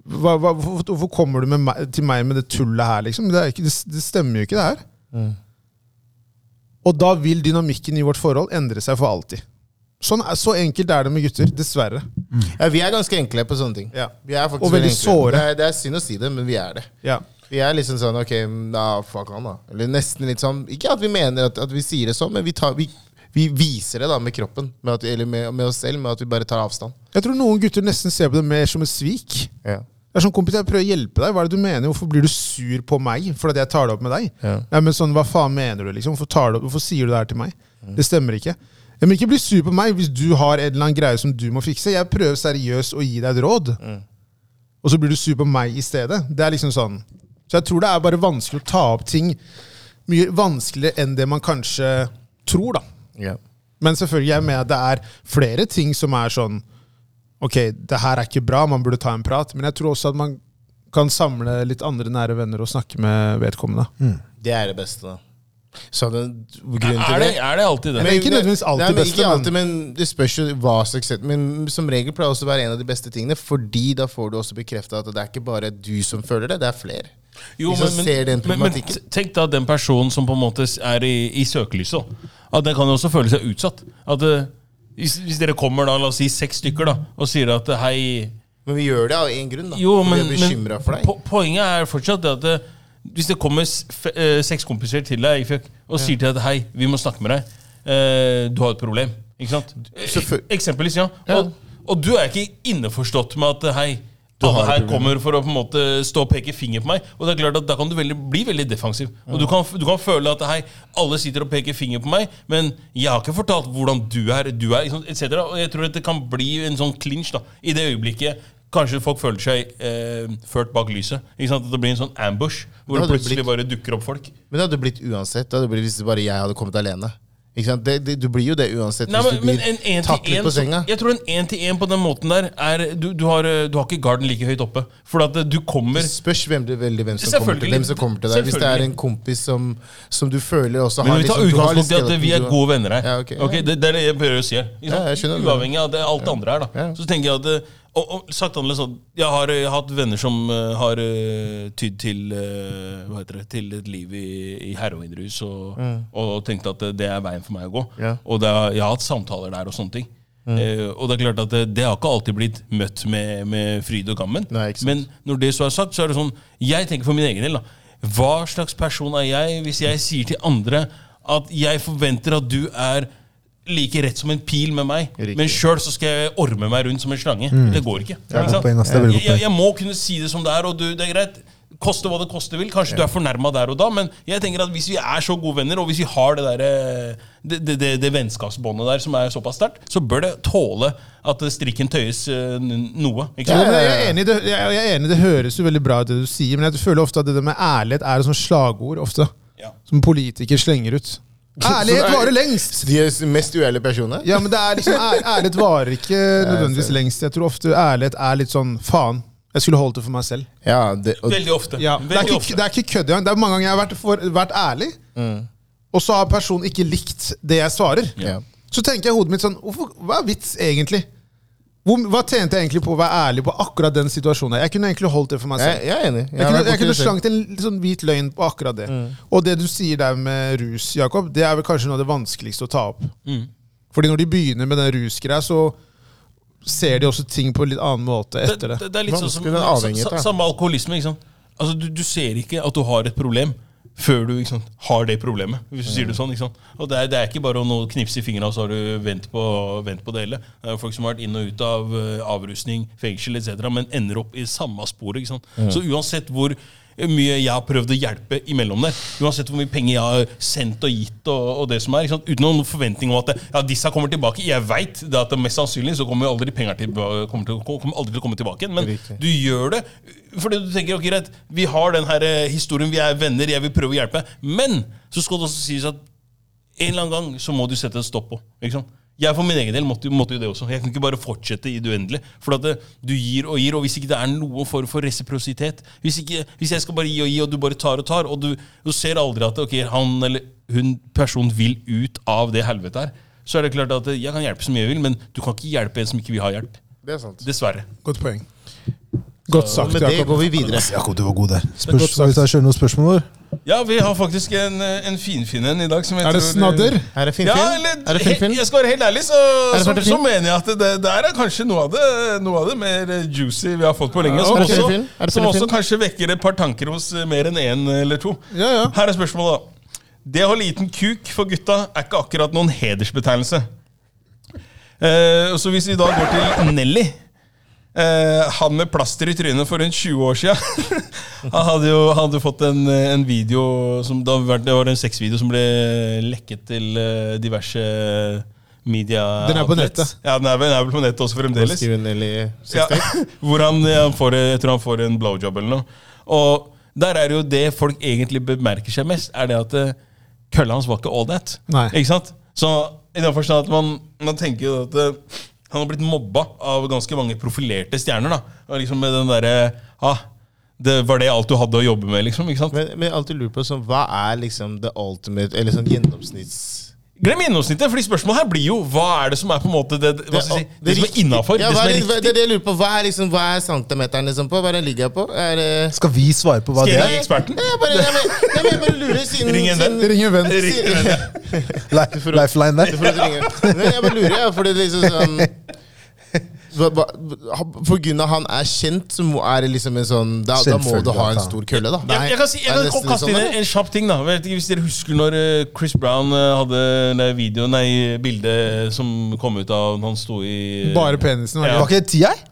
S4: Hva, hva, hvorfor, hvorfor kommer du med meg, til meg med det tullet her, liksom? Det, er ikke, det, det stemmer jo ikke, det her. Og da vil dynamikken i vårt forhold endre seg for alltid. Sånn, er- så enkelt er det med gutter. Dessverre.
S3: Ja, vi er ganske enkle på sånne ting.
S4: Ja.
S3: Vi er faktisk
S4: Og veldig
S3: enkle.
S4: såre.
S3: Det er, det er synd å si det, men vi er det.
S4: Ja.
S3: Vi er liksom sånn Ok, da fuck han, da. Eller nesten litt sånn Ikke at vi mener at, at vi sier det sånn, men vi, tar, vi, vi viser det da med kroppen. Med at, eller med, med oss selv, med at vi bare tar avstand.
S4: Jeg tror noen gutter nesten ser på det mer som et svik.
S3: Ja.
S4: Det er sånn, kompis, jeg prøver å hjelpe deg. Hva er det du mener? Hvorfor blir du sur på meg fordi jeg tar det opp med deg?
S3: Ja.
S4: Nei, men sånn, Hva faen mener du, liksom? Hvorfor, tar du, opp- hvorfor sier du det her til meg?
S3: Mm.
S4: Det stemmer ikke. Jeg må ikke bli sur på meg hvis du har en eller annen greie som du må fikse. Jeg prøver seriøst å gi deg et råd,
S3: Mm.
S4: og så blir du sur på meg i stedet. Det er liksom sånn. Så jeg tror det er bare vanskelig å ta opp ting mye vanskeligere enn det man kanskje tror, da.
S3: Ja.
S4: Men selvfølgelig, jeg mener at det er flere ting som er sånn Ok, det her er ikke bra, man burde ta en prat. Men jeg tror også at man kan samle litt andre nære venner og snakke med vedkommende.
S3: Det er det beste, da. Så den grunnen til
S5: Er det, er det alltid det?
S4: Men- ikke nødvendigvis
S3: nei,
S4: alltid
S3: men
S4: beste,
S3: Ikke
S4: men-
S3: alltid, men det spørs jo hva slags sett- Men som regel pleier det også å være en av de beste tingene, fordi da får du også bekrefta at det er ikke bare du som føler det, det er flere. de som ser den
S5: men, men
S3: problematikken.
S5: t- tenk da den personen som på en måte er i, i søkelyset. da. At den kan jo også føle seg utsatt. At eh, hvis, hvis dere kommer da, la oss si seks stykker, da, og sier at eh, hei
S3: Men vi gjør det av én grunn, da.
S5: Jo,
S3: For
S5: men,
S3: vi er
S5: men
S3: bekymra for deg.
S5: po- poenget er fortsatt det at eh, hvis det kommer s- f eh, seks kompiser til deg ikke sant, og sier til deg at hei, vi må snakke med deg, eh, du har et problem, ikke sant?
S3: Selvfø-
S5: Ek- Eksempelvis, ja. Og, og du er ikke innforstått med at eh, hei, alle her kommer for å på en måte stå og peke finger på meg. Og det er klart at Da kan du veldig, bli veldig defensiv. Og du kan, f- du kan føle at hei, alle sitter og peker finger på meg, men jeg har ikke fortalt hvordan du er, du er, ikke sant, et cetera. Og jeg tror at det kan bli en sånn clinch da, i det øyeblikket. Kanskje folk føler seg eh, ført bak lyset. Ikke sant? At det blir en sånn ambush hvor
S3: Det
S5: det
S3: hadde
S5: plutselig
S3: blitt-
S5: bare dukker opp folk.
S3: Men det hadde blitt uansett. Det hadde blitt hvis det bare jeg hadde kommet alene. Ikke sant? Det, det, du blir jo det uansett
S5: Nei,
S3: hvis
S5: men,
S3: du
S5: men
S3: blir
S5: en en til
S3: taklet
S5: en,
S3: på
S5: så-
S3: senga.
S5: Jeg tror en en til en på den måten der er Du, du, har, eh, du har ikke garden like høyt oppe. For at eh, du kommer
S3: Det spørs hvem, du- veldig hvem, som kommer
S5: Selvfølgelig.
S3: til, hvem som kommer til deg. Hvis det er
S5: Selvfølgelig.
S3: en kompis som, som du føler også
S5: Men vi tar
S3: liksom- du har
S5: utgangspunkt i
S3: litt
S5: at vi er
S3: skeleton, du-
S5: gode venner her.
S3: Ja, ok.
S5: Ok, det, det er det jeg prøver å si her. Ikke sant?
S3: Ja, jeg skjønner det.
S5: Uavhengig av det, alt det andre her. da
S3: Ja.
S5: Så tenker jeg at eh, og, og sagt annerledes sånn, Jeg har eh, hatt venner som eh, har eh, tydd til eh, Hva heter det Til et liv i, i heroinrus og, og, tenkt at eh, det er veien for meg å gå.
S3: Mm. Ja. Mm.
S5: Og det, har- jeg har hatt samtaler der og sånne ting. Eh, og Det er klart at det, det har ikke alltid blitt møtt med, med fryd og gammen.
S3: Nei, ikke sant.
S5: Men når det så er sagt, så er det sånn Jeg tenker for min egen del, da. Hva slags person er jeg hvis jeg sier til andre at jeg forventer at du er like rett som en pil med meg,
S3: Riktig.
S5: men sjøl så skal jeg orme meg rundt som en slange. Det går ikke. ikke
S2: godt
S5: sant?
S2: poeng, ass. Det er veldig godt
S5: jeg, jeg,
S2: poeng.
S5: jeg må kunne si det som det er, og du, det er greit. Koste hva det koste vil. Kanskje du er fornærma der og da, men jeg tenker at hvis vi er så gode venner, og hvis vi har det, der, eh, det, det, det, det vennskapsbåndet der som er såpass sterkt, så bør det tåle at strikken tøyes eh, n- noe. Ikke
S4: Jo,
S5: sant?
S4: men jeg, er enig, i det, jeg, jeg er enig, det høres jo veldig bra ut, det du sier, men jeg føler ofte at det der med ærlighet er et sånt slagord ofte,
S5: Ja.
S4: som politikere slenger ut. Ærlighet varer lengst!
S3: Så De er mest uærlige personene?
S4: Ja, men det er liksom, ær, ærlighet varer ikke nødvendigvis lengst. Jeg tror ofte ærlighet er litt sånn faen. Jeg skulle holdt det for meg selv.
S3: Ja, det, og,
S5: Veldig ofte.
S4: Ja, det, er
S5: Veldig
S4: ikke,
S5: ofte.
S4: det er ikke kødd engang. Det er mange ganger jeg har vært, for, vært ærlig,
S3: Mm.
S4: og så har personen ikke likt det jeg svarer.
S3: ja.
S4: Så tenker jeg i hodet mitt sånn hvorfor, Hva er vits, egentlig? Hvor, hva tjente jeg egentlig på å være ærlig på akkurat den situasjonen? her? Jeg kunne egentlig holdt det for meg
S3: jeg,
S4: selv.
S3: jeg er enig.
S4: Jeg kunne, jeg kunne
S3: slange
S4: slangt en litt sånn hvit løgn på akkurat det.
S3: Mm.
S4: Og det du sier der med rus, Jakob, det er vel kanskje noe av det vanskeligste å ta opp.
S5: Mm.
S4: Fordi når de begynner med den rusgreia, så ser de også ting på en litt annen måte
S5: det,
S4: etter det.
S5: det, det er litt sånn som
S3: Vanskelig, den avhengighet,
S5: sa-
S3: da.
S5: sa- Samme alkoholisme. ikke sant? Altså, du, du ser ikke at du har et problem før du ikke sant, har det problemet. hvis du sier Det sånn, ikke sant? Og det er, det er ikke bare å nå knipse i fingra, og så har du vent på, vent på det hele. Det er jo folk som har vært inn og ut av eh, avrusning, fengsel etc., men ender opp i samme sporet. ikke sant? Så uansett hvor mye jeg har prøvd å hjelpe imellom der. Uansett hvor mye penger jeg har sendt og gitt, og, og det som er, ikke sant? uten noen forventning om at ja, disse kommer tilbake. Jeg veit at det mest sannsynlig så kommer jo aldri penger til, kommer til, kommer aldri til å komme tilbake igjen, men
S4: Riktig.
S5: du gjør det fordi du tenker ok, greit, vi har den her eh, historien, vi er venner, jeg vil prøve å hjelpe. Men så skal det også sies at en eller annen gang så må du sette et stopp på. Ikke sant? Jeg for min egen del måtte, måtte jo det også. Jeg kan ikke bare fortsette i det uendelige. For at det, du gir og gir, og hvis ikke det er noen form for resiprositet Hvis, ikke, hvis jeg skal bare gi og gi, og du bare tar og tar, og du, du ser aldri at ok, han eller hun personen vil ut av det helvetet her, så er det klart at eh, jeg kan hjelpe så mye jeg vil, men du kan ikke hjelpe en som ikke vil ha hjelp.
S3: Det er sant.
S5: Dessverre.
S4: Godt poeng. Godt
S3: Og
S4: sagt,
S3: med det
S4: Jakob.
S3: går vi videre.
S2: Jakob, du var god der.
S4: er godt
S2: Spørs,
S4: sagt.
S2: hvis jeg kjører noen spørsmål vår?
S5: Ja, vi har faktisk en, eh, en finfin en i dag. Som jeg
S4: Er det
S5: tror-
S4: snadder?
S3: Er det
S5: Ja,
S3: Finnfinn?
S5: eller,
S3: er det Finnfinn?
S5: he- jeg skal være helt ærlig, så,
S3: det
S5: så,
S3: fertig
S5: så
S3: film?
S5: mener jeg at det der er kanskje noe av det, noe av det mer eh, juicy vi har fått på lenge. Som,
S3: Er det ferdig
S5: også,
S3: film? Er det
S5: som
S3: ferdig
S5: også
S3: film?
S5: kanskje vekker et par tanker hos eh, mer enn én eller to.
S4: Ja, ja.
S5: Her er spørsmålet, da. Det å ha liten kuk for gutta er ikke akkurat noen hedersbetegnelse. Eh, så hvis vi da går til Nelly eh, Han med plaster i trynet for rundt 20 år siden. (laughs) han hadde jo han hadde fått en, eh, en video som, det, hadde vært, det var en sexvideo som ble lekket til eh, diverse media
S4: Den er på
S5: outlets.
S4: nettet.
S5: Ja, den er, vel- den er vel på nettet også fremdeles.
S3: Skriv en del i
S5: Ja,
S3: sextape.
S5: (laughs) hvor han, eh, han får, jeg tror han får en blowjob eller noe. Og der er jo det folk egentlig bemerker seg mest, er det at eh, kølla hans var ikke all that.
S4: Nei.
S5: Ikke sant? Så i den forstand at man, man tenker jo at eh, han har blitt mobba av ganske mange profilerte stjerner. da. Og liksom med den derre ah, det Var det alt du hadde å jobbe med, liksom? ikke sant?
S3: Men, men jeg alltid lurer på sånn, hva er liksom the ultimate, eller sånn gjennomsnitts...
S5: Glem gjennomsnittet, fordi spørsmålet her blir jo hva er det som er på en måte det, hva skal jeg si, det, som er innafor?
S3: Ja, hva
S5: det som
S3: er,
S5: er
S3: det-
S5: riktig?
S3: det er det jeg lurer på. Hva er, liksom, hva er centimeteren liksom på? Hva er den ligger jeg på? Er det...
S2: Skal vi svare på hva
S5: Skal
S2: det
S5: jeg
S2: er?
S5: gi eksperten?
S3: Nei, Jeg bare, jeg, bare- jeg, bare- jeg bare lurer siden...
S5: (laughs) Ring en venn.
S3: siden-
S4: Ring en venn.
S3: siden-
S2: Li- Lifeline
S3: Du
S2: der?
S3: får lov til å ringe. Nei, jeg bare lurer, jeg, for det er liksom sånn... hva- hva- For grunn av han er kjent, så må- er det liksom en sånn... Da, da må du
S2: Selvfølgelig,
S3: ha en
S2: da.
S3: stor kølle, da.
S5: Jeg, jeg kan, si, jeg
S3: Er
S5: kan
S3: det nesten
S5: kaste inn
S3: sånn,
S5: en, en kjapp ting. da Vet ikke Hvis dere husker når eh, Chris Brown eh, hadde det video, nei, bildet eh, som kom ut av når han sto i eh,
S4: Bare penisen. var det?
S5: Ja.
S2: Var ikke det ti, jeg?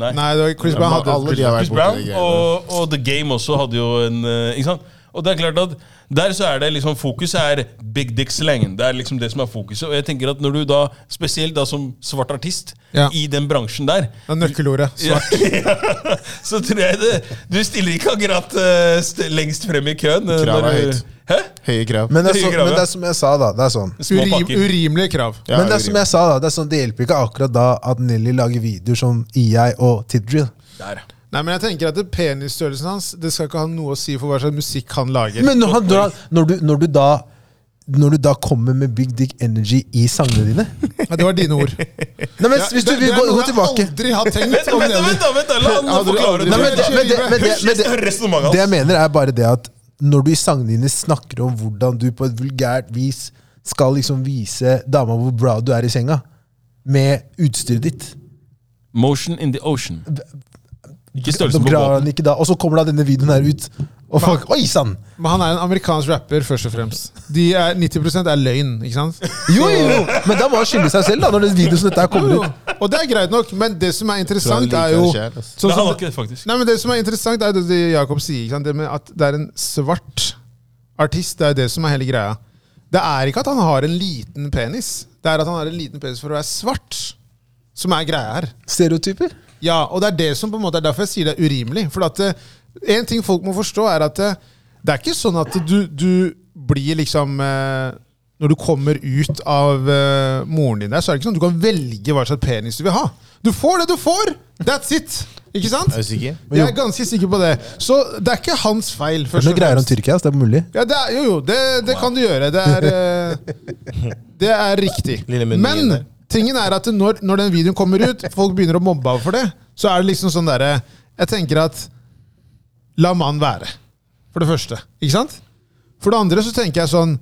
S5: Nei.
S4: Nei, det var Chris Brown hadde
S3: Alle de har vært
S5: Chris
S3: borte.
S5: Brown
S3: de greiene.
S5: og, og The Game også hadde jo en eh, Ikke sant? Og det er klart at der så er det liksom fokuset er big dick-slangen. Det er liksom det som er fokuset. Og jeg tenker at når du da, spesielt da som svart artist,
S4: Ja.
S5: i den bransjen der
S4: Det er nøkkelordet.
S5: Ja,
S4: Svart.
S5: (laughs) ja. Så tror jeg det Du stiller ikke akkurat eh, st lengst frem i køen. eh,
S3: Kravet
S5: når
S3: er
S5: du-
S3: høyt.
S5: Hæ?
S3: Høye krav.
S2: Men det, er
S5: Høye
S2: så,
S5: grader.
S2: men det er som jeg sa, da. Det er sånn.
S5: Små
S4: Urim,
S5: pakker.
S4: urimelige krav.
S3: Ja,
S2: Men det er som
S3: urimelig.
S2: jeg sa, da. Det er sånn, det hjelper ikke akkurat da at Nelly lager videoer som EI og Tidrill.
S5: Der.
S4: Nei, men jeg tenker at det Penisstørrelsen hans Det skal ikke ha noe å si for hva slags musikk han lager.
S2: Men når, han, når, han, når, du, når, du da, når du da kommer med big dick energy i sangene dine
S4: Ja, det var dine ord.
S2: Nei, men
S4: Ja,
S2: hvis du
S4: det-
S2: vil
S4: det er
S2: gå,
S4: noe
S2: gå tilbake
S4: Jeg aldri har tenkt
S5: Vent,
S4: om
S5: vent, da,
S4: det.
S5: vent, da, vent, da, la han
S3: Hadde du
S5: forklare
S3: aldri-
S5: det.
S2: Nei, men det, men det, men det,
S5: Hysj,
S2: men
S5: jeg
S2: det,
S5: skal høre resonnementet
S2: det jeg
S5: hans.
S2: mener, er bare det at når du i sangene dine snakker om hvordan du på et vulgært vis skal liksom vise dama hvor bra du er i senga, med utstyret ditt
S5: Motion in the ocean. Ikke størrelsen på
S2: graver
S5: båten.
S2: han ikke da, Og så kommer da denne videoen her ut, og folk Oi sann!
S4: Men han er en amerikansk rapper, først og fremst. De er, 90 er løgn, ikke sant?
S2: Jo, jo, jo! Men da må han skylde seg selv, da, når den videoen som dette her kommer
S4: Jo,
S2: ut.
S4: Og det er greit nok, men det som er interessant,
S3: Tror han
S4: er
S3: liker
S4: jo
S3: det selv, ass.
S4: sånn
S5: Nei, han var
S4: som,
S5: ikke det, faktisk.
S4: Nei, men Det som er interessant, er det det Jakob sier. Ikke sant? Det med at det er en svart artist. Det er det som er hele greia. Det er ikke at han har en liten penis. Det er at han har en liten penis for å være svart, som er greia her.
S2: Stereotyper.
S4: Ja, og det er det som på en måte er derfor jeg sier det er urimelig. For at eh, en ting folk må forstå, er at eh, det er ikke sånn at du, du blir liksom eh, Når du kommer ut av eh, moren din der, så er det ikke sånn at du kan velge hva slags penis du vil ha. Du får det du får! That's it! Ikke sant?
S3: Er du sikker?
S4: Jeg er ganske sikker på det. Så det er ikke hans feil.
S2: Det er
S4: først og
S2: noe greier om
S4: fremst.
S2: Tyrkia, så det er mulig.
S4: Ja, det er, jo, jo, det, det kan du gjøre. Det er, eh, det er riktig.
S3: Lille munnen
S4: Men
S3: igjen der.
S4: tingen er at når, når den videoen kommer ut, folk begynner å mobbe av for det, så er det liksom sånn derre Jeg tenker at La mannen være. For det første. Ikke sant? For det andre så tenker jeg sånn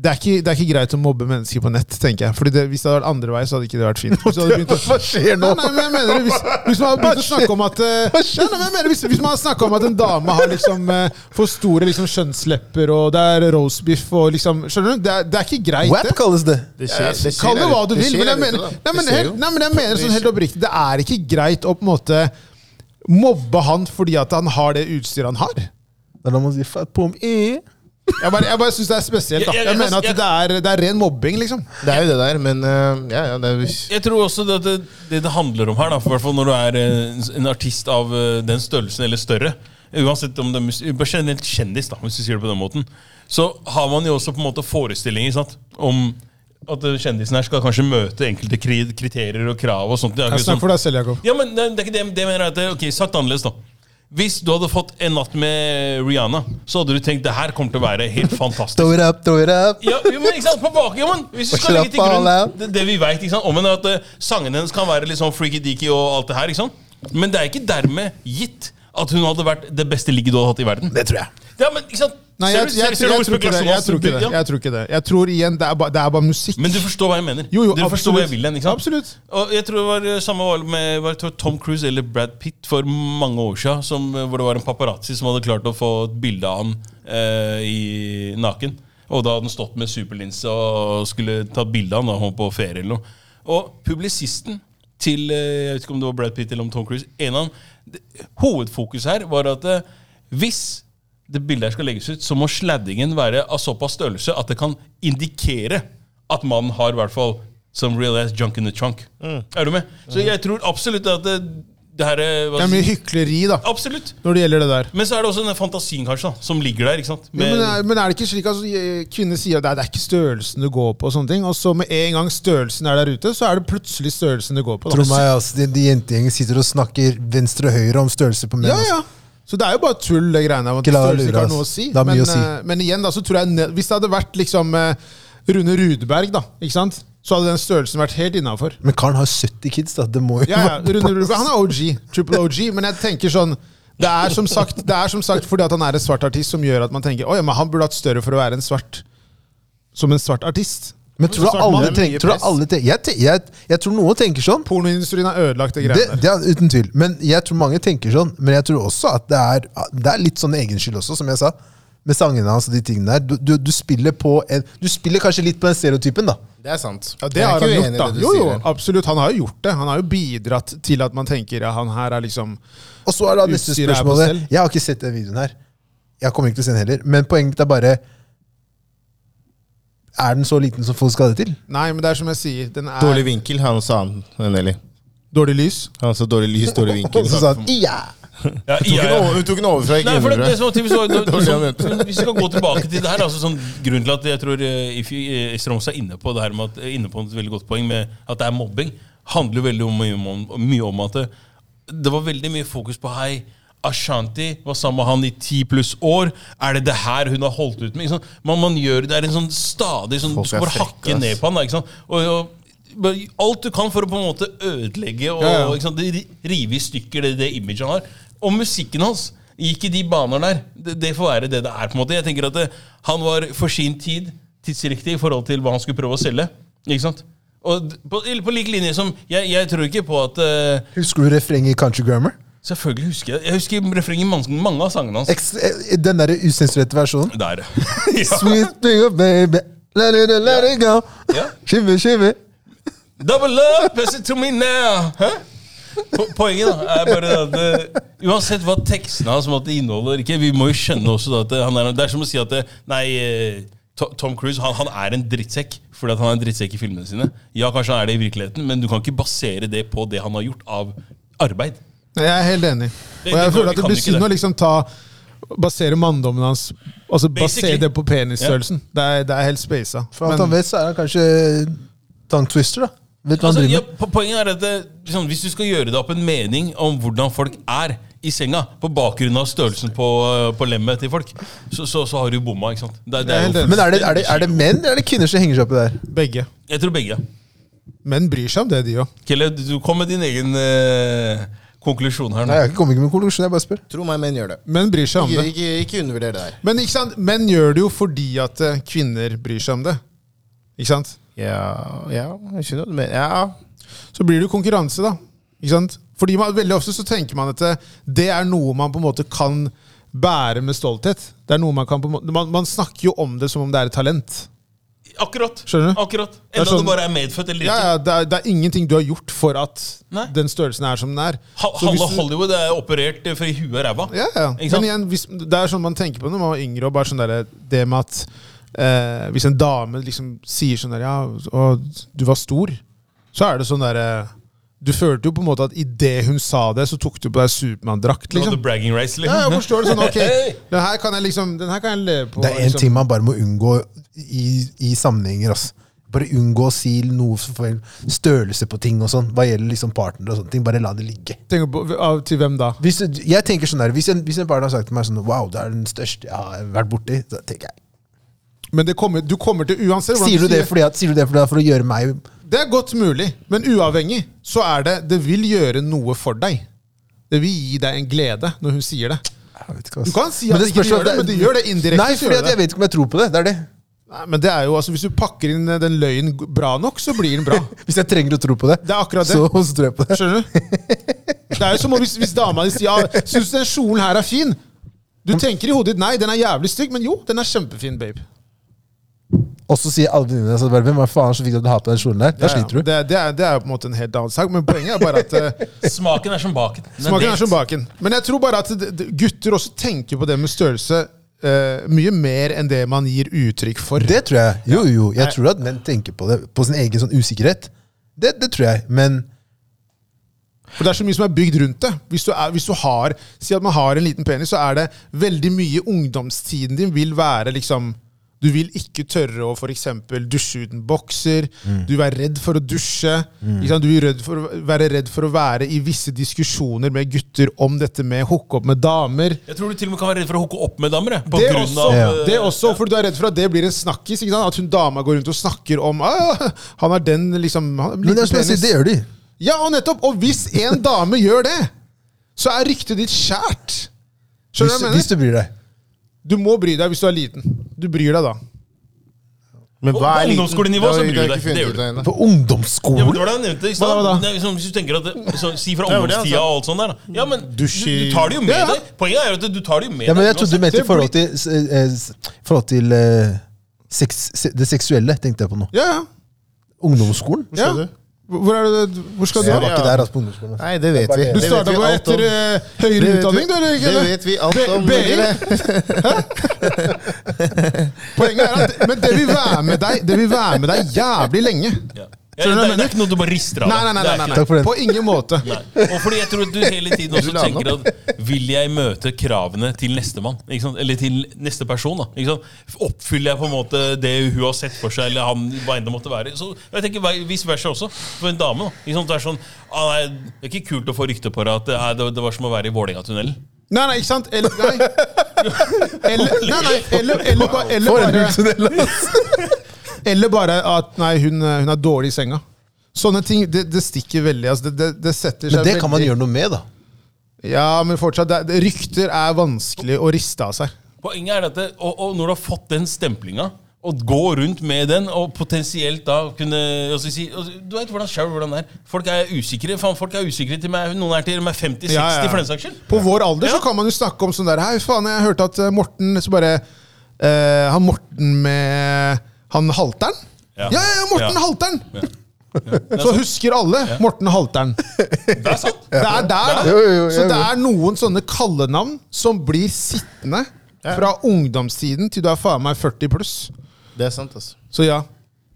S4: det er, ikke, det er ikke greit å mobbe mennesker på nett, tenker jeg. Fordi det, Hvis det hadde vært andre vei, så hadde ikke det vært fint. Så hadde begynt å,
S2: Hva skjer nå?
S4: Nei, nei, men jeg mener det, hvis, hvis man har begynt å snakke om at eh, nei, nei, men jeg mener, hvis, hvis man har snakket om at en dame har liksom eh, for store liksom, skjønnslepper, og det er roastbiff og liksom Skjønner du? Det er, det er ikke greit.
S2: WAP
S4: det.
S2: kalles det.
S3: Det skjer- det skjer
S4: Kall det
S3: der
S4: hva
S3: ute.
S4: du
S3: Det
S4: vil,
S3: skjer
S4: men jeg
S3: der ute, da.
S4: mener, nei, men
S3: Det skjer
S4: helt,
S3: jo.
S4: nei, men jeg mener sånn helt oppriktig, det er ikke greit å på en måte mobbe han fordi at han har det utstyret han har.
S2: Det er da man sier fat pom i.
S4: Jeg bare, jeg bare syns det er spesielt. da.
S5: Jeg- jeg-
S4: Jeg mener at
S5: jeg-
S4: det er, det er ren mobbing, liksom.
S3: Det er jo det der, men eh, ja, ja, det er
S5: Jeg tror også det det, det, det handler om her, da, for hvert fall når du er eh, en artist av eh, den størrelsen eller større Uansett om det er mus- bare generelt kjendis, da, hvis du sier det på den måten, så har man jo også på en måte forestillinger sant? om at eh, kjendisen her skal kanskje møte enkelte kri- kriterier og krav og sånt. Det er
S4: Jeg
S5: ikke
S4: snakker
S5: sånn-
S4: for deg selv, Jakob.
S5: Ja, men det, det er ikke det, det jeg mener jeg at det, Ok, sagt annerledes da Hvis du hadde fått en natt med Rihanna Så hadde du tenkt, det her kommer til å være helt
S2: Throw
S5: fantastisk
S2: it up, throw it up.
S5: ja, jo, men ikke sant, på bak, ja, men hvis du skal legge til grunn det, det vi vet, ikke sant Om enn at eh, sangen hennes kan være litt sånn freaky-deaky og alt det her, ikke sant Men det er ikke dermed gitt at hun hadde vært det beste ligget du hadde hatt i verden
S2: Det tror jeg.
S5: Ja, men ikke sant
S4: Nei, jeg, jeg, jeg,
S5: Ser du- ser du hvor
S4: tror ikke det. jeg tror ikke det.
S5: spekulasjonen-
S4: Jeg tror ikke det. Jeg tror igjen, det er bare, det er bare musikk.
S5: Men du forstår hva jeg mener
S4: Jo, jo,
S5: Du forstår hvor jeg
S4: absolutt.
S5: vil den, ikke sant
S4: Absolutt.
S5: og jeg tror det var eh, samme valg med var det to- Tom Cruise eller Brad Pitt for mange år siden, som, eh, hvor det var en paparazzi som hadde klart å få et bilde av han eh, i naken. Og da hadde han stått med superlinse og skulle ta bilde av han da han var på ferie eller noe. Og publisisten til eh, jeg vet ikke om det var Brad Pitt eller om Tom Cruise, en av han, det- hovedfokuset her var at eh, hvis det bildet her skal legges ut, så må sladdingen være av såpass størrelse at det kan indikere at mannen har i hvert fall som real ass junk in the trunk.
S4: Mm.
S5: Er du med? Så jeg tror absolutt at det, det her er- hva
S4: Det er
S5: skal
S4: mye
S5: jeg si?
S4: hykleri, da,
S5: Absolutt.
S4: når det gjelder det der.
S5: Men så er det også den fantasien kanskje da, som ligger der. ikke sant?
S4: Ja,
S5: Med,
S4: men, er, men er det ikke slik at altså, eh, kvinner sier at det er- det er ikke størrelsen du går på, og sånne ting, og så med en gang størrelsen er der ute, så er det plutselig størrelsen du går på.
S2: Tro
S4: Da.
S2: meg, altså, de, de jentegjengen sitter og snakker venstre og høyre om størrelse på menn.
S4: Ja, ja. Så det er jo bare tull, det greiene. Om at
S2: Ikke la deg lure,
S4: størrelsen ikke har
S2: ass.
S4: noe å si.
S2: Det har mye
S4: men,
S2: å si.
S4: eh, men igjen, da, så tror jeg ne- hvis det hadde vært liksom eh, Rune Rudberg, da, ikke sant? så hadde den størrelsen vært helt innafor.
S2: Men karen har 70 kids, da. Det må jo
S4: Ja, ja,
S2: være på
S4: Rune Rudberg,
S2: plass.
S4: han er OG, triple OG, men jeg tenker sånn det er, som sagt, det er som sagt fordi at han er en svart artist som gjør at man tenker «Å ja, men han burde hatt større for å være en svart som en svart artist.
S2: Men tror du
S4: Svart mann
S2: alle
S4: er mye
S2: tenker, tror
S4: press.
S2: du alle tenker jeg, te- jeg, jeg tror noen tenker sånn.
S4: Pornoindustrien har ødelagt det
S2: Det,
S4: greiene der.
S2: det er Uten tvil. Men jeg tror mange tenker sånn. Men jeg tror også at det er, det er litt sånn egen skyld også, som jeg sa. Med sangene hans og de tingene der. Du, du, du spiller på en Du spiller kanskje litt på den stereotypen, da.
S3: Det er sant.
S4: Ja, det har han gjort, da. Jo, jo,
S3: sier.
S4: absolutt. Han har jo gjort det. Han har jo bidratt til at man tenker ja, han her er liksom
S2: Og så er da neste
S4: Utstyret er på
S2: spørsmål
S4: stell.
S2: Jeg har ikke sett den videoen her. Jeg kommer ikke til å se den heller. Men poenget mitt er bare Er den så liten som folk skal ha det
S4: (laughs)
S2: til?
S4: Nei, men det er som jeg sier, den er
S3: Dårlig vinkel, han sa han. den Nelly.
S4: dårlig lys.
S3: Han sa dårlig (laughs) lys, dårlig
S2: Og
S3: vinkel.
S2: så sa han ja!
S5: ja,
S3: Hun tok den
S5: ja, ja.
S3: over- Hun tok den over fra ikke
S5: Nei, for det, det
S3: innenfra.
S5: som var typisk var,
S3: (laughs) Det var det jeg
S5: sånn, Hvis vi skal gå tilbake til det her altså, sånn, Grunnen til at jeg tror eh, If- eh, Strøms er inne på det her med at, inne på et veldig godt poeng med at det er mobbing, handler jo veldig om, mye om, mye om at det, det var veldig mye fokus på Hei, Ashanti var sammen med han i ti pluss år. Er det det her hun har holdt ut med? Ikke sant? Man, man gjør Det er en sånn stadig sånn,
S3: Folk
S5: så
S3: er
S5: bare
S3: frekke,
S5: hakke
S3: ass.
S5: ned på han. da, Ikke sant? Og, og, bare alt du kan for å på en måte ødelegge og
S4: Ja, ja.
S5: ikke sant? det ri- rive i stykker det, det imaget han har. Og musikken hans gikk i de baner der. Det, det får være det det er. på en måte. Jeg tenker at det, Han var for sin tid tidsriktig i forhold til hva han skulle prøve å selge. Ikke sant? Og d- på, eller på lik linje som Jeg, jeg tror ikke på at eh,
S2: Husker du refrenget i Country Grammar?
S5: Selvfølgelig husker jeg Jeg husker refrenget i mange, mange av sangene hans.
S2: Eks- eh, Den derre usensurerte versjonen.
S4: (laughs)
S5: Der. ja.
S2: Sweet little baby, let it, let it go.
S5: Ja.
S2: Shimmy, shimmy.
S5: Double up, pass it to me now. Hæ? Po poenget da, er bare det at eh, uansett hva tekstene hans måtte inneholde, eller ikke, vi må jo skjønne også da at eh, han er, det er som å si at eh, nei, eh, To- Tom Cruise han, han er en drittsekk fordi at han er en drittsekk i filmene sine. Ja, kanskje han er det i virkeligheten, men du kan ikke basere det på det han har gjort av arbeid.
S4: Nei, Jeg er helt enig.
S5: Det-
S4: Og
S5: det
S4: jeg
S5: går-
S4: føler at
S5: kan
S4: det blir
S5: ikke det.
S4: synd å liksom ta Basere manndommen hans Altså
S5: Basically.
S4: basere det på penisstørrelsen. Det, er, det er helt spasa.
S2: For alt han vet, så er han kanskje tongue twister, da. Vet hva han
S5: Altså, ja,
S2: driver med.
S5: po- poenget er at det, liksom, Hvis du skal gjøre deg opp en mening om hvordan folk er i senga, på bakgrunn av størrelsen på, eh, på lemmet til folk, så, så, så har du bomma. ikke sant? Det, det
S4: Jeg er
S5: jo
S4: helt enig.
S2: Men er det, er, det, er det menn eller er det kvinner som henger seg opp i det her?
S4: Begge.
S5: Jeg tror begge.
S4: Menn bryr seg om det, de òg.
S5: Kelle, du kom med din egen eh, konklusjon her
S2: Nei,
S5: nå.
S2: jeg har ikke kommet med konklusjon, jeg bare spør.
S3: Tro meg, menn gjør det.
S4: Menn bryr seg om
S3: Ikke,
S4: det.
S3: ikke, ikke undervurder det der.
S4: Men ikke sant? menn gjør det jo fordi at eh, kvinner bryr seg om det. Ikke sant?
S3: Ja, ja, jeg skjønner hva du mener. Ja.
S4: Så blir det jo konkurranse, da. Ikke sant? Fordi man, veldig ofte så tenker man at det, det er noe man på en måte kan bære med stolthet. Det er noe Man kan på en måte, man, man snakker jo om det som om det er et talent.
S5: Akkurat.
S4: Skjønner du?
S5: Akkurat.
S4: er
S5: Enda
S4: sånn-
S5: det bare er medfødt eller
S4: Ja,
S5: ikke.
S4: ja, det, er, det er ingenting du har gjort for at
S5: Nei.
S4: den størrelsen er som den er.
S5: Ha-
S4: Så hvis
S5: Halve
S4: du-
S5: Hollywood er operert eh, for i huet og ræva.
S4: Ja, ja.
S5: Ikke sant?
S4: Men igjen, hvis, det er sånn man tenker på når man var yngre. og bare sånn der, Det med at eh, hvis en dame liksom sier sånn der Ja, og du var stor, så er det sånn derre Du følte jo på en måte at idet hun sa det, så tok du på deg Supermann-drakt.
S5: Det var
S4: Liksom.
S5: the bragging rights,
S4: Ja,
S5: liksom.
S4: jeg forstår det sånn. Ok,
S5: (laughs)
S4: den her kan jeg liksom Den her kan jeg leve på.
S2: Det er én
S4: liksom.
S2: ting man bare må unngå i, i sammenhenger. ass. Bare unngå å si noe som får størrelse på ting og sånn. Hva gjelder liksom partner og sånne ting. Bare la det ligge.
S4: Tenker på, av, til hvem da?
S2: Hvis, du- jeg tenker sånn der, hvis en, hvis en partner har sagt til meg sånn Wow, det er den største jeg har vært borti. Så tenker jeg,
S4: Men det kommer, du kommer til uansett hvordan
S2: sier du det
S4: sier-
S2: fordi at, sier du det fordi at for å gjøre meg
S4: Det er godt mulig, men uavhengig så er det Det vil gjøre noe for deg. Det vil gi deg en glede når hun sier det.
S2: jeg vet ikke, ass.
S4: Du kan si at det ikke
S2: spørs om
S4: gjør det, men det gjør det indirekte,
S2: Nei,
S4: så gjør
S2: fordi at
S4: det.
S2: jeg vet ikke om jeg tror på det. Det er det.
S4: Nei, men det er jo, altså Hvis du pakker inn eh, den løgnen g- bra nok, så blir den bra.
S2: Hvis jeg trenger å tro på det,
S4: Det er akkurat det.
S2: så, (laughs) så tror jeg på det.
S4: Skjønner du? Det er jo som om hvis, hvis dama di sier ja, 'Syns du den kjolen her er fin?' Du tenker i hodet ditt 'Nei, den er jævlig stygg', men jo, den er kjempefin, babe.
S2: Og så sier alle venninnene dine bare, Hvem var faen som fikk deg til å ha på den kjolen der? Da
S4: Ja, ja.
S2: sliter du.
S4: Det, er- det, er, det er jo på en måte en helt annen sak, men poenget er bare at
S2: (laughs)
S4: eh,
S5: (laughs) Smaken er som baken. Den
S4: Smaken er
S5: delt.
S4: som baken. Men jeg tror bare at d- d- gutter også tenker på det med størrelse eh, mye mer enn det man gir uttrykk for.
S2: Det tror jeg. Jo, jo. Jeg tror at menn tenker på det på sin egen sånn usikkerhet. Det, det tror jeg. Men
S4: For det er så mye som er bygd rundt det. Hvis du, er, hvis du har Si at man har en liten penis, så er det veldig mye ungdomstiden din vil være liksom Du vil ikke tørre å f.eks. dusje uten bokser.
S2: Mm.
S4: Du er redd for å dusje. Ikke sant? Du vil redd for, å- være redd for å være i visse diskusjoner med gutter om dette med å hooke opp med damer.
S5: Jeg tror du til og med kan være redd for å hooke opp med damer. jeg, På
S4: Det
S5: grunn
S4: også,
S5: av
S2: Ja.
S5: eh,
S4: det også, for du er redd for at det blir en snakkis. Ikke sant? At hun dama går rundt og snakker om «Ah, Han har den liksom han, har
S2: Men det,
S4: liten
S2: er som jeg sier,
S4: penis».
S2: det gjør de.
S4: Ja, og nettopp! Og hvis en dame gjør det, så er ryktet ditt skjært. Skjønner
S2: Hvis,
S4: du hva jeg
S2: hvis
S4: mener?
S2: du bryr deg.
S4: Du må bry deg hvis du er liten. Du bryr deg da.
S3: Men
S5: På ungdomsskolenivå så bryr du deg. Det gjør du.
S3: ennå.
S2: På
S5: Ja, men det
S2: ungdomsskolen?
S5: var det jeg nevnte i
S4: Hva
S5: stad.
S4: da, hva da?
S5: Det er liksom, Hvis du tenker at det, så, Si fra
S3: Det var det han
S5: ungdomstida
S3: sa.
S5: og alt sånt der. da. Ja, men du,
S3: Dusj i-
S5: du tar det jo med
S4: altså. Ja, ja.
S5: deg. Poenget er jo at du tar det jo med
S2: Ja, men
S5: deg.
S2: jeg trodde du
S5: uansett.
S2: mente i forhold til, eh, eh, forhold til eh, sex, se- det seksuelle, tenkte jeg på nå.
S4: Ja, ja.
S2: Ungdomsskolen?
S4: ja.
S3: Skal du?
S4: Hvor, er det, hvor skal du?
S2: Jeg
S4: Ja,
S2: var ikke der altså, på ungdomsskolen. altså.
S3: Nei, det vet vi.
S2: Du
S4: Du
S3: Det vet
S4: starta
S3: vi
S4: på
S3: alt om.
S4: etter eh, høyere
S3: vet vi-
S4: utdanning, du, eller ikke?
S3: Det vet vi alt om.
S4: B-
S3: dere.
S4: Poenget er at men det vil være med deg, det vil være med deg jævlig lenge.
S5: Ja. Ja,
S4: Skjønner du
S5: det,
S4: hva
S5: det
S4: jeg
S5: er
S4: mener?
S5: ikke noe du bare rister av.
S4: Nei, nei, nei. nei,
S5: Det er
S4: nei,
S5: ikke
S4: nei.
S2: Takk for den.
S4: På ingen måte.
S5: Nei. Og fordi jeg tror at du hele tiden også
S3: Du la den
S5: tenker at Vil jeg møte kravene til nestemann? Ikke sant? Eller til neste person? da ikke sant? Oppfyller jeg på en måte det hun har sett for seg, eller han hva enn det måtte være? Så jeg tenker vei- Vice versa også, for en dame. da ikke sant? Det er sånn ah, nei, Det er ikke kult å få rykte på deg at eh, det, det var som å være i Vålerengatunnelen.
S4: Nei, nei, ikke sant? Eller, nei. Eller, nei, nei. Eller, eller, ba- eller,
S2: For en (laughs)
S4: bare,
S2: tunnel, altså.
S4: eller bare at nei, hun, eh, hun er dårlig i senga. Sånne ting det, det stikker veldig. Altså, det, det, det setter seg
S2: Men det kan man
S4: veldig-
S2: gjøre noe med, da.
S4: Ja, men fortsatt, det, det, Rykter er vanskelig å riste av seg.
S5: Poenget er at det, og, og når du har fått den stemplinga å gå rundt med den og potensielt da kunne hva skal jeg si, altså, Du vet hvordan sjøl hvordan det er. Folk er usikre. Faen, folk er usikre til meg. Noen er til og med 50-60,
S4: Ja, ja, ja.
S5: for den saks skyld.
S4: På vår alder så
S5: Ja.
S4: kan man jo snakke om sånn der Hei, faen, jeg hørte at eh, Morten så bare eh, Han Morten med Han Halteren? Ja,
S5: Ja.
S4: ja, ja Morten
S5: Ja.
S4: Halteren! Så husker alle Morten Halteren.
S5: Det er sant.
S4: Det er der, da.
S2: Jo, jo, jo,
S4: så
S2: jeg
S4: det er noen sånne kallenavn som blir sittende fra ungdomstiden til du er faen meg 40 pluss.
S3: Det er sant, altså.
S4: Så ja.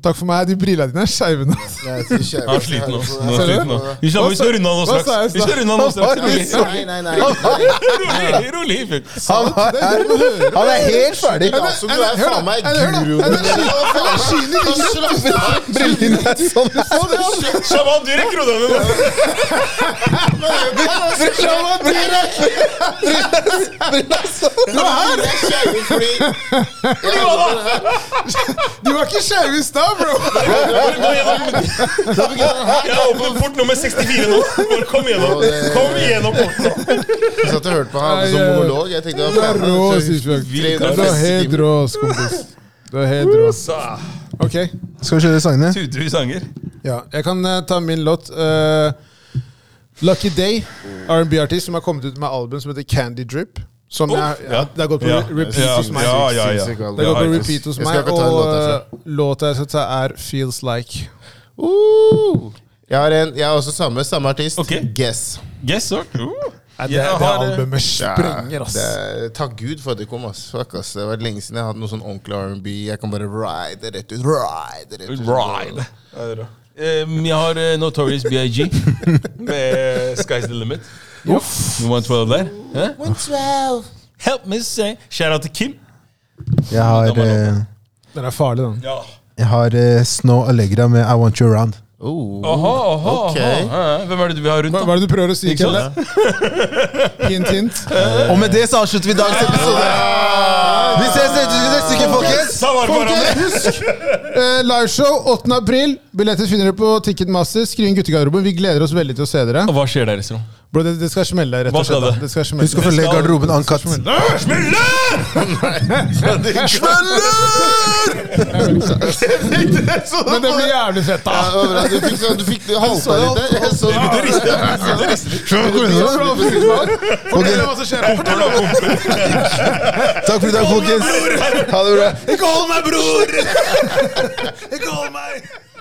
S4: Takk for meg. De brillene dine er skeive nå.
S3: Jeg er så kjære.
S5: Han er sliten nå. Han
S4: Ser
S5: er
S4: du?
S5: sliten nå. Vi skal, vi skal runde av nå
S4: Hva sa jeg i
S5: straks. Vi skal
S4: stad?
S5: runde av nå straks.
S3: Nei, nei, nei.
S5: (laughs) Rolig, rolig. rolig.
S2: Han, er- han er helt ferdig.
S3: Ja, som du
S4: Eller-
S3: er faen meg
S4: eller- eller-
S3: guru.
S4: eller- Energien (laughs) din ligger
S2: Brillene er sånn.
S5: Shaban, du rekker hodet nå.
S3: Du er her! Jeg er skeiv fordi
S4: Du var ikke skeiv i stad, bro!
S5: Bare gå gjennom- Jeg har åpnet port nummer 64 nå. Bare kom gjennom. Kom gjennom porten. nå.
S3: Jeg satt og hørte på han som monolog. Jeg tenkte
S4: Du
S3: det
S4: er
S3: var
S4: rå,
S3: faen
S4: Sisjok.
S3: meg
S4: Du er helt rå, kompis. Du er helt rå.
S5: Så,
S4: Ok,
S2: Skal vi kjøre sangene?
S5: Tuter vi sanger?
S4: ja. Jeg kan eh, ta min låt. eh, Lucky Day, R&B-artist som har kommet ut med album som heter Candy Drip. Som jeg,
S5: Oh, ja.
S4: det har gått på
S5: Ja.
S4: repeat
S5: Ja,
S4: hos meg.
S5: ja, ja, ja.
S3: Sinnssyk
S4: Det går
S5: Ja,
S4: på
S5: ikke-
S4: repeat hos
S3: Jeg skal
S4: meg,
S3: ikke ta en
S4: og
S3: låt altså. herfra.
S4: eh, låta jeg setter er Feels Like.
S3: Uh, jeg, har en, jeg har også samme, samme artist.
S5: Ok.
S3: Guess.
S5: Yes, sir. Uh.
S4: Nei, Det,
S5: Jeg
S4: det
S5: har, eh,
S4: albumet sprenger, ass.
S3: Det er- takk Gud for at det kom. ass. Fuck, ass. Det har vært lenge siden jeg har hatt noe sånn ordentlig R&B. Jeg kan bare ride rett ut. Ride rett ut.
S5: Ride. Um, jeg har eh, Notorious (laughs) BIG med Sky's the Limit. Nummer 12 der. Hæ?
S3: 112.
S5: Help me say Shout out til Kim.
S2: Jeg har, eh,
S4: Den er farlig, den.
S5: Ja.
S2: jeg har eh, Snow Allegra med I Want You Around.
S3: Oh.
S5: Aha, aha,
S3: Ok.
S5: aha. Eh, Hvem er det du vil ha rundt?
S4: Hva, hva
S5: da?
S4: er det du prøver å si,
S5: Ikke
S4: Kelle? (laughs)
S5: sant?
S4: Hint, hint.
S2: Og med det så avslutter vi dagens episode. Vi ses neste neste uke, folkens!
S5: Savar hverandre.
S4: Husk, eh, liveshow 8. april. Billetter finner dere på Ticketmaster. Skriv inn guttegarderoben. Vi gleder oss veldig til å se dere.
S5: Og Hva skjer der, liksom?
S4: Bro, det, det skal smelle, rett
S5: Hva
S4: og
S5: skal
S4: slett. da.
S5: det?
S4: Det skal smelle.
S2: Husk å følge garderoben Ankat.
S4: Men det blir jævlig fett, da!
S3: Ja, det var bra. Du fikk sånn, du fikk halta litt der. Jeg så det.
S4: Fortell om hva som skjer.
S2: Takk for i dag, folkens. Ha det bra.
S5: Ikke hold meg, bror! Ikke hold meg!